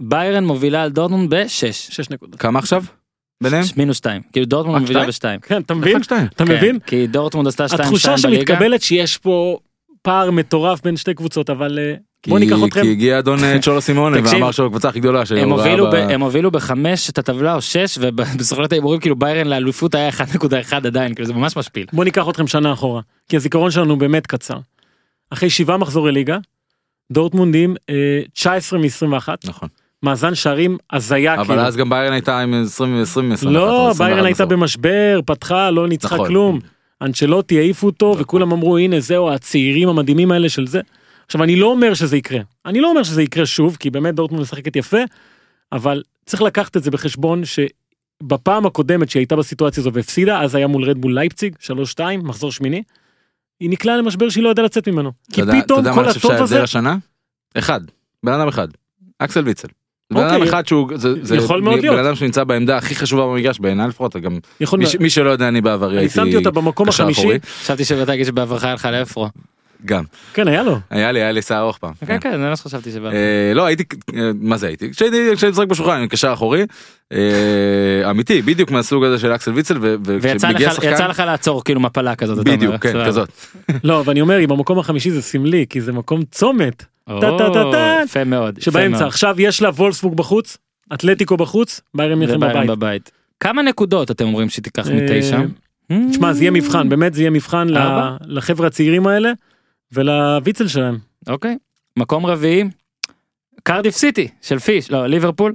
Speaker 2: ביירן מובילה על דורטמונד בשש.
Speaker 3: שש נקודות.
Speaker 4: כמה עכשיו? ביניהם?
Speaker 2: מינוס שתיים. כאילו דורטמונד
Speaker 4: רק
Speaker 2: מובילה
Speaker 4: שתיים?
Speaker 2: בשתיים.
Speaker 3: כן, אתה מבין?
Speaker 4: רק שתיים.
Speaker 3: כן. אתה
Speaker 2: כן,
Speaker 3: מבין?
Speaker 2: כי דורטמונד עשתה שתיים
Speaker 3: התחושה
Speaker 2: שתיים בליגה.
Speaker 3: שמתקבלת שיש פה פער מטורף בין שתי קבוצות, אבל אה, בוא
Speaker 4: כי-
Speaker 3: ניקח אתכם.
Speaker 4: כי הגיע אדון אה, צ'ולו סימונה
Speaker 2: תקשיב,
Speaker 4: ואמר שהוא הקבוצה הכי גדולה שלו.
Speaker 2: הם
Speaker 4: הוא ראה
Speaker 2: הובילו,
Speaker 4: ב-
Speaker 2: ב... הם הובילו בחמש את הטבלה או שש ובסוכנות ההימורים כאילו ביירן לאליפות היה 1.1 עדיין כאילו זה ממש משפיל.
Speaker 3: בוא ניקח אתכם שנה אחורה, כי הזיכרון שלנו באמת קצר. אחרי שבעה מחזורי ליגה, דורטמונדים אה, 19 מ-21,
Speaker 4: נכון.
Speaker 3: מאזן שערים הזיה
Speaker 4: אבל
Speaker 3: אה, כאילו.
Speaker 4: אז גם ביירן הייתה עם 20 20 21,
Speaker 3: לא,
Speaker 4: 21,
Speaker 3: ביירן הייתה
Speaker 4: בסוף.
Speaker 3: במשבר, פתחה, לא ניצחה
Speaker 4: נכון.
Speaker 3: כלום. אנצ'לוטי העיפו אותו, וכולם אמרו, הנה זהו, הצעירים המדהימים האלה של זה. עכשיו, אני לא אומר שזה יקרה. אני לא אומר שזה יקרה שוב, כי באמת דורטמונד משחקת יפה, אבל צריך לקחת את זה בחשבון שבפעם הקודמת שהיא הייתה בסיטואציה הזו והפסידה, אז היה מול רדבול לייפציג, 3-2, מחזור שמיני, היא נקלעה למשבר שהיא לא ידעה לצאת ממנו. כי
Speaker 4: אתה יודע-
Speaker 3: פתאום כל
Speaker 4: אתה יודע מה
Speaker 3: הטוב
Speaker 4: אני חושב
Speaker 3: הזה,
Speaker 4: שההבדל השנה? אחד. בן אדם אחד. אקסל ויצל. בן אדם
Speaker 3: אוקיי.
Speaker 4: אחד שהוא, זה, זה
Speaker 3: יכול מאוד
Speaker 4: בן
Speaker 3: להיות.
Speaker 4: אדם שנמצא בעמדה הכי חשובה במגרש בעיניי לפחות, גם
Speaker 3: יכול
Speaker 4: מי,
Speaker 3: להיות,
Speaker 4: ש- מי שלא יודע אני בעברי
Speaker 3: אני
Speaker 4: הייתי
Speaker 3: שמתי אותה במקום
Speaker 4: קשר
Speaker 3: החמישי,
Speaker 4: אחורי.
Speaker 2: חשבתי שבאת להגיד שבעברך היה לך לאפרו.
Speaker 4: גם,
Speaker 3: כן היה לו,
Speaker 4: היה לי, היה לי שיער ארוך פעם.
Speaker 2: כן כן זה מה שחשבתי שבעברך.
Speaker 4: אה, לא הייתי אה, מה זה הייתי כשהייתי כשהייתי משחק בשולחן עם קשר אחורי אה, אמיתי בדיוק מהסוג הזה של אקסל ויצל ו-
Speaker 3: אה,
Speaker 2: ויצא
Speaker 4: וכשמגיע
Speaker 2: לך, יצא
Speaker 4: שחקן
Speaker 2: לך לעצור כאילו מפלה כזאת. אתה
Speaker 4: בדיוק
Speaker 2: אומר,
Speaker 4: כן
Speaker 2: סבבה.
Speaker 4: כזאת
Speaker 3: לא, אבל אני אומר, היא במקום החמישי זה סמלי, כי זה מקום צומת.
Speaker 2: או,
Speaker 3: טה-טה-טה-טה.
Speaker 2: יפה מאוד. יפה
Speaker 3: שבאמצע
Speaker 2: מאוד.
Speaker 3: עכשיו יש לה וולסבורג בחוץ, אתלטיקו בחוץ, ביירן מינכן
Speaker 2: וביירן
Speaker 3: בבית.
Speaker 2: בבית. כמה נקודות אתם אומרים שתיקח
Speaker 3: אה,
Speaker 2: מתשע?
Speaker 3: תשמע זה יהיה מבחן באמת זה יהיה מבחן ל-
Speaker 2: ארבע?
Speaker 3: לחבר'ה הצעירים האלה ולוויצל שלהם.
Speaker 2: אוקיי. מקום רביעי. קרדיף סיטי של פיש לא ליברפול.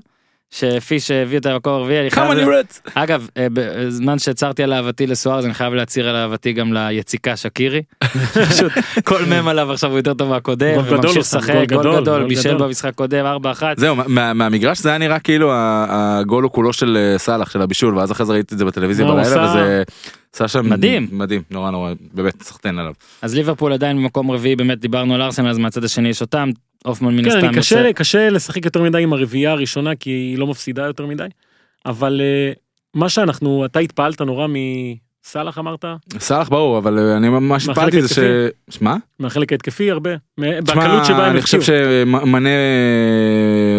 Speaker 2: שפיש הביא אותה למקום הרביעי. אני חייב-
Speaker 4: כמה נמרץ
Speaker 2: אגב, אה, בזמן שהצהרתי על אהבתי לסוארז, אני חייב להצהיר על אהבתי גם ליציקה שקירי. פשוט כל מם עליו עכשיו הוא יותר טוב מהקודם,
Speaker 3: גול גדול
Speaker 2: וממשיך
Speaker 3: הוא שם,
Speaker 2: לשחק,
Speaker 3: גול
Speaker 2: גול
Speaker 3: גדול,
Speaker 2: גדול,
Speaker 3: גול
Speaker 2: בישל
Speaker 3: גדול.
Speaker 2: במשחק קודם, 4-1.
Speaker 4: זהו מה- מה- מהמגרש זה היה נראה כאילו ה- הגול הוא כולו של אה, סאלח של הבישול ואז אחרי זה ראיתי את זה בטלוויזיה
Speaker 3: מה, הוא
Speaker 4: בלילה
Speaker 3: עשה-
Speaker 4: וזה עשה שם
Speaker 2: מדהים.
Speaker 4: מדהים נורא נורא באמת סחטיין עליו.
Speaker 2: אז ליברפול עדיין במקום רביעי, באמת דיברנו על ארסנל, אז מהצד השני יש אותם, הופמן מן
Speaker 3: כן
Speaker 2: הסתם
Speaker 3: אני קשה קשה לשחק יותר מדי עם הרביעייה הראשונה כי היא לא מפסידה יותר מדי. אבל אה, מה שאנחנו אתה התפעלת נורא מסאלח אמרת
Speaker 4: סאלח ברור אבל אה, אני ממש
Speaker 3: מהחלק
Speaker 4: פעלתי את זה ש... מה?
Speaker 3: מהחלק ההתקפי הרבה מ-
Speaker 4: תשמע,
Speaker 3: בקלות שבה הם
Speaker 4: אני חושב
Speaker 3: הפקיעו.
Speaker 4: שמנה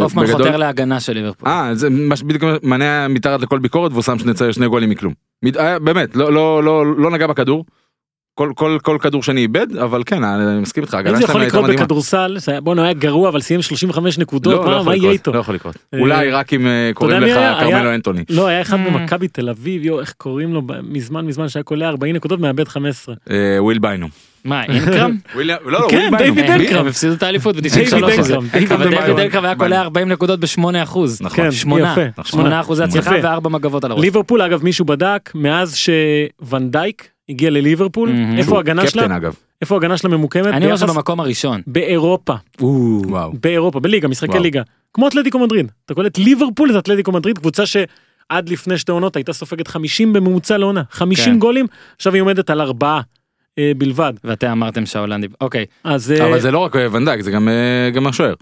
Speaker 2: הופמן
Speaker 4: בגדול-
Speaker 2: חותר להגנה של ליברפול.
Speaker 4: אה, זה מה ש- בדיוק מנה היה מתחת לכל ביקורת והוא שם שני, צ- שני גולים מכלום. מת- היה- באמת, לא, לא, לא, לא נגע בכדור. כל, כל, כל כדור שאני איבד, אבל כן, אני אני מסכים איתך,
Speaker 3: אם
Speaker 4: הגנה
Speaker 3: זה יכול
Speaker 4: שלהם הייתה
Speaker 3: לקרות
Speaker 4: מדהימה.
Speaker 3: בכדורסל זה היה- בואנה הוא היה גרוע אבל סיים 35 נקודות
Speaker 4: לא, לא
Speaker 3: מה- מה
Speaker 4: יכול
Speaker 3: יהיה
Speaker 4: לקרות,
Speaker 3: איתו.
Speaker 4: לא יכול לקרות.
Speaker 3: אה,
Speaker 4: אולי רק אם אה, קוראים
Speaker 3: יודע מי
Speaker 4: לך
Speaker 3: היה? היה-
Speaker 4: כרמלו אנטוני.
Speaker 3: לא היה אחד
Speaker 2: Mm.
Speaker 3: במכבי תל אביב יו איך קוראים לו ב- מזמן מזמן שהיה קולע 40 נקודות מאבד 15.
Speaker 4: אה, וויל ביינו.
Speaker 2: מה, אינקרם?
Speaker 4: וויל- לא, לא,
Speaker 3: כן,
Speaker 4: וויל ביינו.
Speaker 3: דיוויד
Speaker 4: מי?
Speaker 3: אנקרם.
Speaker 2: הם הפסידו את האליפות
Speaker 3: דיוויד
Speaker 2: ב-93.
Speaker 3: אנקרם.
Speaker 4: אינקרם
Speaker 2: אבל דיוויד
Speaker 4: וביינון.
Speaker 2: אנקרם היה קולע 40 נקודות ב-8 אחוז.
Speaker 4: נכון.
Speaker 3: כן,
Speaker 2: שמונה.
Speaker 3: יפה.
Speaker 4: נכון.
Speaker 2: 8 אחוז הצלחה
Speaker 3: יפה.
Speaker 2: וארבע מגבות על הראש.
Speaker 3: ליברפול אגב מישהו בדק מאז שוונדייק הגיע לליברפול
Speaker 2: מהמם.
Speaker 3: איפה
Speaker 4: שהוא
Speaker 3: ההגנה שלה
Speaker 4: קפטן אגב.
Speaker 3: איפה ההגנה שלה ממוקמת
Speaker 2: אני אומר
Speaker 3: ביחס
Speaker 2: שבמקום הראשון.
Speaker 3: באירופה
Speaker 4: וואו.
Speaker 3: באירופה בליגה משחקי
Speaker 4: וואו.
Speaker 3: ליגה כמו אתלטיקו מדריד אתה קולט ליברפול את אתלטיקו מדריד קבוצה שעד לפני שתי עונות הייתה סופגת 50 בממוצע לעונה 50
Speaker 2: כן.
Speaker 3: גולים עכשיו היא עומדת על ארבעה אה, בלבד
Speaker 2: ואתם אמרתם שההולנדי... אוקיי.
Speaker 3: אז אה,
Speaker 4: אבל זה לא רק אה, ונדייק, זה גם אה, גם השוער.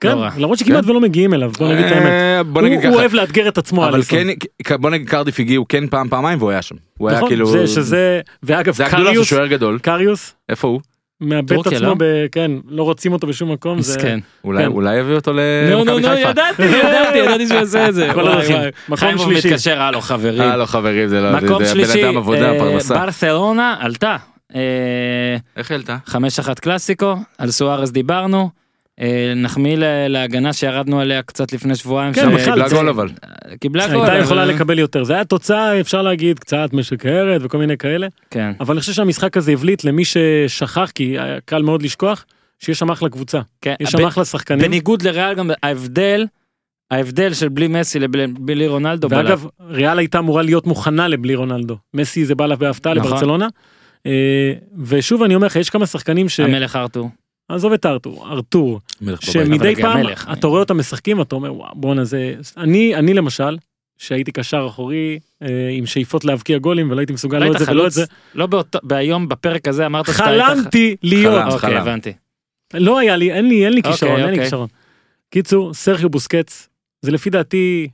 Speaker 3: כן,
Speaker 2: לא רע.
Speaker 3: למרות שכמעט ולא מגיעים אליו בוא נגיד את האמת.
Speaker 4: אה, בוא
Speaker 3: הוא-
Speaker 4: נגיד
Speaker 3: הוא
Speaker 4: ככה.
Speaker 3: אוהב לאתגר את עצמו
Speaker 4: אבל
Speaker 3: אליסון.
Speaker 4: כן, כ- בוא נגיד קרדיף הגיעו כן פעם פעמיים והוא היה שם. הוא היה
Speaker 3: נכון?
Speaker 4: כאילו...
Speaker 3: זה שזה ואגב
Speaker 4: זה הגדולה של
Speaker 3: קריוס
Speaker 4: שוער גדול.
Speaker 3: קריוס
Speaker 4: איפה הוא?
Speaker 3: מאבד את
Speaker 2: טורקיה,
Speaker 3: עצמו
Speaker 2: לא?
Speaker 3: ב- כן לא רוצים אותו בשום מקום זה
Speaker 2: מסכן.
Speaker 4: אולי
Speaker 3: כן. לא,
Speaker 4: אולי יביאו אותו
Speaker 2: נו, נו,
Speaker 4: למכבי
Speaker 2: נו,
Speaker 4: חיפה.
Speaker 2: ידעתי, ידעתי, ידעתי שהוא יעשה את זה.
Speaker 3: כל
Speaker 2: וואי,
Speaker 3: הדרכים.
Speaker 2: וואי.
Speaker 3: מקום
Speaker 2: חיימוב
Speaker 3: שלישי.
Speaker 2: מתקשר, הלו חברים.
Speaker 4: אה לא חברים זה לא, זה-
Speaker 2: מקום
Speaker 4: זה
Speaker 2: שלישי,
Speaker 4: בן אדם עבודה
Speaker 2: אה,
Speaker 4: פרנסה.
Speaker 2: ברסלונה עלתה. אה,
Speaker 4: איך העלתה?
Speaker 2: 5-1 קלאסיקו, על סוארז דיברנו. אה, נחמיא ל- להגנה שירדנו עליה קצת לפני שבועיים.
Speaker 3: כן,
Speaker 2: ש-
Speaker 3: בכלל,
Speaker 4: קיבלה
Speaker 2: זה-
Speaker 4: אה, גול אבל.
Speaker 2: קיבלה גול.
Speaker 3: הייתה
Speaker 2: אבל-
Speaker 3: יכולה לקבל יותר זה היה תוצאה אפשר להגיד קצת משקרת וכל מיני כאלה
Speaker 2: כן.
Speaker 3: אבל אני חושב שהמשחק הזה הבליט למי ששכח כי היה קל מאוד לשכוח שיש שם אחלה קבוצה
Speaker 2: כן.
Speaker 3: יש שם אחלה שחקנים
Speaker 2: בניגוד לריאל גם ההבדל, ההבדל של בלי מסי לבלי רונלדו.
Speaker 3: ואגב ריאל הייתה אמורה להיות מוכנה לבלי רונלדו מסי זה בא לה בהפתעה
Speaker 2: נכון.
Speaker 3: לברצלונה. אה, ושוב אני אומר לך יש כמה שחקנים
Speaker 2: בלם. המלך ארתור.
Speaker 3: שעזוב את ארתור ארתור
Speaker 4: מלך בבית.
Speaker 3: שמדי
Speaker 2: אבל גם
Speaker 3: פעם
Speaker 2: מלך.
Speaker 3: אתה רואה אותם משחקים אתה אומר וואו בואנה זה אני אני למשל שהייתי קשר אחורי אה, עם שאיפות להבקיע גולים ולא הייתי מסוגל לא את
Speaker 2: היית
Speaker 3: זה ולא את
Speaker 2: חלוץ?
Speaker 3: זה.
Speaker 2: לא באותו, בהיום בפרק הזה אמרת שאתה היית... ח-
Speaker 3: חלמתי להיות.
Speaker 4: חלמת,
Speaker 2: אוקיי,
Speaker 4: חלמת.
Speaker 2: הבנתי.
Speaker 3: לא היה לי, אין לי, אין לי
Speaker 2: אוקיי,
Speaker 3: כישרון, אין לי
Speaker 2: אוקיי.
Speaker 3: כישרון. קיצור, סרחיו בוסקץ, זה לפי דעתי,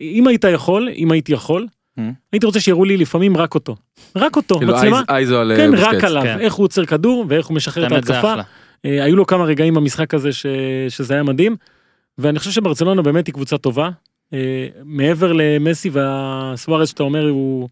Speaker 3: אם היית יכול, אם הייתי יכול,
Speaker 2: Mm.
Speaker 3: הייתי רוצה שיראו לי לפעמים רק אותו. רק אותו,
Speaker 4: כאילו
Speaker 3: מצלמה.
Speaker 4: אייז- אייזו על אה,
Speaker 3: כן,
Speaker 4: בוסקץ.
Speaker 3: רק עליו,
Speaker 2: כן.
Speaker 3: איך הוא עוצר כדור ואיך הוא משחרר את
Speaker 2: באמת זה
Speaker 3: ההתקפה.
Speaker 2: אחלה.
Speaker 3: אה, היו לו כמה רגעים במשחק הזה ש... שזה היה מדהים. ואני חושב שברצלונה באמת היא קבוצה טובה. אה, מעבר למסי והסוארז שאתה אומר הוא, הוא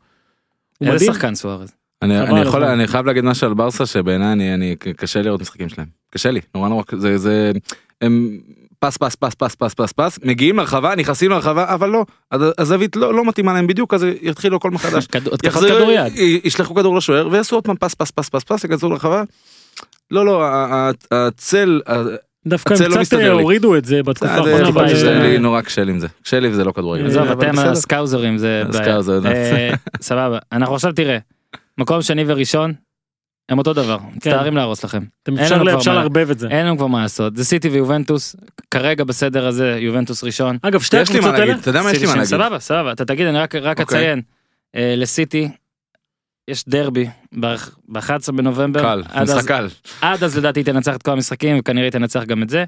Speaker 2: איזה
Speaker 3: מדהים.
Speaker 2: אה, שחקן סוארז.
Speaker 4: אני,
Speaker 3: חבל
Speaker 4: אני, יכול,
Speaker 3: הזמן.
Speaker 4: אני חייב להגיד משהו על ברסה שבעיניי אני, אני ק- קשה לראות משחקים שלהם קשה לי נורא נורא זה זה הם פס פס פס פס פס פס פס מגיעים לרחבה נכנסים לרחבה אבל לא הז- הזווית לא, לא מתאימה להם בדיוק אז יתחילו הכל מחדש.
Speaker 2: כדור- התקפת
Speaker 4: יחזרו-
Speaker 2: כדור יד.
Speaker 4: י- ישלחו כדור לשוער ויעשו עוד פעם פס פס פס פס פס ייכנסו לרחבה. לא לא ה- ה- הצל ה-
Speaker 3: דווקא
Speaker 4: הצל לא
Speaker 3: הם קצת אה,
Speaker 4: מסתדר לי.
Speaker 3: הורידו את זה בתקופה
Speaker 4: זה-
Speaker 3: האחרונה.
Speaker 4: זה טיפה
Speaker 3: אבל,
Speaker 4: קשה
Speaker 3: אה,
Speaker 4: לי נורא קשה לי עם זה קשה לי עם זה לא כדורגל.
Speaker 3: עזוב,
Speaker 2: עזוב,
Speaker 4: אבל
Speaker 2: אתם
Speaker 4: בסדר.
Speaker 2: הסקאוזרים זה בעיה.
Speaker 4: הסקאוזר,
Speaker 2: אה, סבבה, אנחנו עכשיו תראה, מקום שני וראשון, הם אותו
Speaker 3: כן.
Speaker 2: דבר, מצטערים להרוס לכם.
Speaker 3: אתם
Speaker 2: אין
Speaker 3: אפשר
Speaker 2: לנו
Speaker 3: לה-
Speaker 2: כבר
Speaker 3: אפשר
Speaker 2: מה- אה,
Speaker 3: לערבב את זה.
Speaker 2: אין לנו כבר מה לעשות, זה סיטי ויובנטוס, כרגע בסדר הזה יובנטוס ראשון.
Speaker 3: אגב שתי
Speaker 4: יש לי מה
Speaker 3: הקבוצות האלה,
Speaker 4: להגיד אתה יודע מה יש
Speaker 2: סיטי
Speaker 4: לי מה
Speaker 2: שני,
Speaker 4: להגיד.
Speaker 2: סבבה, סבבה, אתה תגיד, אני רק- רק
Speaker 4: אוקיי.
Speaker 2: אציין, אה, לסיטי יש דרבי ב-11 בנובמבר.
Speaker 4: קל
Speaker 2: עד אה, אז-
Speaker 4: משחק קל.
Speaker 2: עד אז לדעתי היא תנצח את כל המשחקים וכנראה היא תנצח גם את זה.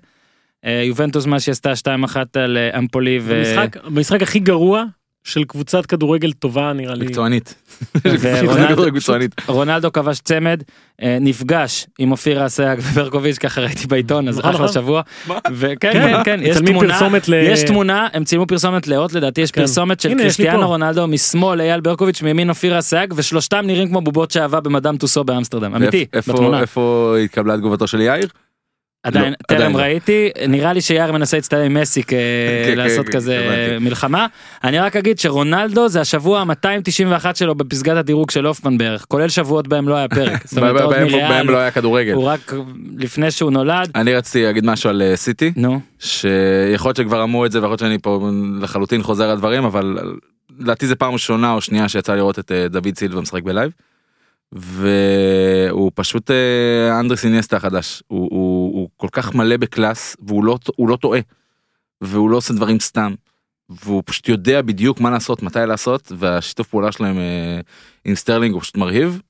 Speaker 2: אה, יובנטוס מה שהיא עשתה 2-1 על אה, אמפולי ו...
Speaker 3: המשחק- המשחק הכי גרוע של קבוצת כדורגל טובה נראה לי.
Speaker 4: מקצוענית.
Speaker 2: אה, ורונלדו-
Speaker 4: מקצוענית.
Speaker 2: רונלדו כבש צמד, אה, נפגש עם אופירה אסייג וברקוביץ', ככה ראיתי בעיתון, אז
Speaker 3: נכון,
Speaker 2: אחלה
Speaker 3: נכון.
Speaker 2: שבוע. וכן, כן,
Speaker 3: כן,
Speaker 2: כן, יש
Speaker 3: מצלמים
Speaker 2: תמונה,
Speaker 3: פרסומת ל-
Speaker 2: יש תמונה, הם צילמו פרסומת לאות, לדעתי יש
Speaker 3: כן.
Speaker 2: פרסומת של
Speaker 3: הנה, יש לי
Speaker 2: קריסטיאנו
Speaker 3: פה.
Speaker 2: רונלדו, משמאל אייל ברקוביץ', מימין אופירה אסייג, ושלושתם נראים כמו בובות שעווה במדאם טוסו באמסטרדם, אמיתי,
Speaker 4: איפה-
Speaker 2: בתמונה.
Speaker 4: איפה התקבלה תגובתו של יאיר?
Speaker 2: עדיין,
Speaker 4: לא, עדיין
Speaker 2: טרם
Speaker 4: לא.
Speaker 2: ראיתי, נראה לי שיאיר מנסה להצטלם עם מסי כ-
Speaker 4: כן,
Speaker 2: לעשות
Speaker 4: כן,
Speaker 2: כזה
Speaker 4: הבנתי.
Speaker 2: מלחמה. אני רק אגיד שרונלדו זה השבוע ה-291 שלו בפסגת הדירוג של הופמן בערך, כולל שבועות בהם לא היה פרק. זאת אומרת,
Speaker 4: בהם-
Speaker 2: עוד
Speaker 4: בהם-
Speaker 2: מריאל,
Speaker 4: בהם לא היה כדורגל.
Speaker 2: הוא רק לפני שהוא נולד,
Speaker 4: אני רציתי להגיד משהו על אה, סיטי,
Speaker 2: נו,
Speaker 4: שיכול להיות שכבר אמרו את זה ויכול להיות שאני פה לחלוטין חוזר על דברים, אבל לדעתי זה פעם ראשונה או שנייה שיצא לראות את אה, דוד סילבה משחק בלייב. והוא פשוט אה, אנדרס איניאסטה החדש, הוא, הוא, הוא כל כך מלא בקלאס והוא לא, הוא לא טועה. והוא לא עושה דברים סתם. והוא פשוט יודע בדיוק מה לעשות, מתי לעשות, והשיתוף פעולה שלהם אה, עם סטרלינג הוא פשוט מרהיב.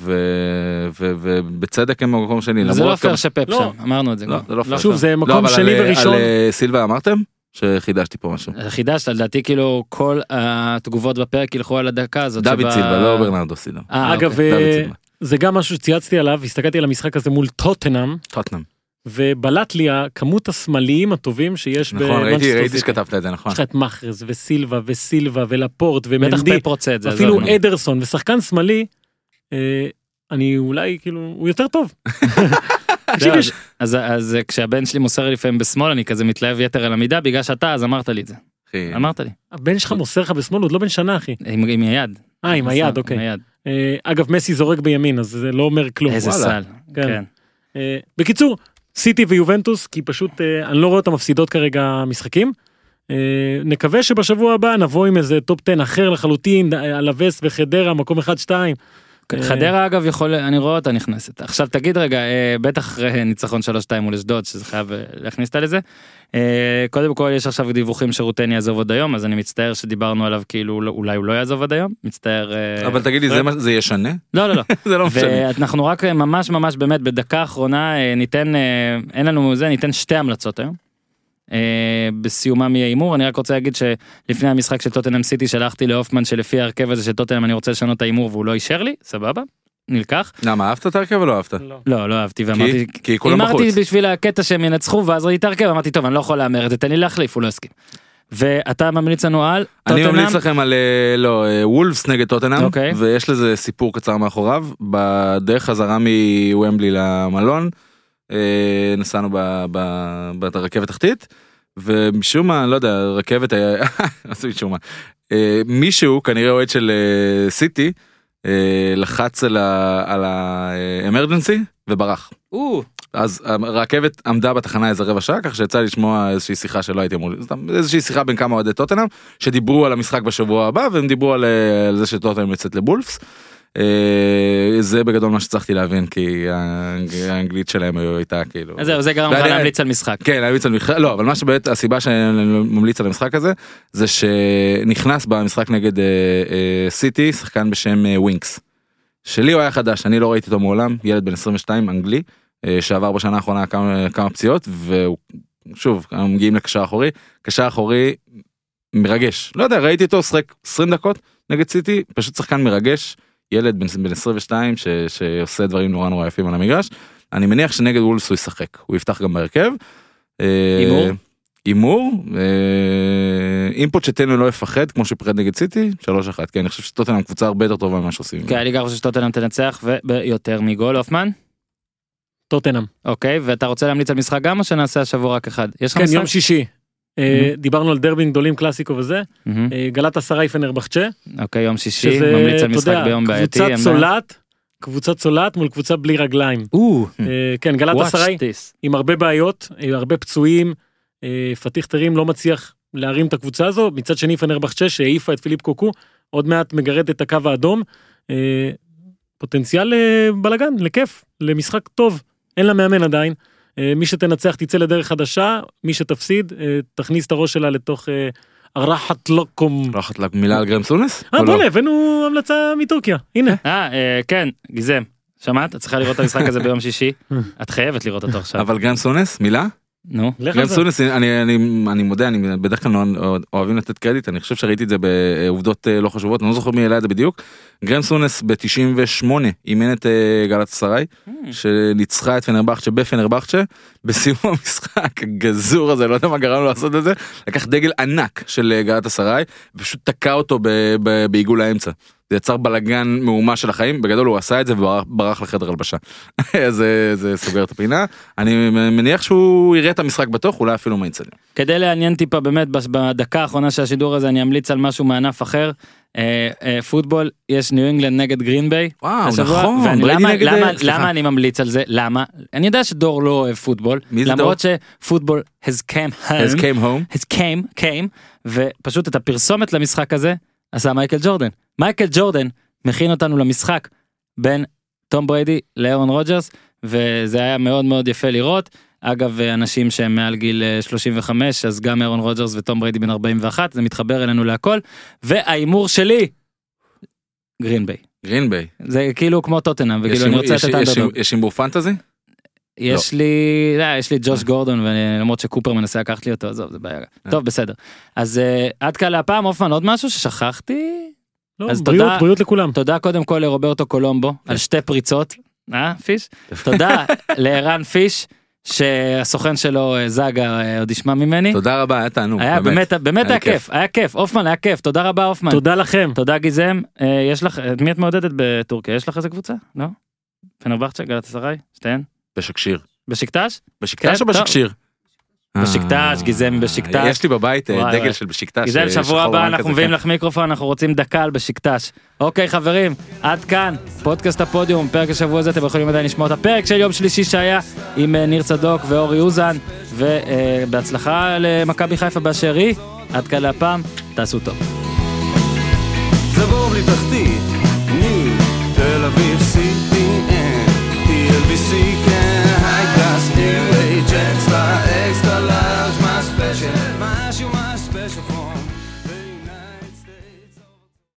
Speaker 4: ו- ו- ובצדק הם במקום שני.
Speaker 2: זה
Speaker 4: למרות
Speaker 2: לא פייר
Speaker 4: כמה-
Speaker 2: שפפ
Speaker 3: לא.
Speaker 2: שם, אמרנו את זה
Speaker 4: לא,
Speaker 2: כבר.
Speaker 4: זה לא פייר.
Speaker 3: שוב זה מקום
Speaker 4: אבל
Speaker 3: שני
Speaker 4: על-
Speaker 3: וראשון.
Speaker 4: על אה, סילבה אמרתם? שחידשתי פה משהו.
Speaker 2: חידשת, לדעתי כאילו כל התגובות בפרק ילכו על הדקה הזאת.
Speaker 4: דוד
Speaker 2: שבה-
Speaker 4: סילבה, לא ברנרדו סילבה.
Speaker 2: אה,
Speaker 3: אגב,
Speaker 2: אוקיי.
Speaker 3: אה,
Speaker 4: דוד סילבה.
Speaker 3: זה גם משהו שצייצתי עליו, הסתכלתי על המשחק הזה מול טוטנאם,
Speaker 4: טוטנאם.
Speaker 3: ובלט לי הכמות השמאליים הטובים שיש
Speaker 4: נכון,
Speaker 3: במנצ'סטר
Speaker 4: ראיתי ראיתי
Speaker 3: סיטי.
Speaker 4: שכתבת את זה, נכון.
Speaker 3: יש לך את מאחרז וסילבה וסילבה ולפורט
Speaker 2: בטח
Speaker 3: ומנדי,
Speaker 2: פפ רוצה את זה. לא
Speaker 3: אפילו
Speaker 2: עזוב.
Speaker 3: אדרסון ושחקן שמאלי, אה, אני אולי כאילו, הוא יותר טוב. תקשיב,
Speaker 2: זהו,
Speaker 3: יש-
Speaker 2: אז, אז, אז כשהבן שלי מוסר לי לפעמים בשמאל אני כזה מתלהב יתר על המידה בגלל שאתה אז אמרת לי את זה
Speaker 4: אחי,
Speaker 2: אמרת לי
Speaker 3: הבן שלך מוסר לך בשמאל, הוא עוד לא בן שנה אחי.
Speaker 2: עם, עם היד.
Speaker 3: אה, עם היד, אוקיי.
Speaker 2: היד.
Speaker 3: אה, אגב, מסי זורק בימין, אז זה לא אומר כלום.
Speaker 2: איזה
Speaker 4: וואלה.
Speaker 2: סל.
Speaker 3: כן.
Speaker 2: כן.
Speaker 3: אה, בקיצור, סיטי ויובנטוס, כי פשוט אה, אני לא רואה אותם מפסידות כרגע משחקים. אה, נקווה שבשבוע הבא נבוא עם איזה טופ 10 אחר לחלוטין, אה, על הווסט וחדרה, מקום 1-2. אה,
Speaker 2: חדרה אגב יכול אני רואה אותה נכנסת עכשיו תגיד רגע אה, בטח אחרי ניצחון 3-2 מול אשדוד שזה חייב אה, להכניס אותה לזה. אה, קודם כל יש עכשיו דיווחים שרוטני יעזוב עוד היום אז אני מצטער שדיברנו עליו כאילו לא- אולי הוא לא יעזוב עוד היום מצטער. אה,
Speaker 4: אבל תגיד לי, זה מה- זה ישנה?
Speaker 2: לא לא לא
Speaker 4: זה לא משנה.
Speaker 2: ואנחנו רק אה, ממש ממש באמת בדקה האחרונה אה, ניתן אה, אין לנו זה ניתן שתי המלצות היום. אה, בסיומם יהיה הימור אני רק רוצה להגיד שלפני המשחק של טוטנאם סיטי שלחתי להופמן שלפי ההרכב הזה של טוטנאם אני רוצה לשנות את ההימור והוא לא אישר לי סבבה נלקח
Speaker 4: למה, אהבת את ההרכב או לא אהבת?
Speaker 2: לא לא אהבתי ואמרתי.
Speaker 4: כי- כי כולם
Speaker 2: הימרתי
Speaker 4: בחוץ.
Speaker 2: בשביל הקטע שהם ינצחו ואז ראיתי את ההרכב אמרתי טוב אני לא יכול להמר את זה תן לי להחליף הוא לא הסכים. ואתה ממליץ לנו על
Speaker 4: אני ממליץ
Speaker 2: טוטנאם
Speaker 4: לכם על אה, לא אה, וולפס נגד טוטנאם
Speaker 2: אוקיי.
Speaker 4: ויש לזה סיפור קצר מאחוריו בדרך חזרה מוומבלי למלון אה, נסענו ב- ב- ב- ברכבת תחתית ומשום מה לא יודע רכבת היה עשו משום מה אה, מישהו כנראה אוהד של אה, סיטי אה, לחץ על ה- על האמרג'נסי וברח.
Speaker 2: או,
Speaker 4: אז הרכבת עמדה בתחנה איזה רבע שעה כך שיצא לי לשמוע איזושהי שיחה שלא הייתי אמור, סתם איזושהי שיחה בין כמה אוהדי טוטנאם שדיברו על המשחק בשבוע הבא והם דיברו על, אה, על זה שטוטנאם יוצאת לבולפס. אה, אה, זה בגדול מה שצריכתי להבין כי האנג- האנגלית שלהם הייתה כאילו.
Speaker 2: אז אה, זהו, זה גרם לך
Speaker 4: ואני-
Speaker 2: להמליץ על משחק.
Speaker 4: כן, להמליץ על משחק, לא, אבל מה שבאמת הסיבה שאני לא ממליץ על המשחק הזה, זה שנכנס במשחק נגד אה, אה, סיטי שחקן בשם אה, ווינקס. שלי הוא היה חדש, אני לא ראיתי אותו מעולם, ילד בן 22 אנגלי, אה, שעבר בשנה האחרונה כמה, כמה פציעות, והוא, שוב, אנחנו מגיעים לקשר אחורי, קשר אחורי מרגש. לא יודע, ראיתי אותו שחק 20 דקות נגד סיטי, פשוט שחקן מרגש, ילד בן, בן 22 ש, שעושה דברים נורא נורא יפים על המגרש. אני מניח שנגד וולפס הוא ישחק, הוא יפתח גם בהרכב. אה,
Speaker 2: הימור?
Speaker 4: הימור, אה, אם פוצ'טינו לא יפחד כמו שפחד נגד סיטי, 3-1, כן, אני חושב שטוטנאם קבוצה הרבה יותר טובה ממה שעושים.
Speaker 2: כן, אני גם חושב שטוטנאם תנצח וביותר מגול, הופמן.
Speaker 3: טוטנאם.
Speaker 2: אוקיי, ואתה רוצה להמליץ על משחק גם או שנעשה השבוע רק אחד? יש לך
Speaker 3: כן,
Speaker 2: משחק?
Speaker 3: יום שישי. אה, דיברנו על דרבים גדולים, קלאסיקו וזה.
Speaker 2: מהמם.
Speaker 3: אה, גלת עשרה פנרבחצ'ה.
Speaker 2: אוקיי, יום שישי,
Speaker 3: שזה,
Speaker 2: ממליץ על
Speaker 3: אתה
Speaker 2: משחק
Speaker 3: יודע,
Speaker 2: ביום בעייתי. לא-
Speaker 3: קבוצה צולעת, קבוצה צולעת מול קבוצה בלי רגליים.
Speaker 2: או,
Speaker 3: אה, כן, גלת
Speaker 2: watch
Speaker 3: עשרה
Speaker 2: this.
Speaker 3: עם הרבה בעיות, אה, הרבה פצועים, אה, פתיח תרים לא מצליח להרים את הקבוצה הזו, מצד שני פנרבחצ'ה שהעיפה את פיליפ קוקו, עוד מעט מגרד את הקו האדום. אה, פוטנציאל לבלגן, לכיף, למשחק טוב, אין לה מאמן עדיין. אה, מי שתנצח תצא לדרך חדשה, מי שתפסיד אה, תכניס את הראש שלה לתוך אה, הרחת לוקום.
Speaker 4: לא יכולת מילה על גרם סונס?
Speaker 3: אה
Speaker 4: או לא?
Speaker 3: בוא'נה, הבאנו המלצה מטורקיה, הנה.
Speaker 2: אה, אה, כן, גיזם. שמעת? את צריכה לראות את המשחק הזה ביום שישי. את חייבת לראות אותו עכשיו.
Speaker 4: אבל גרם סונס מילה?
Speaker 2: נו.
Speaker 3: לך על
Speaker 4: גרם
Speaker 3: זה.
Speaker 4: סונס אני אני אני מודה אני בדרך כלל לא- אוהבים לתת קרדיט אני חושב שראיתי את זה בעובדות אה, לא חשובות אני לא זוכר מי העלה את זה בדיוק. גרם סונס ב-98 אימן את אה, גלת סריי שניצחה את פנרבכצ'ה בפנרבכצ'ה בסיום המשחק הגזור הזה לא יודע מה גרם לו לעשות את זה לקח דגל ענק של גלת הסריי ופשוט תקע אותו ב- ב- בעיגול האמצע. זה יצר בלאגן מהומה של החיים בגדול הוא עשה את זה וברח ברח לחדר הלבשה. אז זה- זה סוגר את הפינה אני מניח שהוא יראה את המשחק בתוך אולי אפילו מהאיצטדיון.
Speaker 2: כדי לעניין טיפה באמת בש- בדקה האחרונה של השידור הזה אני אמליץ על משהו מענף אחר. אה, אה, פוטבול יש ניו אינגלנד נגד גרינביי.
Speaker 4: וואו
Speaker 2: השבוע,
Speaker 4: נכון
Speaker 2: ואני-
Speaker 4: בריידי
Speaker 2: למה-
Speaker 4: נגד אה,
Speaker 2: למה-
Speaker 4: סליחה.
Speaker 2: למה אני ממליץ על זה? למה? אני יודע שדור לא אוהב פוטבול.
Speaker 4: מי זה
Speaker 2: למרות שפוטבול has come
Speaker 4: אז
Speaker 2: home.
Speaker 4: came home.
Speaker 2: has came, came, ופשוט את הפרסומת למשחק הזה עשה מייקל ג'ורדן. מייקל ג'ורדן מכין אותנו למשחק בין תום בריידי לאירון רוג'רס, וזה היה מאוד מאוד יפה לראות. אגב, אנשים שהם מעל גיל אה, 35, אז גם אירון רוג'רס ותום בריידי בן 41, זה מתחבר אלינו להכל. וההימור שלי, גרינביי.
Speaker 4: גרין ביי.
Speaker 2: זה כאילו כמו טוטנאם,
Speaker 4: יש
Speaker 2: וכאילו אני
Speaker 4: הימור-
Speaker 2: רוצה אה?
Speaker 4: יש-
Speaker 2: לתת
Speaker 4: יש-
Speaker 2: אנדרדוג.
Speaker 4: יש הימור פנטזי?
Speaker 2: יש לי, לא, יש לי ג'וש גורדון, ולמרות שקופר מנסה לקחת לי אותו, עזוב, זה בעיה. טוב, בסדר. אז אה, עד כאן להפעם, הופמן, עוד משהו ששכחתי?
Speaker 3: לא,
Speaker 2: אז
Speaker 3: בריאות,
Speaker 2: תודה.
Speaker 3: בריאות לכולם.
Speaker 2: תודה קודם כל לרוברטו קולומבו על שתי פריצות, אה, פיש? תודה לערן פיש, שהסוכן שלו, אה, זאגה, אה, עוד ישמע ממני.
Speaker 4: תודה רבה היה תענוג.
Speaker 2: היה באמת, באמת
Speaker 4: היה
Speaker 2: היה כיף, היה כיף, הופמן היה כיף, תודה רבה הופמן.
Speaker 3: תודה לכם.
Speaker 2: תודה גיזם, אה, יש לך, את מי את מעודדת בטורקיה? יש לך איזה קבוצה? לא? פנרבחצ'ה, גלת אסריי, שתיהן?
Speaker 4: בשקשיר.
Speaker 2: בשקטש?
Speaker 4: בשקטש
Speaker 2: כן,
Speaker 4: או בשקשיר?
Speaker 2: בשקטש,
Speaker 4: אה,
Speaker 2: גזם בשקטש.
Speaker 4: יש לי בבית אה,
Speaker 2: וואי, וואי.
Speaker 4: דגל של בשקטש.
Speaker 2: גיזל,
Speaker 4: אה,
Speaker 2: שבוע
Speaker 4: שחור לבן
Speaker 2: הבא אנחנו
Speaker 4: כזה,
Speaker 2: מביאים
Speaker 4: כן.
Speaker 2: לך מיקרופון, אנחנו רוצים דקה על בשקטש. אוקיי חברים, עד כאן, פודקאסט הפודיום, פרק השבוע הזה, אתם יכולים עדיין לשמוע את הפרק של יום שלישי שהיה עם אה, ניר צדוק ואורי אוזן, ובהצלחה למכבי חיפה באשר היא, עד כאן להפעם, תעשו טוב.
Speaker 5: זה בור בלי תחתית